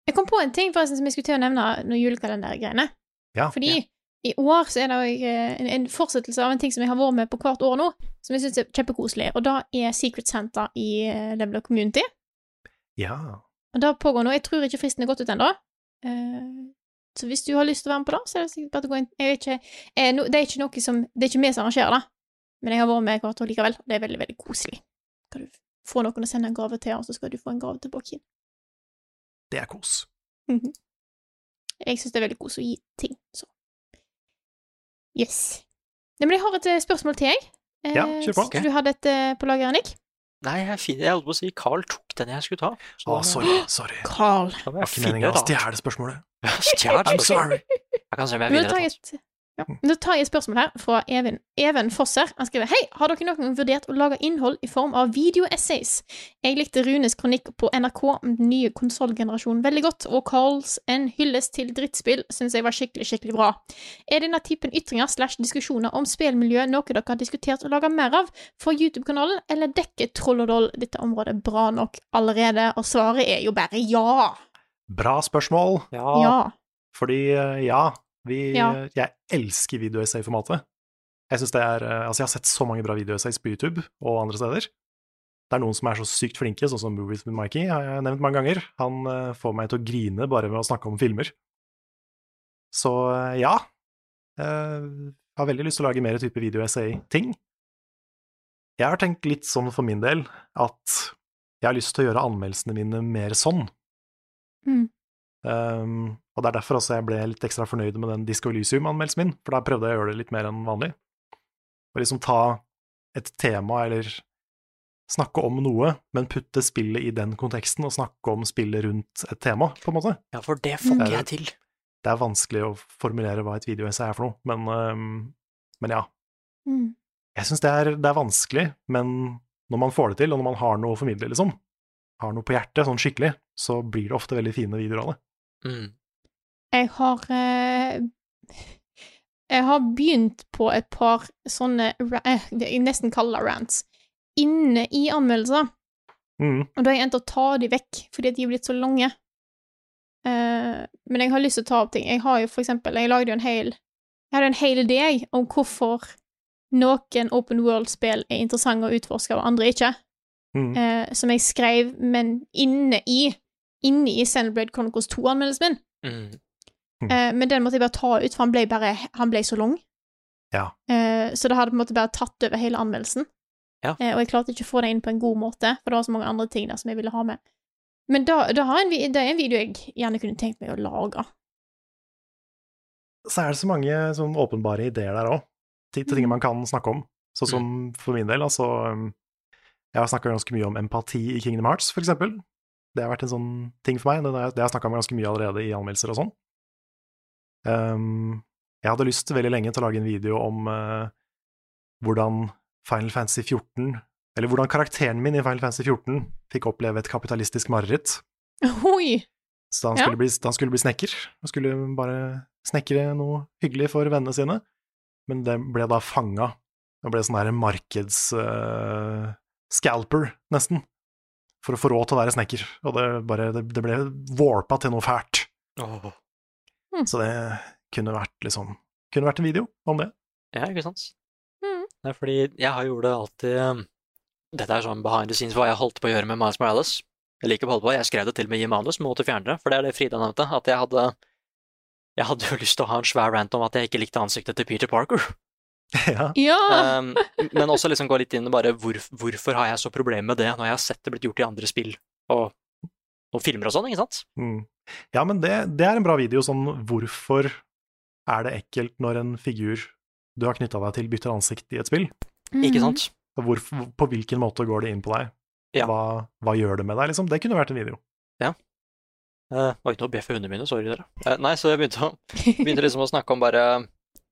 S3: Jeg kom på en ting forresten som jeg skulle til å nevne når julekalendergreiene.
S2: Ja,
S3: Fordi i år så er det jo eh, en, en fortsettelse av en ting som jeg har vært med på hvert år nå, som jeg syns er kjempekoselig, og det er Secret Center i eh, Leveler Community.
S2: ja.
S3: Og det pågår nå. Jeg tror ikke fristen er gått ut ennå. Eh, så hvis du har lyst til å være med på det, så er det sikkert bare å gå inn. Jeg vet ikke, eh, no, det er ikke noe som Det er ikke vi som arrangerer det, men jeg har vært med hvert år likevel, og det er veldig, veldig koselig. Kan du få noen å sende en gave til, og så skal du få en gave tilbake igjen.
S2: det er kos.
S3: Jeg syns det er veldig kos å gi ting, så Yes. Nei, men jeg har et eh, spørsmål til, jeg. Eh,
S2: Ja, kjør på.
S3: så Du hadde et eh, på lager, Nick.
S1: Nei, jeg finner Jeg holdt på å si Carl tok den jeg skulle ta.
S2: Å, sorry, sorry. Det
S3: Carl.
S1: Da må jeg
S2: var ikke
S1: finne
S2: meningen
S1: et
S2: å
S1: annet.
S2: stjele spørsmålet.
S1: Stjert,
S2: I'm sorry.
S1: Jeg kan se
S3: Men
S1: om jeg
S3: da
S1: vinner
S3: tar
S1: et
S3: jeg
S1: annet.
S3: et Ja. Da tar jeg et spørsmål her fra Even, Even Fosser. Han skriver Hei, har dere noen gang vurdert å lage innhold i form av videoessays? Jeg likte Runes kronikk på NRK om den nye konsollgenerasjonen veldig godt, og Carls en hyllest til drittspill syns jeg var skikkelig, skikkelig bra. Er denne typen ytringer slash diskusjoner om spillmiljø noe dere har diskutert å lage mer av for YouTube-kanalen, eller dekker Trollodoll dette området bra nok allerede? Og svaret er jo bare ja.
S2: Bra spørsmål.
S3: Ja.
S2: Fordi eh, ja, vi,
S3: Ja.
S2: jeg elsker videoessay-formatet. Jeg synes det er, eh, altså jeg har sett så mange bra videoessays på YouTube og andre steder. Det er noen som er så sykt flinke, sånn som Movies with Mikey har jeg nevnt mange ganger. Han eh, får meg til å grine bare ved å snakke om filmer. Så eh, ja, eh, jeg har veldig lyst til å lage mer type videoessay-ting. Jeg har tenkt litt sånn for min del at jeg har lyst til å gjøre anmeldelsene mine mer sånn.
S3: Mm.
S2: Um, og det er derfor også jeg ble litt ekstra fornøyd med den Disco Elysium-anmeldelsen min, for da prøvde jeg å gjøre det litt mer enn vanlig. Og liksom ta et tema eller snakke om noe, men putte spillet i den konteksten og snakke om spillet rundt et tema, på en måte.
S1: Ja, for det får
S2: Mm.
S1: ikke jeg til.
S2: Det er vanskelig å formulere hva et videoessay er for noe, men, um, men ja.
S3: Mm.
S2: Jeg syns det, er- det er vanskelig, men når man får det til, og når man har noe å formidle, liksom, har noe på hjertet sånn skikkelig, så blir det ofte veldig fine videoer av det.
S1: Mm.
S3: Jeg har eh, Jeg har begynt på et par sånne ra- eh, det jeg nesten kaller det rants inne i anmeldelser,
S2: Mm.
S3: og da har jeg endt å ta de vekk fordi at de er blitt så lange. Eh, men jeg har lyst til å ta opp ting. Jeg har jo for eksempel Jeg lagde jo en hel Jeg hadde en hel idé om hvorfor noen open world-spill er interessante å utforske, og andre ikke
S2: Mm.
S3: eh, som jeg skrev, men inne i Inne i Xenoblade Chronicles 2-anmeldelsen min.
S1: Mm.
S3: Eh, men den måtte jeg bare ta ut, for han ble, bare, han ble så lang.
S2: Ja.
S3: Eh, så det hadde på en måte bare tatt over hele anmeldelsen.
S1: Ja.
S3: Eh, og jeg klarte ikke å få det inn på en god måte, for det var så mange andre ting der som jeg ville ha med. Men da, da har jeg en, vi- det er en video jeg gjerne kunne tenkt meg å lage. (laughs)
S2: så er det så mange sånn åpenbare ideer der òg, til til ting man kan snakke om. Sånn som for min del, altså um, Jeg har snakka ganske mye om empati i Kingdom Hearts, for eksempel. Det har vært en sånn ting for meg. Det har jeg- det har jeg snakka om ganske mye allerede i anmeldelser og sånn. Um, jeg hadde lyst veldig lenge til å lage en video om eh, hvordan Final Fantasy 14 Eller hvordan karakteren min i Final Fantasy 14 fikk oppleve et kapitalistisk mareritt.
S3: Oi!
S2: Så han
S3: Ja.
S2: skulle, bli, han skulle bli snekker. Han skulle bare snekre noe hyggelig for vennene sine. Men det ble da fanga. Det ble sånn der markeds... eh, scalper, nesten. For å få råd til å være snekker. Og det, bare, det, det ble warpa til noe fælt.
S1: Åh.
S2: Så det kunne vært liksom Kunne vært en video om det. (laughs)
S1: Ja, ikke sant?
S3: Mm.
S1: Det er fordi jeg har gjort det alltid um, Dette er sånn behind the scenes hva jeg holdt på å gjøre med Miles Morales. Jeg liker å holde på, jeg skrev det til og med i manus, men måtte fjerne det. For det er det Frida nevnte, at jeg hadde Jeg hadde jo lyst til å ha en svær rant om at jeg ikke likte ansiktet til Peter Parker.
S2: ja.
S3: Ja!
S1: Um, men også liksom gå litt inn i bare hvor, hvorfor har jeg så problemer med det, når jeg har sett det blitt gjort i andre spill og, og filmer og sånn, ikke sant?
S2: Mm. ja, men det, det er en bra video. Sånn hvorfor er det ekkelt når en figur du har knytta deg til, bytter ansikt i et spill?
S1: Eh,
S3: Mm. Mhm.
S1: Ikke sant?
S2: Og Hvor, på hvilken måte går det inn på deg?
S1: Ja.
S2: Hva, hva gjør det med deg, liksom? Det kunne vært en video.
S1: Uh, oi, nå bjeffer hundene mine, sorry dere. Eh, nei, så jeg begynte å begynte liksom å snakke om bare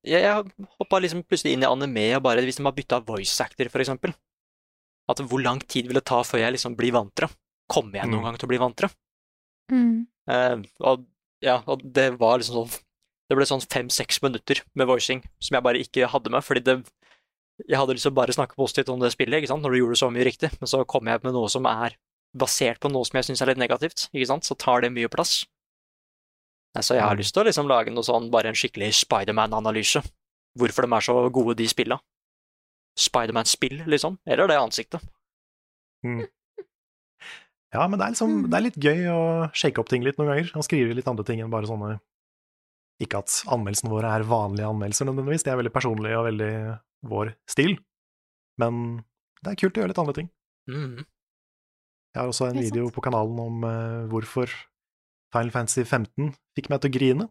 S1: Jeg, jeg hoppa liksom plutselig inn i anime og bare hvis de har bytta voice actor, for eksempel. At hvor lang tid vil det ta før jeg liksom blir vant til det? Kommer jeg noen
S2: Mm.
S1: gang til å bli vant til det?
S3: Mm.
S1: Eh, og, ja, og det var liksom sånn Det ble sånn fem-seks minutter med voicing som jeg bare ikke hadde med, fordi det Jeg hadde lyst til å bare snakke positivt om det spillet, ikke sant, når du gjorde så mye riktig, men så kom jeg med noe som er basert på noe som jeg syns er litt negativt, ikke sant, så tar det mye plass. Nei, Så jeg har lyst til å liksom lage noe sånn, bare en skikkelig Spiderman-analyse. Hvorfor de er så gode, de spilla. Spiderman-spill, liksom. Eller det ansiktet.
S2: Ja, men det er, liksom,
S3: Mm.
S2: det er litt gøy å shake opp ting litt noen ganger, og skrive litt andre ting enn bare sånne Ikke at anmeldelsene våre er vanlige anmeldelser nødvendigvis, de er veldig personlige og veldig vår stil, men det er kult å gjøre litt andre ting.
S1: Mhm.
S2: Jeg har også en
S3: Det er sant.
S2: video på kanalen om eh, hvorfor Final Fantasy 15 fikk meg til å grine.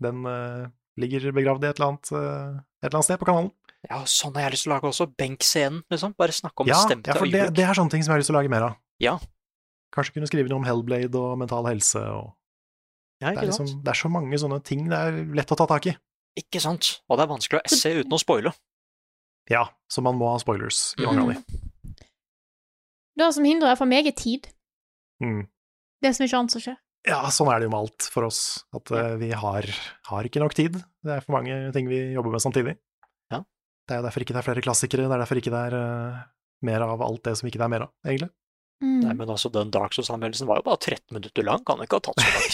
S2: Den eh, ligger begravd i et eller, annet, eh, et eller annet sted på kanalen.
S1: Ja, sånn har jeg lyst til å lage også. Benkscenen, liksom. Bare snakke om
S2: ja,
S1: bestemte
S2: ja, for det,
S1: øyeblikk.
S2: det er sånne ting som jeg har lyst til å lage mer av.
S1: Ja.
S2: Kanskje kunne skrive noe om Hellblade og mental helse og
S1: Ja,
S2: det er,
S1: ikke sant?
S2: liksom, det er så mange sånne ting det er lett å ta tak i.
S1: Ikke sant? Og det er vanskelig å esse uten å spoile.
S2: Ja, så man må ha spoilers
S1: Mm.
S2: i mange av de.
S3: Det som hindrer for meg, er tid.
S2: Mm.
S3: Det er så mye annet som skjer.
S2: Ja, sånn er det jo med alt for oss, at eh, vi har, har ikke nok tid. Det er for mange ting vi jobber med samtidig.
S1: Ja.
S2: Det er jo derfor ikke det er flere klassikere, det er derfor ikke det er eh, mer av alt det som ikke det er mer av, egentlig.
S3: Mm.
S1: Nei, men altså, den Dark Souls-anmeldelsen var jo bare 13 minutter lang, kan det ikke ha tatt så lang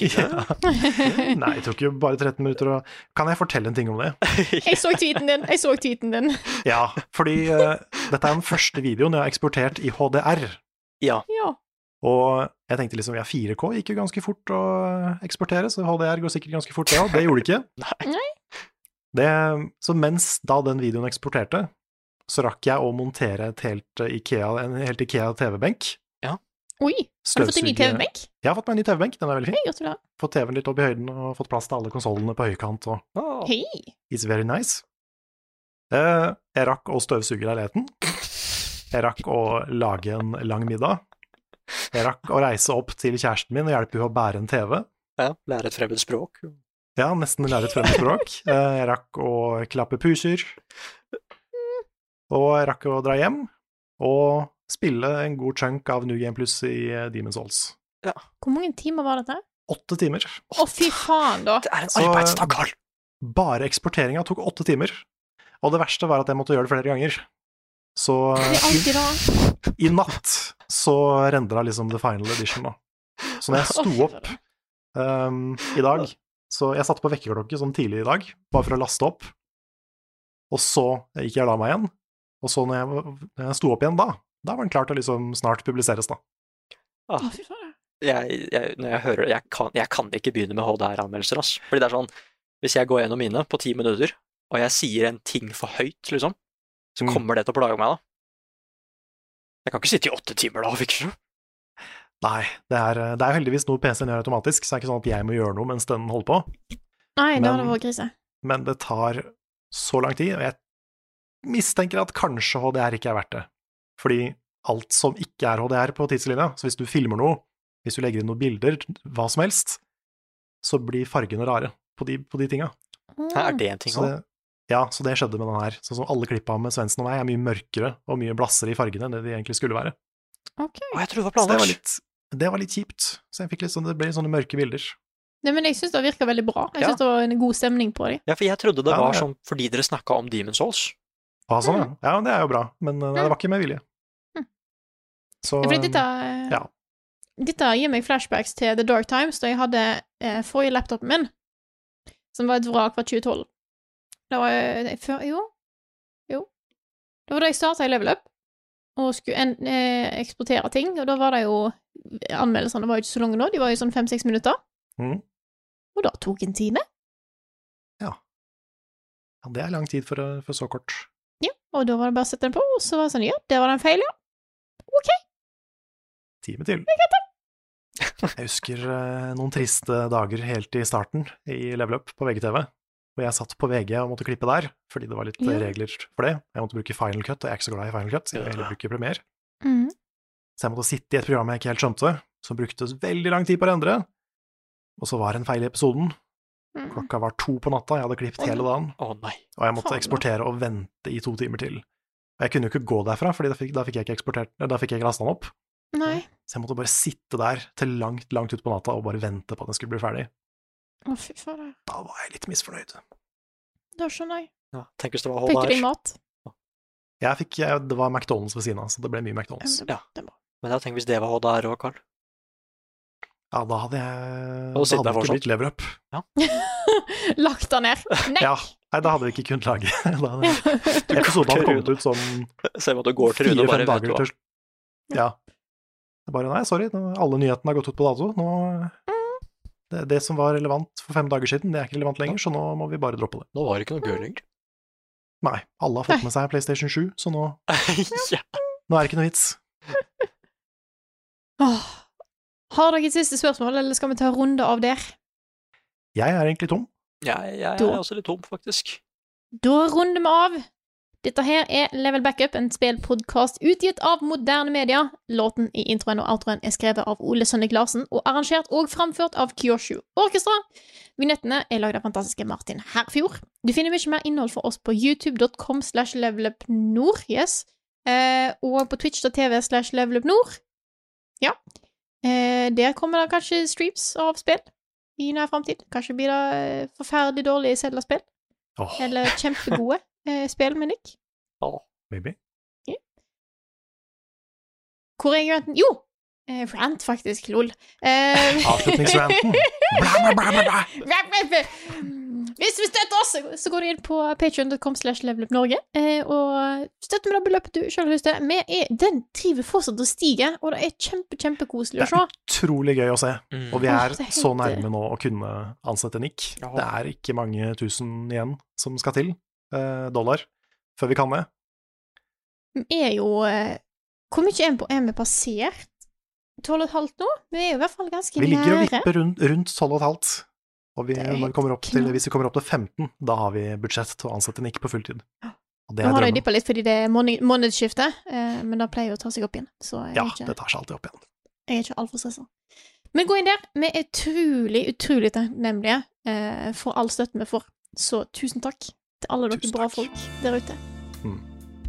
S1: tid?
S2: (laughs)
S1: det?
S2: Nei, det tok jo bare 13 minutter å Kan jeg fortelle en ting om det?
S3: (laughs) jeg så tweeten din! Jeg så tweeten din.
S2: Ja, fordi eh, dette er den første videoen jeg har eksportert i HDR.
S1: Ja.
S3: Ja.
S2: Og jeg tenkte liksom ja, 4K gikk jo ganske fort å eksportere, så HDR går sikkert ganske fort, det òg. Det gjorde det ikke.
S1: Nei.
S2: Det, så mens da den videoen eksporterte, så rakk jeg å montere et helt eh, Ikea, en helt Ikea TV-benk.
S3: Oi, har du fått en ny
S2: Støvsuge-
S3: TV-benk?
S2: Jeg har fått meg en ny TV-benk, den er veldig fin.
S3: Hei, gratulerer.
S2: Fått TV-en litt opp i høyden og fått plass til alle konsollene på høykant og
S3: Hei.
S2: It's very nice. Eh, jeg rakk å støvsuge leiligheten. Jeg rakk å lage en lang middag. Jeg rakk å reise opp til kjæresten min og hjelpe henne å bære en TV.
S1: ja. Lære et fremmed språk.
S2: Ja, nesten lære et fremmed språk. Eh, Jeg rakk å klappe puser. Og jeg rakk å dra hjem og spille en god chunk av New Game Plus i eh, Demon's Souls.
S3: Hvor mange timer var dette?
S2: Åtte timer.
S3: Å, fy faen, da!
S1: Det er en
S2: Så-
S1: arbeidsdag, Karl!
S2: Bare eksporteringa tok åtte timer. Og det verste var at jeg måtte gjøre det flere ganger.
S3: (laughs)
S2: Så eh,
S3: Det er alltid det.
S2: i natt så rendra liksom the final edition, da. Så når jeg
S3: (laughs)
S2: sto
S3: Å, fy
S2: opp ehm, i dag Så jeg satte på vekkerklokke sånn tidlig i dag, bare for å laste opp. Og så gikk jeg og la meg igjen. Og så når jeg, var- når jeg sto opp igjen da, da var den klar til å liksom snart publiseres, da.
S3: Å, fy faen.
S1: Jeg, jeg, når jeg hører det, jeg kan, jeg kan ikke begynne med HDR-anmeldelser, ass. Fordi det er sånn, hvis jeg går gjennom mine på ti minutter, og jeg sier en ting for høyt, liksom, så
S2: Mm.
S1: kommer det til å plage meg, da. Jeg kan ikke sitte i åtte timer da og fikse det.
S2: Nei, det er, det er heldigvis noe PC-en gjør automatisk, så det er ikke sånn at jeg må gjøre noe mens den holder på.
S3: Nei,
S2: Men-
S3: det hadde vært krise.
S2: Men det tar så lang tid, og jeg mistenker at kanskje HDR ikke er verdt det. Fordi alt som ikke er HDR på tidslinja, så hvis du filmer noe, hvis du legger inn noen bilder, hva som helst, så blir fargene rare på de, på de tinga.
S1: Hæ,
S3: Mm.
S1: Er det en ting
S2: Så
S1: òg?
S2: det, ja, så det skjedde med den her. Sånn som alle klippa med Svendsen og meg er mye mørkere og mye blassere i fargene enn det de egentlig skulle være.
S3: Ok.
S1: Å, jeg trodde det var
S2: Så det var
S1: planlagt.
S2: litt, det var litt kjipt. Så jeg fikk litt sånn, det ble sånne mørke bilder.
S3: Nei, men jeg syns det virka veldig bra. Jeg
S1: Ja.
S3: syns det var en god stemning på dem.
S1: Ja, for jeg trodde det
S2: Ja,
S1: var
S2: ja.
S1: sånn fordi dere snakka om Demon's Souls.
S2: Ah, sånn, ja. ja, det er jo bra, men eh, det var ikke med vilje.
S3: Mm.
S2: Så,
S3: Fordi dette,
S2: ja.
S3: dette gir meg flashbacks til The Dark Times, da jeg hadde eh, forrige laptopen min, som var et vrak fra 2012. Det var eh, nei, før Jo. Jo. Det var da jeg starta i Level Up og skulle en, eh, eksportere ting, og da var det jo eh, Anmeldelsene var jo ikke så lange nå, de var jo sånn fem-seks minutter.
S2: Mhm.
S3: Og det tok en time.
S2: Ja, det er lang tid for, å- for så kort.
S3: Ja, og da var det bare å sette den på, og så var det sånn Ja, der var det en feil, ja.
S2: Time til. Jeg husker eh, noen triste dager helt i starten i Level Up på VGTV, hvor jeg satt på VG og måtte klippe der, fordi det var litt eh,
S3: Ja.
S2: regler for det. Jeg måtte bruke Final Cut, og jeg er ikke så glad i Final Cut, jeg vil heller bruke Premiere.
S3: Mhm.
S2: Så jeg måtte sitte i et program jeg ikke helt skjønte, som brukte veldig lang tid på å endre, og så var det en feil i episoden.
S3: Mhm.
S2: Klokka var to på natta, jeg hadde klippet hele dagen.
S1: Å nei.
S2: og jeg måtte
S3: Faen, da.
S2: eksportere og vente i to timer til. Og jeg kunne jo ikke gå derfra, for da fikk, da fikk jeg ikke eksportert, eh, da fikk jeg ikke lasta den opp.
S3: Nei.
S2: Så jeg måtte bare sitte der til langt, langt ut på natta og bare vente på at den skulle bli ferdig.
S3: Å, fy faen.
S2: Da var jeg litt misfornøyd.
S3: Da skjønner jeg.
S1: Ja, tenk hvis det var
S3: Fikk du
S1: HDR.
S3: din mat?
S2: Jeg fikk, jeg, det var McDonald's ved siden av, så det ble mye McDonald's.
S3: Ja,
S1: Ja.
S3: det er bra.
S1: Men jeg tenker hvis det var HDR òg, (laughs) Karl.
S2: Ja, da hadde
S1: Og
S2: jeg Da
S1: sitte
S2: hadde
S1: der
S2: det ikke
S1: fortsatt.
S2: blitt lever up.
S3: Lagt den ned. Nei!
S2: Ja, nei, da hadde vi ikke kunnet lage (laughs) da hadde- Episoden hadde kommet ut sånn
S1: Se hva du (laughs) går til Rune og bare
S2: fire-fem
S1: vet du
S2: dager
S1: hva.
S2: til Ja. Det er bare nei, sorry, nå, alle nyhetene har gått ut på dato. Nå, det, det som var relevant for fem dager siden, det er ikke relevant lenger, så nå må vi bare droppe det.
S1: Nå var det ikke noe gøy lenger.
S2: Nei, alle har fått med seg PlayStation 7, så nå,
S1: (laughs) ja.
S2: nå er det ikke noe vits.
S3: Åh. Har dere et siste spørsmål, eller skal vi ta en runde av der?
S2: Jeg er egentlig tom.
S1: Jeg, jeg
S3: Da-
S1: er også litt tom, faktisk.
S3: Da runder vi av. Dette her er Level Backup, en spillpodkast utgitt av moderne media. Låten i introen og outroen er skrevet av Ole Sønnik Larsen og arrangert og framført av Kyoshu Orkestra. Vignettene er lagd av fantastiske Martin Herfjord. Du finner mye mer innhold for oss på youtube.com slash levelupnord, yes. Eh, og på twitch.tv slash levelupnord. Ja. Eh, der kommer det kanskje streams av spill i nær framtid. Kanskje blir det eh, forferdelig dårlige Zelda-spill.
S2: Åh,
S3: Eller kjempegode (laughs) eh, spill med Nick.
S2: maybe.
S3: Hvor er jeg enten Jo! Eh, rant, faktisk. Lol. Eh, (laughs)
S2: Avslutningsranten. Bla, bla, bla, bla, bla.
S3: rap, rap, rap. Hvis du støtter oss, så går du inn på patreon.com slash levelupnorge eh, og støtter med det beløpet du selv har lyst til. Vi er, den triver fortsatt å stige, og det er kjempe, kjempekoselig å se.
S2: Utrolig gøy å se.
S1: Mm.
S2: Og vi
S3: Åh,
S2: er
S3: det er helt-
S2: så nærme nå å kunne ansette Nick.
S1: Ja.
S2: Det er ikke mange tusen igjen som skal til eh, dollar før vi kan det.
S3: Vi er jo eh, Hvor mye er vi på? Er vi passert 12,5 nå? Vi er jo i hvert fall ganske
S2: Vi ligger og
S3: nære.
S2: vipper rundt, rundt 12,5. Og vi,
S3: Det er
S2: når vi
S3: helt
S2: kommer opp til,
S3: knall.
S2: hvis vi kommer opp til 15, da har vi budsjett til å ansette Nick på fulltid. Og det
S3: Nå har det
S2: er
S3: jo
S2: drømmen.
S3: dippa litt fordi det er måned- månedsskifte, eh, men det pleier jo å ta seg opp igjen. Så jeg
S2: Ja,
S3: er ikke,
S2: det tar seg alltid opp igjen.
S3: jeg er ikke altfor stressa. Men gå inn der. Vi er utrolig, utrolig takknemlige eh, for all støtten vi får. Så tusen takk til alle dere
S2: Tusen
S3: bra
S2: takk.
S3: folk der ute.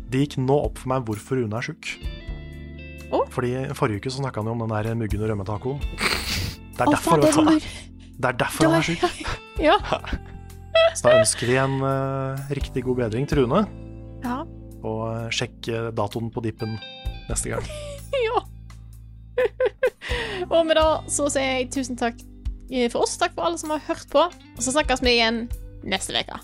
S2: Det gikk nå opp for meg hvorfor Rune er sjuk.
S3: Å?
S2: Fordi forrige uke så snakka han jo om den der muggen og rømmetacoen. Det er
S3: Å,
S2: derfor,
S3: faen, det er sånn
S2: vet du.
S3: mur.
S2: det er derfor han er sjuk.
S3: Ja.
S2: (laughs) Så da ønsker vi en eh, riktig god bedring til Rune.
S3: ja. (laughs)
S2: Og eh, sjekk eh, datoen på dippen neste gang.
S3: Ja. Og med det så sier jeg tusen takk eh, for oss. Takk for alle som har hørt på. Og så snakkes vi igjen neste uke.